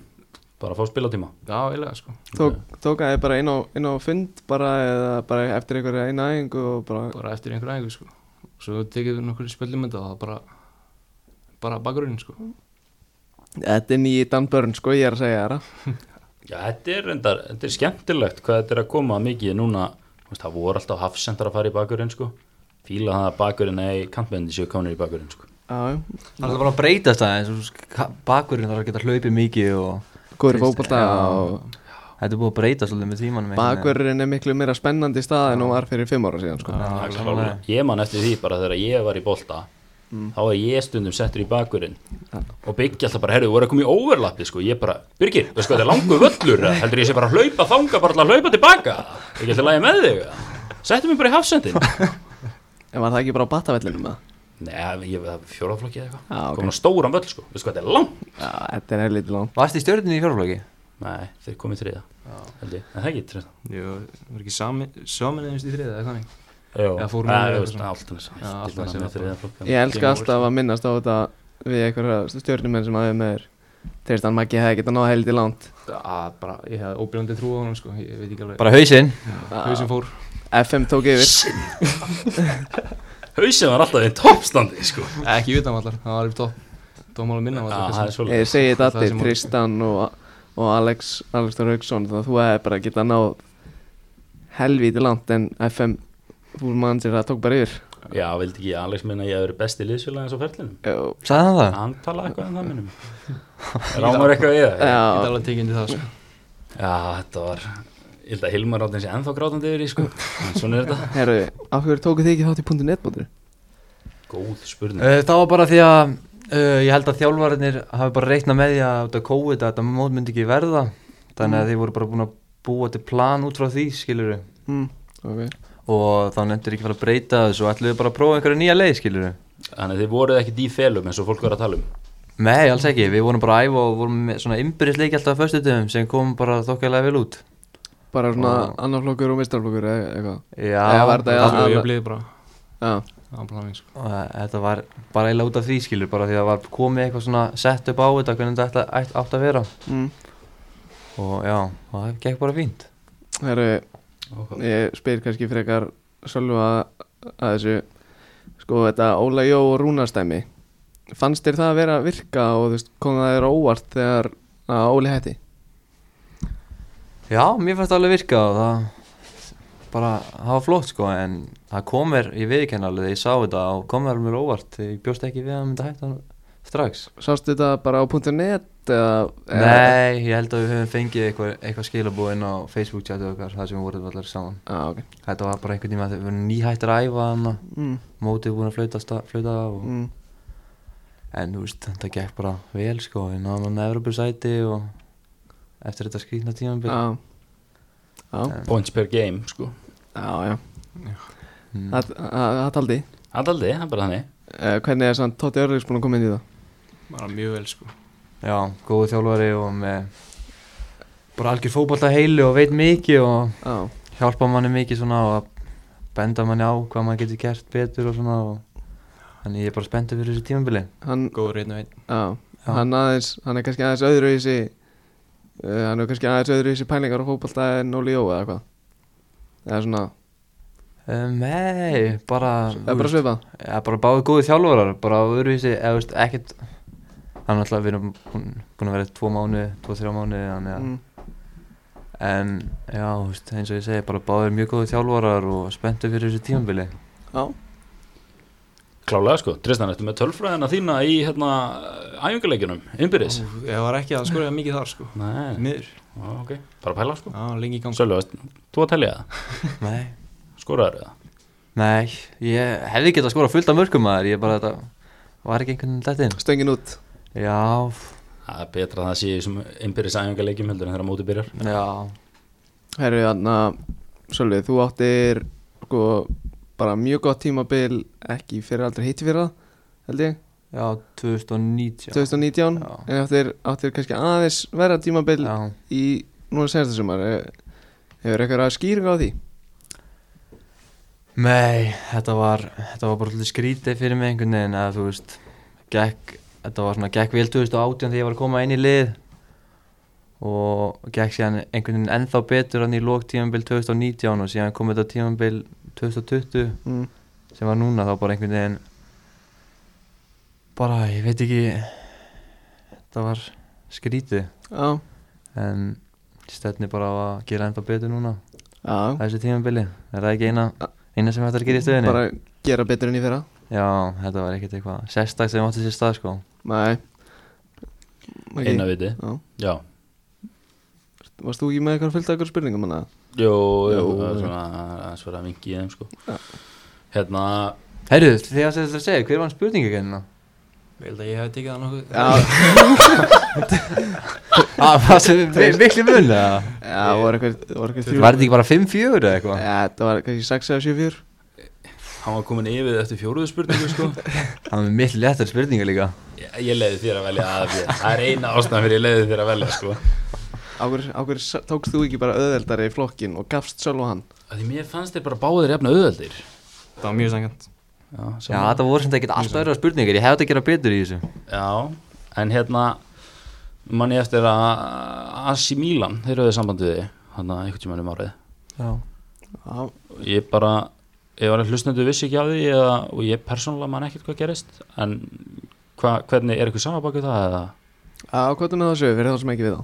B: bara að fá spilatíma
C: já, eiginlega sko
A: Tók, tók að þið bara inn á, inn á fund bara eða bara eftir einhverja eina æfingu og bara,
C: bara eftir einhverja æfingu sko svo tekið við nokkur spjöldum þetta og það bara bara bakgrunnin sko
A: þetta er nýji Dan Burn sko, ég er að segja þér það
B: Já, þetta er, endar, þetta er skemmtilegt hvað þetta er að koma mikið núna þú veist, það voru alltaf hafsendar að fara í bakurinn sko. fíla það að bakurinn eða kantmyndi séu komin í bakurinn sko.
A: Já, já.
D: Það er alltaf bara að breytast aðeins og bakurinn þarf að geta hlaupið mikið og
A: Góður í fótbolta
D: Já.
A: og
D: þetta er búið að breytast svolítið með tímanum einhvern veginn.
A: Bakverðurinn er miklu meira spennandi stað en hún var fyrir fimm ára síðan sko.
D: Já,
B: Það er
D: klárlega.
B: klárlega. ég man eftir því bara þegar ég var í bolta þá var ég stundum settur í bakurinn og byggja alltaf bara, herru, voru að koma í overlappi sko. ég bara, Birgir, veistu hvað þetta er langur völlur eða? heldur ég sé bara að hlaupa þanga bara til að hlaupa tilbaka ekki alltaf lægi með þig eða? settu mig bara í hafsendin *laughs*
A: En var það ekki bara á batavellinum með það?
B: Nei, ég var fjóraflokki eða eitthvað
A: Já, ok.
B: komin á stóran völl, sko. veistu hvað þetta er langt
A: Já, þetta er helviti langt
D: Varstu í stjórninni í fjárflöki?
B: Nei, þeir komið þriða held ég, en það er ekki þriða
C: Jú, var ekki saminniðist í þriðið eða þannig
B: Já,
C: Eða fórum
B: Nei,
C: niður
B: þú
C: eða
B: veist,
C: svona.
B: Álftanes,
C: Já,
B: Álftanes
C: Álftanes
B: er
C: er
B: með þriðja flokk, en-
A: Ég elska
C: Game
A: alltaf að minnast á þetta við einhverja stjórnumenn sem aðeins með þér Tristan Maggi hefði getað náð helviti langt
C: að bara ég hefði óbjörnandi trú á honum sko ég veit ekki alveg
D: Bara hausinn
C: hvað sem fór
A: FM tók yfir
B: Hausinn var alltaf í toppstandi sko.
C: ekki utan vallar það var upp topp dómál að minna
B: Já, það er
C: vallar
A: Ég
B: svolítið
A: segi þetta
C: Það
A: allir,
C: sem hún-
A: Tristan og, og Alex Aleksdór Hauksson þannig að þú hefði bara getað náð helviti langt en FM fúl mann sér það tók bara yfir
B: Já, vildi ekki Alex minna að ég hef verið besti liðsfélag eins á ferlinum
A: Jó,
D: Sagði hann það?
B: Hann talaði eitthvað en það minnum Rámar eitthvað við það
C: ég get
A: Já,
C: alveg tekið inn í það sko
B: Já, þetta var Ég held að Hilmar átt eins og ennþá grátandi yfir í sko En Svona er þetta
A: herru, af hverju tókuð þið ekki þátt í punktu netbóttur?
B: Góð spurning
D: Uh, Það var bara því að uh, ég held að þjálfarinnir hafi bara reiknað með því að út af COVID að þetta mót myndi ekki verða þannig að þeir voru bara búin að búa til plan út frá því skiluru
A: Mm, okay.
D: og þá nefndir ekki fara að breyta þessu og ætluðu bara að prófa einhverja nýja leið skiluru
B: Þannig að þið voruð ekki dífelum eins og fólk var að tala um
D: Nei, alls ekki, við vorum bara að æfa og vorum með svona ymbirisleiki alltaf að föstutum sem kom bara þokkalega vel út
A: Bara svona
D: Og-
A: annar flokkur og mistarflokkur eða eitthvað
D: Já,
A: Eða var þetta- Já,
C: það var
A: alveg.
C: upplýðið bara
A: Já,
C: það var planning sko
D: og þetta var bara eiginlega út af því skilur bara því að var komið eitthvað svona sett upp á þetta hvernig þetta ætla- ætt- átt að vera
A: mm.
D: og já, og það gekk bara fínt
A: Herru,
B: okay.
A: ég spyr kannski frekar Sölva að þessu Sko þetta Óla Jó og Rúnarstæmi Fannst þér það að vera að virka og þú veist, kom það þér á óvart þegar að Óli hætti?
D: Já, mér fannst það alveg virka og það bara, það var flott sko en það kom mér, ég viðkenn alveg þegar ég sá þetta og kom mér alveg óvart ég bjóst ekki við að hann myndi hætta strax
A: Sástu þetta bara á punktu net eða eða-
D: Nei, ég held að við höfum fengið eitthvað, eitthvað skilabúið inn á Facebook chatu okkar það sem við vorum allar saman
A: Já, Ah, ok
D: Þetta var bara einhvern tíma að við vorum nýhættir að æfa hann
A: mm,
D: mótið búin að flauta, sta- flauta af og,
A: mm.
D: en þú veist, þetta gekk bara vel sko, við náðum hann Evropasæti og eftir þetta skrýtna tímambil
A: Já, já,
B: Points per game sko
A: Ah. já, já.
D: Mm.
A: Það- Það það taldi
B: Hann taldi, hann bara þannig
A: uh, Hvernig er sann Tóti Örlíks búin að koma inn í það?
C: bara mjög vel sko
D: Já, góðu þjálfari og með bara algjör fótballta heilu og veit mikið og
A: Já,
D: hjálpa manni mikið svona og að benda manni á hvað maður getur gert betur og svona og þannig ég er bara spenntur fyrir þessu tímabili
A: hann
C: góður einn og einn
A: Já,
D: Já.
A: hann aðeins, hann er kannski aðeins öðru í þessi uh, hann er kannski aðeins öðru í þessi pælingar og fótbolta en Óli Jó eða hvað eða svona,
D: um, Nei, bara
A: eða bara svipað
D: ja, bara báði góðu þjálfarar bara á öðruvísi, eða veist, ekkert þannig að við erum búin búin að vera tvo mánu, tvo, þrjá mánu þannig að
A: mm.
D: en já, þú veist, eins og ég segi bara báðir mjög góðu þjálfarar og spenntu fyrir þessu tímabili
A: Já,
B: Klálega sko, Tristan, ertu með tölfræðina þína í hérna æfingarleikunum, innbyrðis?
C: Ég var ekki að skora mikið þar sko
B: Nei,
C: Miður,
B: Ó, ok, bara pæla sko.
C: já, lengi í gang
B: Sölvi, veist, þú að telja það,
D: nei,
B: skoraður það.
D: nei, ég hefði getað skorað fullt af mörgum maður, ég bara þetta var ekki einhvern veginn þetta inn
A: stöngin út
D: já,
B: Það er betra að það sé í þessum innbyrðis æfingarleikjum heldur en þegar móti byrjar.
D: já,
A: Herru, þannig Sölvi, þú áttir sko, bara mjög gott tímabil ekki fyrir aldrei hitti fyrir það held ég,
D: já, 2019
A: 2019
D: Já.
A: en áttir, áttir kannski aðeins verra tímabil
D: já,
A: í núna senasta sumar Eh, hefur eitthvað að skýringa á því
D: nei, þetta var þetta var bara svolítið skrítið fyrir mig einhvern veginn að þú veist, gekk þetta var svona, gekk vel 2018 þegar ég var að koma inn í lið og gekk síðan einhvern veginn ennþá betur hann í lók tímabil 2019 og síðan kom þetta tímabil 2020
A: mm.
D: sem var núna þá bara einhvern veginn bara ég veit ekki þetta var skrítið
A: Já,
D: en stefni bara á að gera ennþá betur núna á
A: já,
D: þessu tímabili, er það ekki eina eina sem þetta er að gera í stöðinni
A: bara gera betur enn í fyrra
D: já, þetta var ekkert eitthvað sérstakt sem átti sér stað sko
A: Nei
B: Okay.
A: okay.
B: Einna viti,
A: Já.
B: já.
A: Varst þú ekki með eitthvað fullt af eitthvað spurningum hana?
B: Jú, jú,
A: Jú.
B: það er svona aðeins verið að vingi í þeim sko. Hérna,
D: Herru, því að þetta að segja, hver var hann spurningi ekki hérna?
C: Ég held að ég hef tekið það nokkuð
A: Já,
D: Ah, *laughs* það sem við miklu mun eða?
A: já voru eitthvað, voru eitthvað
D: Var þetta ekki bara 5-4 eða
A: Já,
D: eitthvað?
A: þetta var kannski 6 eða 7 fjör
B: hann var komin yfir eftir fjóruðu spurningu sko.
D: Það var miklu léttar spurningar líka
B: Ég, ég leiði þér að velja að því. Það er eina ástæðan fyrir ég leiði þér að velja sko.
A: Á hverju hver, tókst þú ekki bara öðveldari í flokkin og gafst sjálf og hann?
B: Af Því mér fannst þér bara báðir jafna auðaldir.
C: Það var mjög sangant
B: Já,
D: Já,
B: saman-
D: þetta voru sem þetta ekkert alltaf öðru spurningar, ég hefði átt að gera betur í þessu
B: Já, en hérna mann ég eftir að Asi Milan, þeir höfðu samband við þig hann að einhvern tímann um árið
D: Já
A: Já,
B: ég bara, ég var að hlustnendu vissi ekki af því eða, og ég persónulega man ekkert hvað gerist en hva, hvernig, er eitthvað sama bakið það eða?
A: á hvað er með það sögur fyrir þá sem ekki við þá?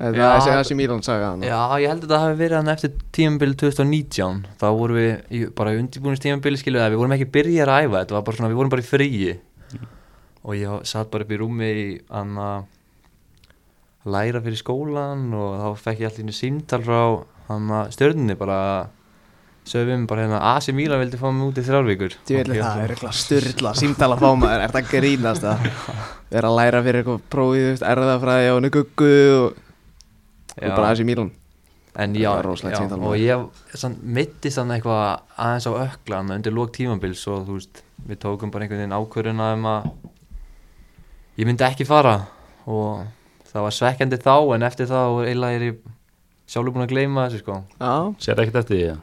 A: Það er
D: Já.
A: þessi Asi Mílan saga hann
D: Já, ég held að það hafi verið hann eftir tímabili 2019 þá vorum við í- bara undirbúinist tímabili skiljuð að við vorum ekki byrjað að æfa þetta var bara svona, við vorum bara í fríi og ég satt bara upp í rúmi í hann að læra fyrir skólan og þá fekk ég allir einu símtal frá hann að stjörnunni bara sögum bara hérna AC Milan vildi fá mig út í þrjár vikur
A: Djöfell, það er eitthvað styrla, símtala fá maður, er þetta grínast
D: *laughs*
A: að vera að læra fyrir eitthvað prófið, þú veist, erðafræði á henni guggu og, og
D: Já.
A: bara Asi Mílan
D: En
A: Það
D: já,
A: var rosalegt
D: já
A: símtal,
D: og ég sann, mittist hann eitthvað aðeins á öklan undir lók tímabils og þú veist, við tókum bara einhvern veginn ákvörðun að um að ég myndi ekki fara og það var svekkjandi þá en eftir það og eiginlega er ég sjálfur búinn að gleyma þessu sko.
A: Já,
B: sér ekkert eftir því eða?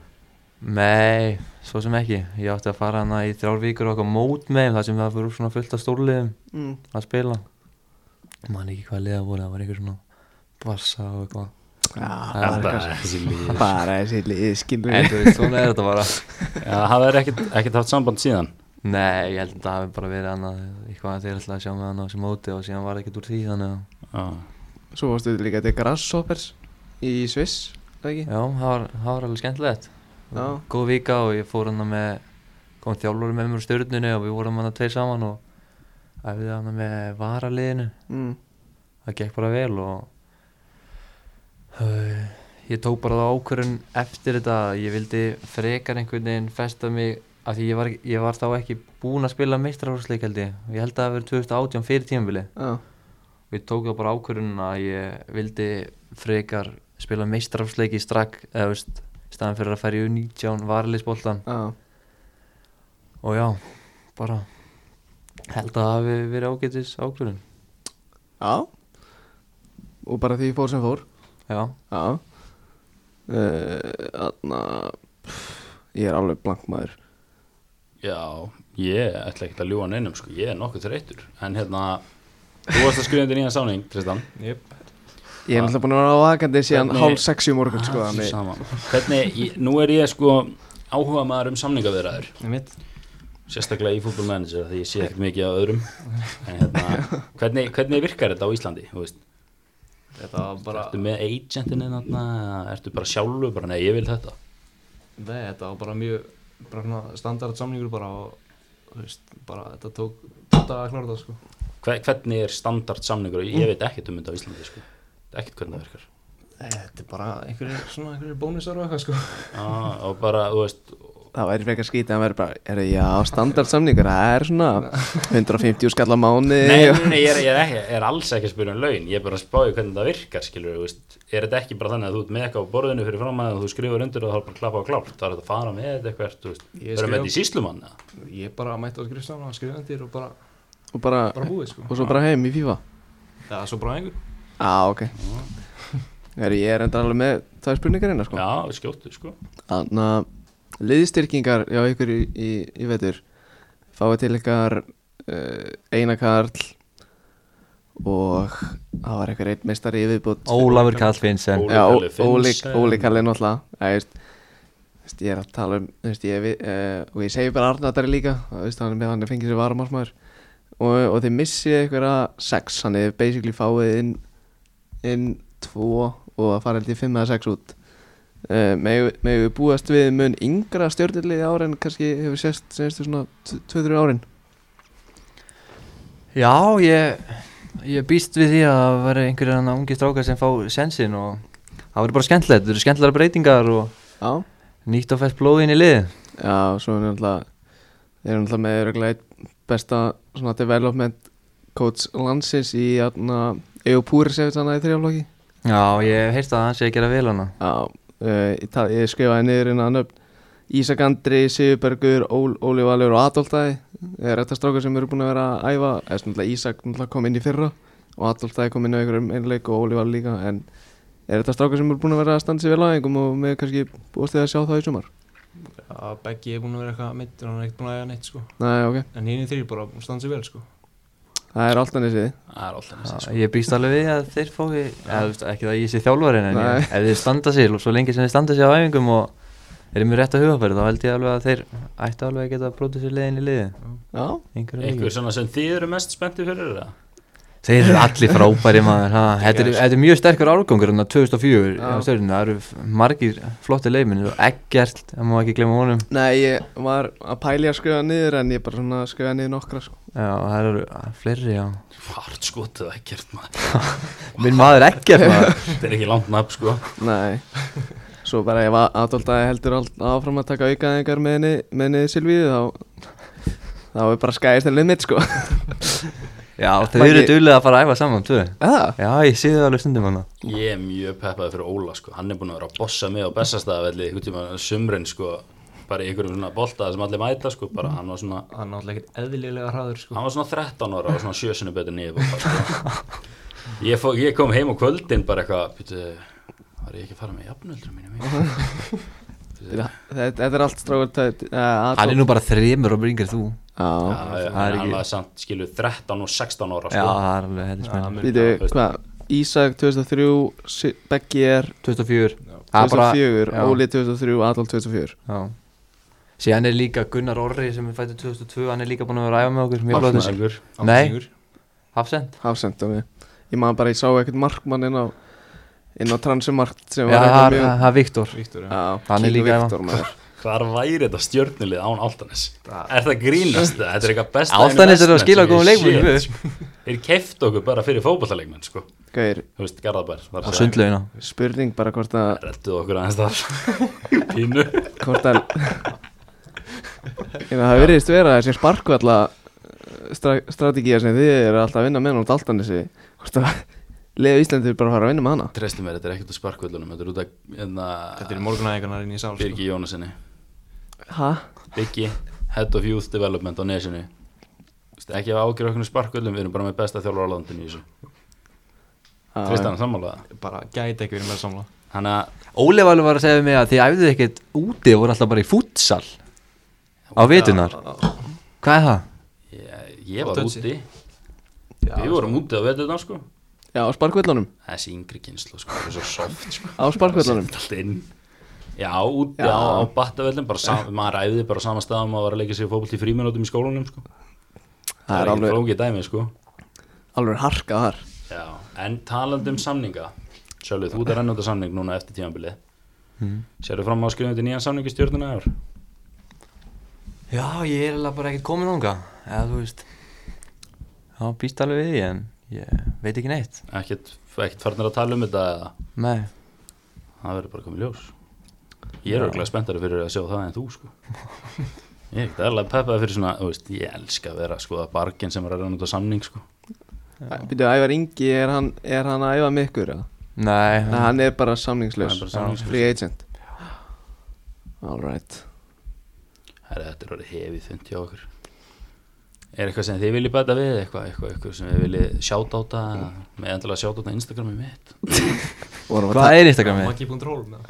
D: Nei, svo sem ekki. Ég átti að fara hana í þrjár vikur og eitthvað mót með þeim þar sem það fyrir svona fullt af stórliðum
A: mm.
D: að spila. Man ekki hvað liða voru, það var einhver svona barsa og eitthvað.
A: já
D: Það
A: bara,
D: er
B: Bara
A: eitthvað-
B: þessi lið.
A: bara þessi lið, skilur
D: En þú veist, svona er þetta bara.
B: Já, það er ekkert ekkert haft samband síðan
D: Nei, ég held að það hafi bara verið annað eitthvað að þeir ætlaði að sjá með hann á þessu móti og síðan var ekkert úr því þannig að
B: Já.
A: Svo varstu líka til Grasshoppers í Sviss, það ekki?
D: Já, það var, það var alveg skemmtilegt
A: Já.
D: Góð vika og ég fór hann með kom þjálfur með mér úr stjórnunni og við vorum hann að tveir saman og æfði hann með varaliðinu
A: Mm.
D: það gekk bara vel og uh, ég tók bara það ákvörðun eftir þetta að ég vildi frekar einhvern veginn festa mig af því ég var, ég var þá ekki búinn að spila meistrarhúsleik held ég ég held að það hafi verið 2018 fyrir tímabili
A: Já,
D: við tókum bara ákvörðun að ég vildi frekar spila meistrafsleiki strakk eða veist staðan fyrir að færi U19 varleisboltan
A: já,
D: og já, bara held að það hafi verið ágætis ákvörðun
A: já Og bara því fór sem fór
D: já,
A: Já Þannig Ég er alveg blank maður
B: Já, ég ætla ekkert að ljúa neinum sko, ég er nokkuð þreytur en hérna, þú varst að skrifa undir nýjan sáning, Tristan
C: Jep
A: Ég er alltaf búin að vera vakandi síðan
B: Hvernig-
A: hálf sexi morgun sko
B: Ah,
A: þannig-
B: sama. Hvernig, ég, nú er ég sko áhuga maður um samningaviðræður
C: Nei mitt
B: sérstaklega í fútbolmanager því ég sé ekkert mikið af öðrum en hérna, hvernig, hvernig virkar þetta á Íslandi þú veist?
C: Þetta var bara,
B: Ertu með agentinu þarna eða Ertu bara sjálfur bara, nei ég vil þetta
C: nei, þetta var bara mjög, bara svona standard samlingur bara og, þú veist, bara þetta tók þetta að klára það, sko.
B: Hve- Hvernig er standard samningur Ég veit ekkert um þetta á Íslandi sko. Ekkert hvernig það virkar
C: Nei, þetta er bara einhverjir, svona einhverjir bónusar og eitthvað, sko.
B: ah, Og bara, þú veist
A: Það væri frekar skítið að vera bara, er það já, standard samningur, það er svona
B: *laughs*
A: 150 skall á mánu
B: Nei, nei, nei, ég er, ég er, ekki, er alls ekki að spyrja um laun Ég er bara að spáði hvernig það virkar skilur, þú veist, Er þetta ekki bara þannig að þú ert með eitthvað á borðinu fyrir fram að þú skrifur undir og það er bara að klappa á klárt Það er þetta að fara með þetta eitthvað þú veist,
C: Ég
B: Það er með
C: skrifa-
B: þetta í síslumann eða?
C: Ég bara mætti á skrifstofan og skrifaði undir og bara,
A: og bara,
C: bara búið, sko.
A: og svo bara heim í FIFA
C: Já, svo bara einhver.
A: Já, ok er, Ég er enda alveg með tvær spurningar einna sko
B: Já, skjóttu sko
A: Þannig að liðstyrkingar hjá ykkur í, í, í vetur fáið til ykkar uh, Einar Karl og það var eitthvað einn meistari í viðbútt
D: Ólafur Kallfinsen
B: Óli
A: Já,
B: Kalli Finns,
A: Ólík,
B: eh,
A: Ólík Kalli náttúrulega Æ, veist, veist, Ég er að tala um veist, ég, við, uh, og ég segi bara Arnardari líka og, veist, hann, hann er fengið sér varumarsmaður og, og þið missið einhverja sex hann er basically fáið inn inn tvo og að fara held í fimm eða sex út uh, með við búast við mun yngra stjórnirlið ára en kannski hefur sérst sérstu svona 2-3 árin
D: Já, ég, ég býst við því að það verði einhverjir hann ungi strákar sem fá sensin og það verður bara skemmtilegt, þetta eru skemmtilega breytingar og
A: Já,
D: nýtt og fætt blóðin í lið
A: Já, og svo er náttúrulega þeir eru náttúrulega með örugglega einn besta svona development coach landsins í hérna, aðna Eupúri sefið þannig í þrjáflokki
D: Já, ég hef heyrt að hann sé að gera vel hana
A: Já, uh, ég, ta- ég skrifaði niður inn að nöfn Ísak Andri, Sigurbergur, Ól, Óli Valur og Adolfæði er þetta strákar sem eru búin að vera að æfa eða svona náttúrulega Ísak náttúrulega kom inn í fyrra og Adolfæði kom inn á einhverjum einleik og Óli Valur líka en er þetta strákar sem eru búin að vera að standa sér vel á einhverjum og með kannski búið að sjá það í sumar?
C: Já, Beggi er búin að vera eitthvað mittur, hann er ekkert búin að eiga neitt, sko.
A: Nei, ok,
C: En hinn í þrýr bara standa sér vel, sko.
A: það er alltaf nesið
B: Það er alltaf
D: Já,
B: næst
D: Ég býst alveg við að þeir fái, eða, þú veist, ekki það ég sé þjálfarinn en ég, ef þeir standa sér og svo lengi sem þeir standa sér á æfingum og eru mjög rétt að hugafæri þá held ég alveg að þeir ættu alveg að geta að bróta sér leiðin í liði
A: Já,
D: einhverja
B: Einhver
D: leiki
B: svona sem þið eru mest spennti fyrir það
D: Þeir eru allir frábæri maður, ha. þetta er, þetta er mjög sterkur árgangur hérna 2004
A: Já.
D: á stjórnum, það eru f- margir flotti leikminn, ekkert, það má ekki glemma honum
A: Nei, ég var að pæli að skrifa niður en ég bara svona skrifa niður nokkra sko.
D: Já, það eru ah, fleiri, já
B: Hart skotið ekkert maður
D: Minn maður ekkert *laughs* maður
B: Þetta er ekki langt nafn sko
A: Nei *laughs* Svo bara ég var aðdólt að ég heldur all- áfram að taka aukaðingar með henni, með henni Silvíu þá þá er bara skæðist en limit
D: *laughs*
A: sko
D: Já, þau eru
A: Maggi-
D: duðlega að fara að æfa saman, tvö
A: Eða?
D: Já, ég sé það alveg stundum hana
B: Ég er mjög peppaði fyrir Óla sko Hann er búin að vera að bossa mig á bestastæðavelli Út í maður sumrin sko Bara í einhverjum svona bolta sem allir mæta sko Bara hann var svona
C: Hann er náttúrulega ekkert eðlilega hraður, sko.
B: Hann var svona 13 ára og svona sjösinu betur niður bara, sko. ég, fó, ég kom heim á kvöldin bara eitthvað býtu, Var ég ekki að fara með jafnöldrum mínum
A: Þetta, þetta er allt strákur
D: Hann er nú bara þreymur og bringar þú
A: eh, Já,
B: Já,
D: það er
B: Hann
D: ekki-
B: var samt skilur 13 og 16 ára
D: Já,
B: sko.
D: það er alveg, þetta er
C: Já,
D: spennt
C: mun-
A: býtu, hvað Ísak 2003, Si- Beggi er
D: 2004 Það er bara-
A: 2004,
D: já.
A: Óli 2003, Adolf 2004
D: Já Sér hann er líka Gunnar Orri sem er fættur 2002, hann er líka búin að vera að æfa með okkur mjög flottur.
B: Hafsmaður.
D: Nei.
C: Áttingur.
D: Hafsend?
A: Hafsend, ok Ég maður bara, ég sá ekkert markmann inn á inn á transumart sem
D: Já,
A: var
D: það
A: eitthvað
D: er-
A: mjög
D: það er Viktor
C: Viktor, já.
A: Já,
D: Hann er
A: Kíkjum
D: líka
A: Viktor, maður.
B: Hvar væri þetta stjörnulið án Altanes? Er það grínast? það? Þetta er eitthvað besta
D: Álftanes er að
B: investment
D: skila
B: sem ég
D: góðum leikmönnum,
B: séð,
D: við.
B: sko. Þeir keft okkur bara fyrir fótballaleikmenn sko.
A: Gauir,
B: Þú veist, Garðabær var að
D: og
B: segja.
D: sundlaugina
A: spurning bara hvort að
B: Redduðu okkur aðeins þar *laughs* Pínu
A: hvort að Ég meina, það veriðist vera þessi sparkvalla eh, stra strategía sem þið eru alltaf að vinna með nátt allt annars hvort að leiðu Íslandur bara að fara að vinna með hana
B: Treystu mér, þetta er ekkert úr sparkvöldunum Þetta er út af enna,
C: Þetta er morgunæðingarnar inn í sál, sko.
B: Birgi Jónasinni
A: Hæ?
B: Biggi, Head of Youth Development á Nesinu Þú veist, Ekki að ágjöra okkur sparkvöldum Við erum bara með besta þjálfur á landinu í þessu
A: Ah,
B: Tristan, sammálaða
C: sko. Bara gæti ekki verið með samla.
B: Þannig að
D: Óli Valur var að segja við mig að þið æfðuð ekkert úti og voru alltaf bara í fútsal á vetunar Hvað er það?
B: ég, ég var
C: Á Dötsi.
B: úti Við vorum úti á veturna sko
A: Já, á sparkvallunum
B: Þessi yngri kynslu sko, það er svo soft sko
A: Á sparkvallunum
B: Sett allt inn Já, úti á, á battavellum, bara sam, maður æfði bara á sama stað og maður var að leika sér fótbolt í fríminútum í skólanum sko.
A: Það er
B: ekki
A: alveg,
B: flókið dæmi sko.
A: alveg harka þar
B: Já, En talandi um samninga Sjálfur, þú ert að renna út af samning núna eftir tímanbili mm. Sérðu fram á að skrifa undir nýjan samning í stjórnuna í ár?
D: Já, ég er alveg bara ekkert komin ánga eða þú veist Já, býst alveg við því en ég veit ekki neitt
B: Ekkert, ekkert farnir að tala um þetta eða
D: Nei,
B: Það verður bara komið ljós Ég er auðvitað spenntari fyrir að sjá það en þú sko Ég er ekkert alveg peppaði fyrir svona þú veist, Ég elska að vera sko að bargin sem er að renna út af samning sko
A: Býtu, Ævar Ingi, er hann, er hann að æfa með ykkur? eða?
D: nei
A: Nei, hann er bara samningslaus
B: Hann er bara samningslaus.
A: Free agent Alright
B: Herra, þetta er orðið hefið fund hjá okkur Er eitthvað sem þið viljið bæta við eitthvað, eitthvað, eitthvað sem þið viljið sjátáta með endalega sjátáta Instagrami mitt
A: Vorum að
D: Hvað er Instagramið?
C: Maggi.ról
A: ta-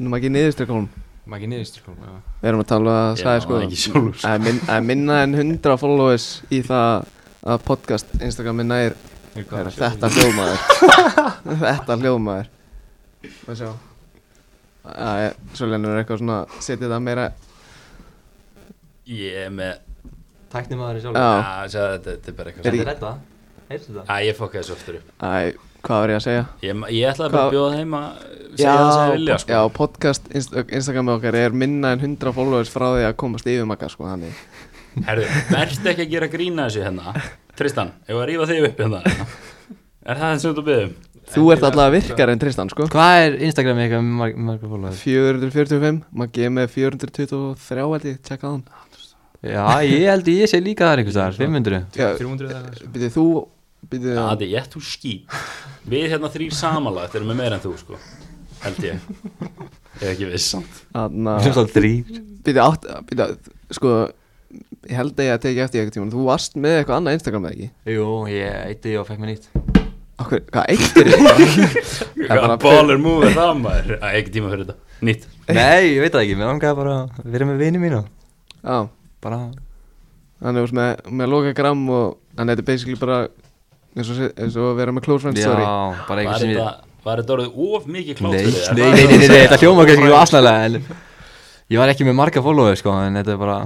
A: Nú maður ekki niðurstrykólum
C: Maggi niðurstur já.
A: Við erum að tala að
B: Ég
A: sagði
B: man
A: sko
B: það ekki sjálfur, sko.
A: að min, að minna en 100 followers í það að podcast Instagrami nær er þetta hljómaður
B: *laughs*
A: Þetta hljómaður Má sjá Æ, Svo lennur eitthvað svona setið það meira
B: Ég er með
D: Tækni maður í
A: Já.
B: Já, sjá, þetta, þetta er bara eitthvað
A: Er
B: sem-
A: ekki-
D: þetta? Heyrstu
B: Æ, ég fokka þessu aftur upp
A: Æ, hvað var ég að segja?
B: Ég, ég ætlaði bara
A: Hvað-
B: að bjóða þeim að segja það sem ég vilja sko.
A: já, podcast Inst- Instagrami okkar er minna en 100 followers frá því að komast yfir makka sko, þannig
B: Herðu, verðst ekki að gera grína þessu hérna Tristan, ég var að rífa þig upp hérna Er það eins og þú byggðum?
A: Þú ert allavega virkar en Tristan sko
D: Hvað er Instagramið eitthvað með marg- marga fólagður?
A: 445, maður geði með 423 held ég, tjekka þann
D: Já, ég held ég sé líka þar einhvers þar, 500
A: Já.
C: 300 eða eitthvað, sko.
A: Býtið þú, býtið
B: Það er ég ætti úr skýt Við hérna þrýr samanlagt erum með meira en þú sko Held ég Ég er ekki viss samt
A: Anna,
D: Sem það þrýr
A: býtið átt, býtið, sko Ég held að ég að tekja eftir eitthvað tíma Þú varst með eitthvað annað Instagram eða ekki
D: Jú, ég eitti og fekk mér nýtt
A: Akkur, hvað eittir þið? er bara-
B: Hvað baller move er það maður? Æ, ekki tíma fyrir þetta Nýtt
D: Nei, ég veit það ekki, mér langaði bara að vera með vini mína
A: Já,
D: Bara,
A: hann er úr með, með lokagram og Þannig þetta er basically bara eins og, eins og að vera með close friend
D: já,
A: story
D: bara
B: Var
D: eitthvað sem ég
B: þetta, var þetta orðið of mikið klátt
D: Nei,
B: fyrir þér?
D: nei, nei, nei, nei, þetta hljóma kannski ekki aðsnaðlega en ég var ekki með marga followers sko en þetta er bara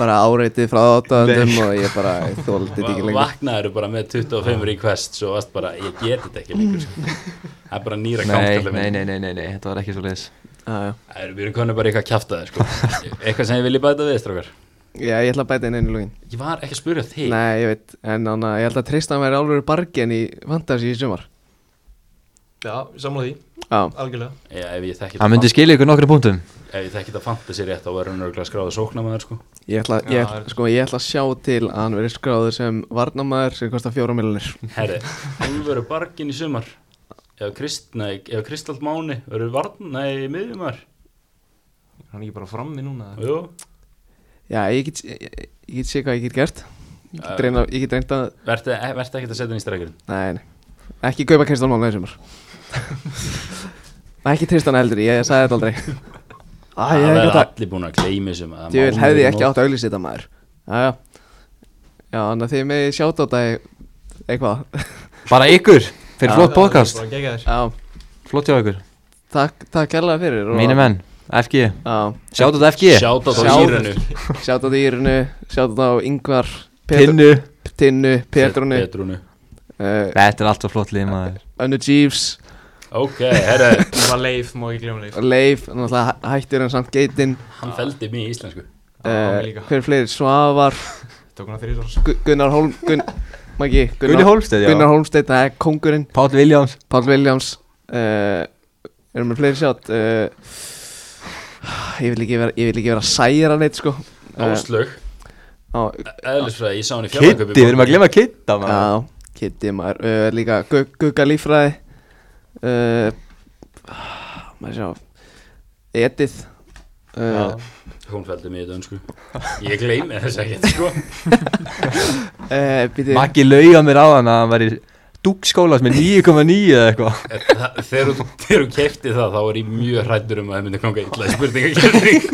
A: Bara áreitið frá áttaðandum og ég bara þóldi þetta ekki lengur
B: Vaknaður bara með 25 requests og varst bara, ég get þetta ekki
A: Mm.
B: lengur sko. Það er bara nýra
D: nei,
B: gangskallið
D: nei, nei, nei, nei, nei, þetta var ekki svo leiðis
A: Já, já.
B: Það eru byrjum konur bara eitthvað að kjafta
A: *laughs*
B: þér sko. Eitthvað sem ég vilji bæta við, strákar
A: Já, ég ætla að bæta inn einu lógin
B: Ég var ekki að spyrja þig
A: Nei, ég veit, en anna, ég held að Tristan væri alveg bargen í Fantasí í sumar
C: já, samla því,
A: Já,
C: algjörlega
B: Já, ef ég þekki
D: Það myndi
B: þetta
D: skilja ykkur nokkru punktum
B: Ef ég þekki þetta fantasy rétt þá verður hann örgulega skráð að sókna maður sko.
A: Ég ætla, ég,
C: Já,
A: ætla,
C: er-
A: sko, ég ætla að sjá til að hann verið skráður sem varnamæður sem kostar fjóra miljonir
B: Herri, hún verður bargin í sumar Ef, Krist, nei, ef Kristald Máni verður varn, nei, miðjumar
C: Er Hann er ekki bara frammi núna eða?
B: Jú,
A: Já, ég get, ég, ég- ég get sé hvað ég get gert Ég
B: Já.
A: get reyna, ég get reynd að,
B: verður ekki e, að setja hann í strækjurinn
A: nei, nei Ekki kaupa Kristján Málnæður sumar Ekki Tristan eldri, ég sagði þetta aldrei Æ,
B: Það
A: ég hefði
B: verður
A: ekki átt að,
B: allir búin að gleymi sem að
A: ég vil
B: Máni
A: hefði
B: er
A: ég ekki
B: nóg.
A: átt að auglýsa þetta maður Já, já Já, þannig að þið með sjátt á þetta eitthvað
D: Bara ykkur, fyrir
A: Já,
D: flott
C: Já,
D: podcast
C: bara gegja þér.
A: Já,
D: Flott hjá ykkur,
A: takk, takk kærlega fyrir og-
D: mínu menn, FG
A: Já,
D: Sjátt út FG,
B: Sjátt á
A: Sjátt.
B: Írunu
A: sjátt á Dýrunu, sjátt á Ingvar Petru-
D: Pinnu
A: Tinnu, Petrunu
B: Petrúnu
A: uh,
D: Þetta er alltaf flott lið maður
A: Önnu Jeeves
B: Ok, herri,
C: Það var leif, má ekki glemja leif
A: Leif, náttúrulega hæ- hættur en samt geitin
B: hann feldi mig í íslensku
A: uh,
C: Það var líka,
A: Hver er fleiri? Svavar
C: tók hann þrjus árs
A: Gu- Gunnar Holm Gun, Maggi, Gunnar,
D: Gunni Hólmsteð,
A: Gunnar
D: já
A: Holmsteinn, það er kongurinn
D: Páll Viljáms
A: Pál Williams uh, Erum við fleiri sjátt uh, Ég vil ekki vera Ég vil ekki vera særa neitt sko uh,
B: Áslög,
A: á,
B: eðlisfræði, ég sá hann í
D: Kitti,
B: fjárlækaupi
D: við erum að glemma Kitta maður
A: á, Kitty maður uh, Líka Gu- Gugga Lífræði uh, Maður sjá Edith uh,
B: Hún feldi mig í dönsku Ég gleymi þess ekkert, sko
A: uh, býtu-
D: Maggi lauga mér á hann að hann væri Dúkskólas með 9,9 eða eitthvað
B: Eh, Það- Þegar þú- þegar þú kefti það þá var ég mjög hrættur um að það myndi ganga illa í spurningakerning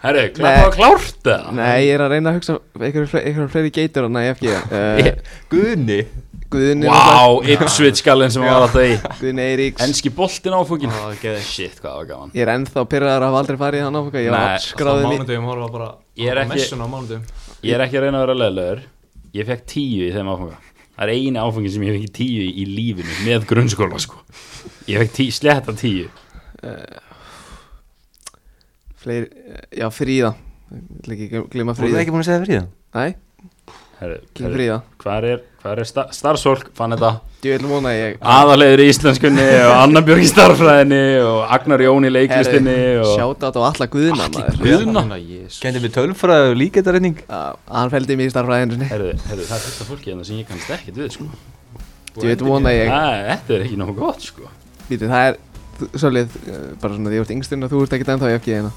B: Herri, klappa
A: Nei.
B: og klárt það
A: Nei, ég er að reyna að hugsa einhverjum fle einhverjum fleiri geitur hann að ég ekki uh,
D: Gunni
A: Guðni náttúrulega,
B: Vá, Ipswich skallin sem hann var alltaf í
A: Guðni Eiríks
B: Enski boltin áfókin Shit, hvað það var gaman
A: Ég er ennþá pyrraður að hafa aldrei farið í hann áfanga Ég
B: Nei,
A: var
C: Skráði
A: skráðið
C: mig
A: mér
C: Mánudögum horfa bara
B: Ég er
C: á
B: ekki-
C: messuna á mánudögum
B: Ég er ekki að reyna að vera leðilegur Ég fekk tíu í þeim áfanga Það er eini áfangin sem ég fekk tíu í lífinu með grunnskóla sko Ég fekk tíu, sletta tíu
A: Fleiri, eh, já, Fríða Ég vil ekki glima
D: Þú erum
A: Fríða
D: ekki búin að segja fríða
A: Nei,
B: Herru,
A: ekki
B: herru,
A: Fríða
B: Hvar er, hvar er sta, starfsfólk, fann þetta
A: Ég vil vona að ég
B: aðalegur í íslenskunni og Anna Björg í starfræðinni og Agnar Jón í leiklistinni og
A: Sjáta á alla guðna
B: Atli
A: maður
B: Guðna
D: Kendið við tölfræði og líkættarreining
A: Já, Hann fældi mig í starfræðinu
B: Herru, herru, það er fyrsta fólki en það sem ég kannast ekkert við sko
A: Ég vil vona að ég
B: Æ, Þetta er ekki nógu gott sko
A: Býtu, það er þú- Svolítið, eh, bara svona því ég ert yngsturinn og þú ert ekkert ennþá í FG hérna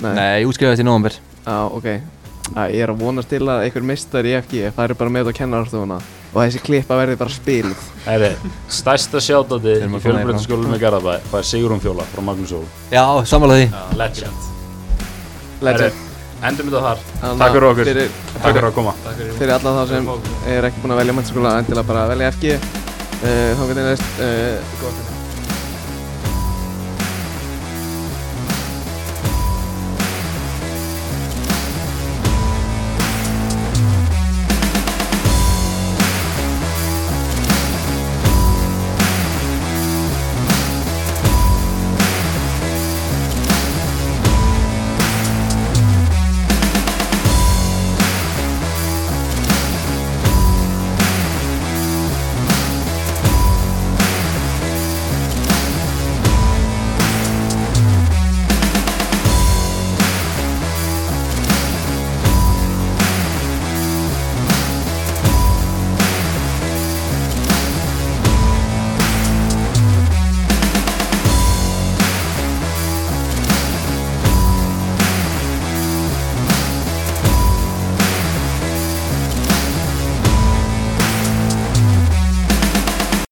D: Nei, útskrifaðist í nóvember
A: Já, ok Æ, Ég er að vonast til að einhver mistar í FG færi bara með þetta á kennararstofuna og þessi klippa verði bara spiluð
B: Herru, stærsta sjátandi
D: Við erum
B: í
D: að koma hérna.
B: fjölbreytaskólum í Garðabæ Hvað er Sigrun Fjóla frá Magnús Ól
D: Já, samanlega því
B: Legend
A: Legend
B: Herru, Endum þetta þar
A: Þannig
B: Takk fyrir
A: að
B: okkur
A: fyrir,
B: Takk fyrir að koma
A: fyrir alla þá sem Eh, er ekki búin að velja mennskóla endilega bara að velja FG uh, þá getur næst uh,